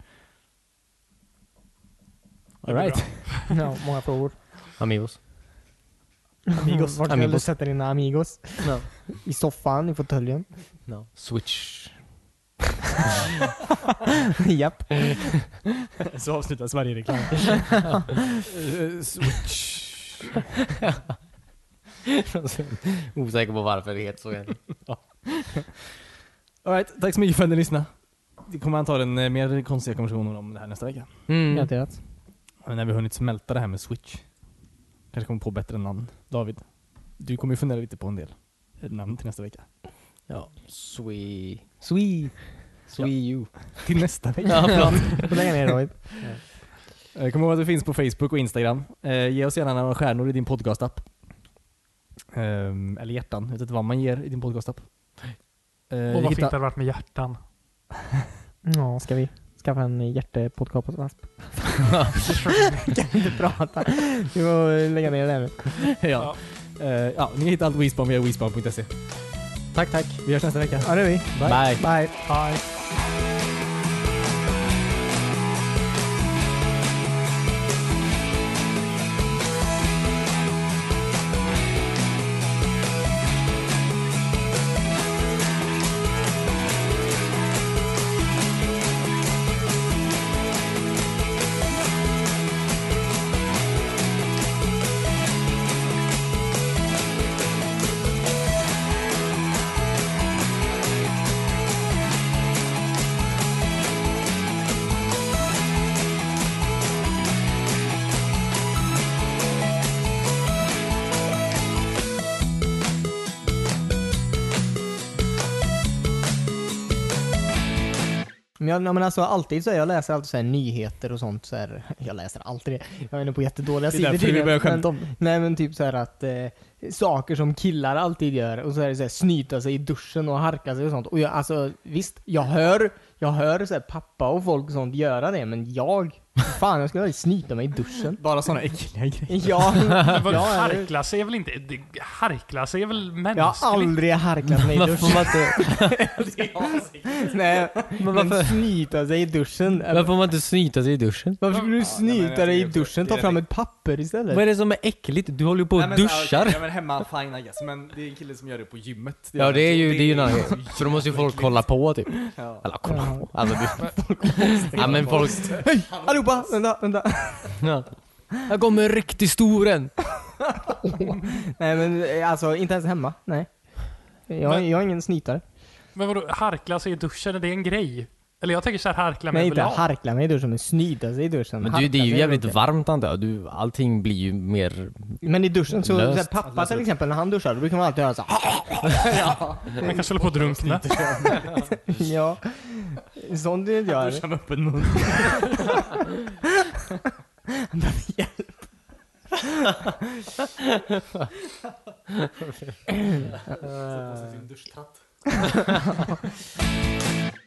Speaker 4: Det blir
Speaker 3: Alright.
Speaker 1: Ja, många frågor.
Speaker 2: Amigos.
Speaker 1: Amigos. Vart vill du
Speaker 2: Amigos.
Speaker 1: sätta dina amigos?
Speaker 2: No.
Speaker 1: I soffan, i fåtöljen?
Speaker 2: No. Switch.
Speaker 1: Japp.
Speaker 3: Så avslutas varje reklam. Eh, Switch.
Speaker 2: Osäker på varför det heter så. egentligen.
Speaker 3: Alright, tack så mycket för att ni lyssnade. Vi kommer antagligen eh, mer konstiga konversationer om det här nästa vecka.
Speaker 2: Mm.
Speaker 1: Garanterat.
Speaker 3: Men när vi hunnit smälta det här med Switch. Kanske kommer på bättre namn. David, du kommer ju fundera lite på en del eh, namn till nästa vecka.
Speaker 2: Ja. Swe... Swe... Swe you.
Speaker 3: Till nästa vecka.
Speaker 2: Ja, förlåt.
Speaker 1: Du får lägga ner David.
Speaker 3: Eh, Kom ihåg att vi finns på Facebook och Instagram. Eh, ge oss gärna några stjärnor i din podcastapp. Ehm, eller hjärtan, jag vet inte vad man ger i din podcastapp. Eh,
Speaker 4: Och vad fint det
Speaker 3: hitta-
Speaker 4: hade varit med hjärtan.
Speaker 1: Ja, ska vi skaffa en hjärtepodcast? kan inte prata. Du får lägga ner det här nu.
Speaker 3: ja. Eh, ja, ni hittar allt Wispan via wispan.se.
Speaker 2: Tack, tack.
Speaker 3: Vi hörs nästa vecka.
Speaker 1: Ja, det är vi.
Speaker 2: Bye.
Speaker 1: Bye.
Speaker 4: Bye.
Speaker 1: Men, jag, men alltså alltid så här, jag läser alltid så här nyheter och sånt så här, Jag läser alltid det. Jag är inne på jättedåliga
Speaker 3: Det
Speaker 1: sidor
Speaker 3: är därför vi
Speaker 1: tydligen,
Speaker 3: börjar
Speaker 1: men-
Speaker 3: skämta om det.
Speaker 1: Nej men typ så här att eh, saker som killar alltid gör och så är det så här, snyta sig i duschen och harka sig och sånt. Och jag, alltså visst, jag hör, jag hör så här, pappa och folk och sånt göra det men jag, fan jag skulle aldrig snyta mig i duschen.
Speaker 3: Bara sådana äckliga grejer.
Speaker 1: Ja,
Speaker 4: Men vad-
Speaker 1: ja,
Speaker 4: Harkla sig är väl inte... det- Harkla sig är väl mänskligt?
Speaker 1: jag har aldrig harklat mig i
Speaker 2: Varför
Speaker 1: duschen. Nej, men
Speaker 2: varför-
Speaker 1: snyta sig i duschen.
Speaker 2: Varför får man inte snyta sig i duschen?
Speaker 1: Varför skulle du
Speaker 3: Ja, nej, men jag
Speaker 1: snyta dig i
Speaker 3: tycker också-
Speaker 1: duschen?
Speaker 3: det
Speaker 1: Ta
Speaker 3: är
Speaker 1: fram ett papper istället.
Speaker 2: Vad är det som är äckligt? Du håller ju på och duschar.
Speaker 3: men hemma, fine I guess. Men det är en kille som gör det på gymmet.
Speaker 2: Ja det är ju, det är ju en annan
Speaker 3: ju-
Speaker 2: grej. För då måste ju folk kolla på typ.
Speaker 3: Ja.
Speaker 2: Eller kolla
Speaker 1: Ja.
Speaker 2: på. Alltså, det, ja men folk...
Speaker 1: Allihopa, vänta, vänta.
Speaker 2: Ja. Här kommer en riktig stor en.
Speaker 1: Nej men eh, alltså, inte ens hemma. Nej. Jag,
Speaker 4: Men-
Speaker 1: jag är ingen snytare.
Speaker 4: Men vadå, harkla sig i duschen, är det en grej? Eller jag tänker såhär harkla mig
Speaker 1: Nej inte
Speaker 4: överlag.
Speaker 1: harkla mig i duschen, men snyta sig i duschen.
Speaker 2: Men du,
Speaker 1: Harkla
Speaker 2: det är ju
Speaker 1: sig
Speaker 2: jävligt
Speaker 1: inte.
Speaker 2: varmt antar jag. Du, allting blir ju mer...
Speaker 1: Men i duschen, så, så här,
Speaker 2: Löst.
Speaker 1: pappa till exempel, när han duschar, då brukar man alltid göra såhär.
Speaker 4: Man kanske håller på att drunkna.
Speaker 1: ja. Sånt är inte jag.
Speaker 3: Duschar med öppen mun.
Speaker 1: Eh,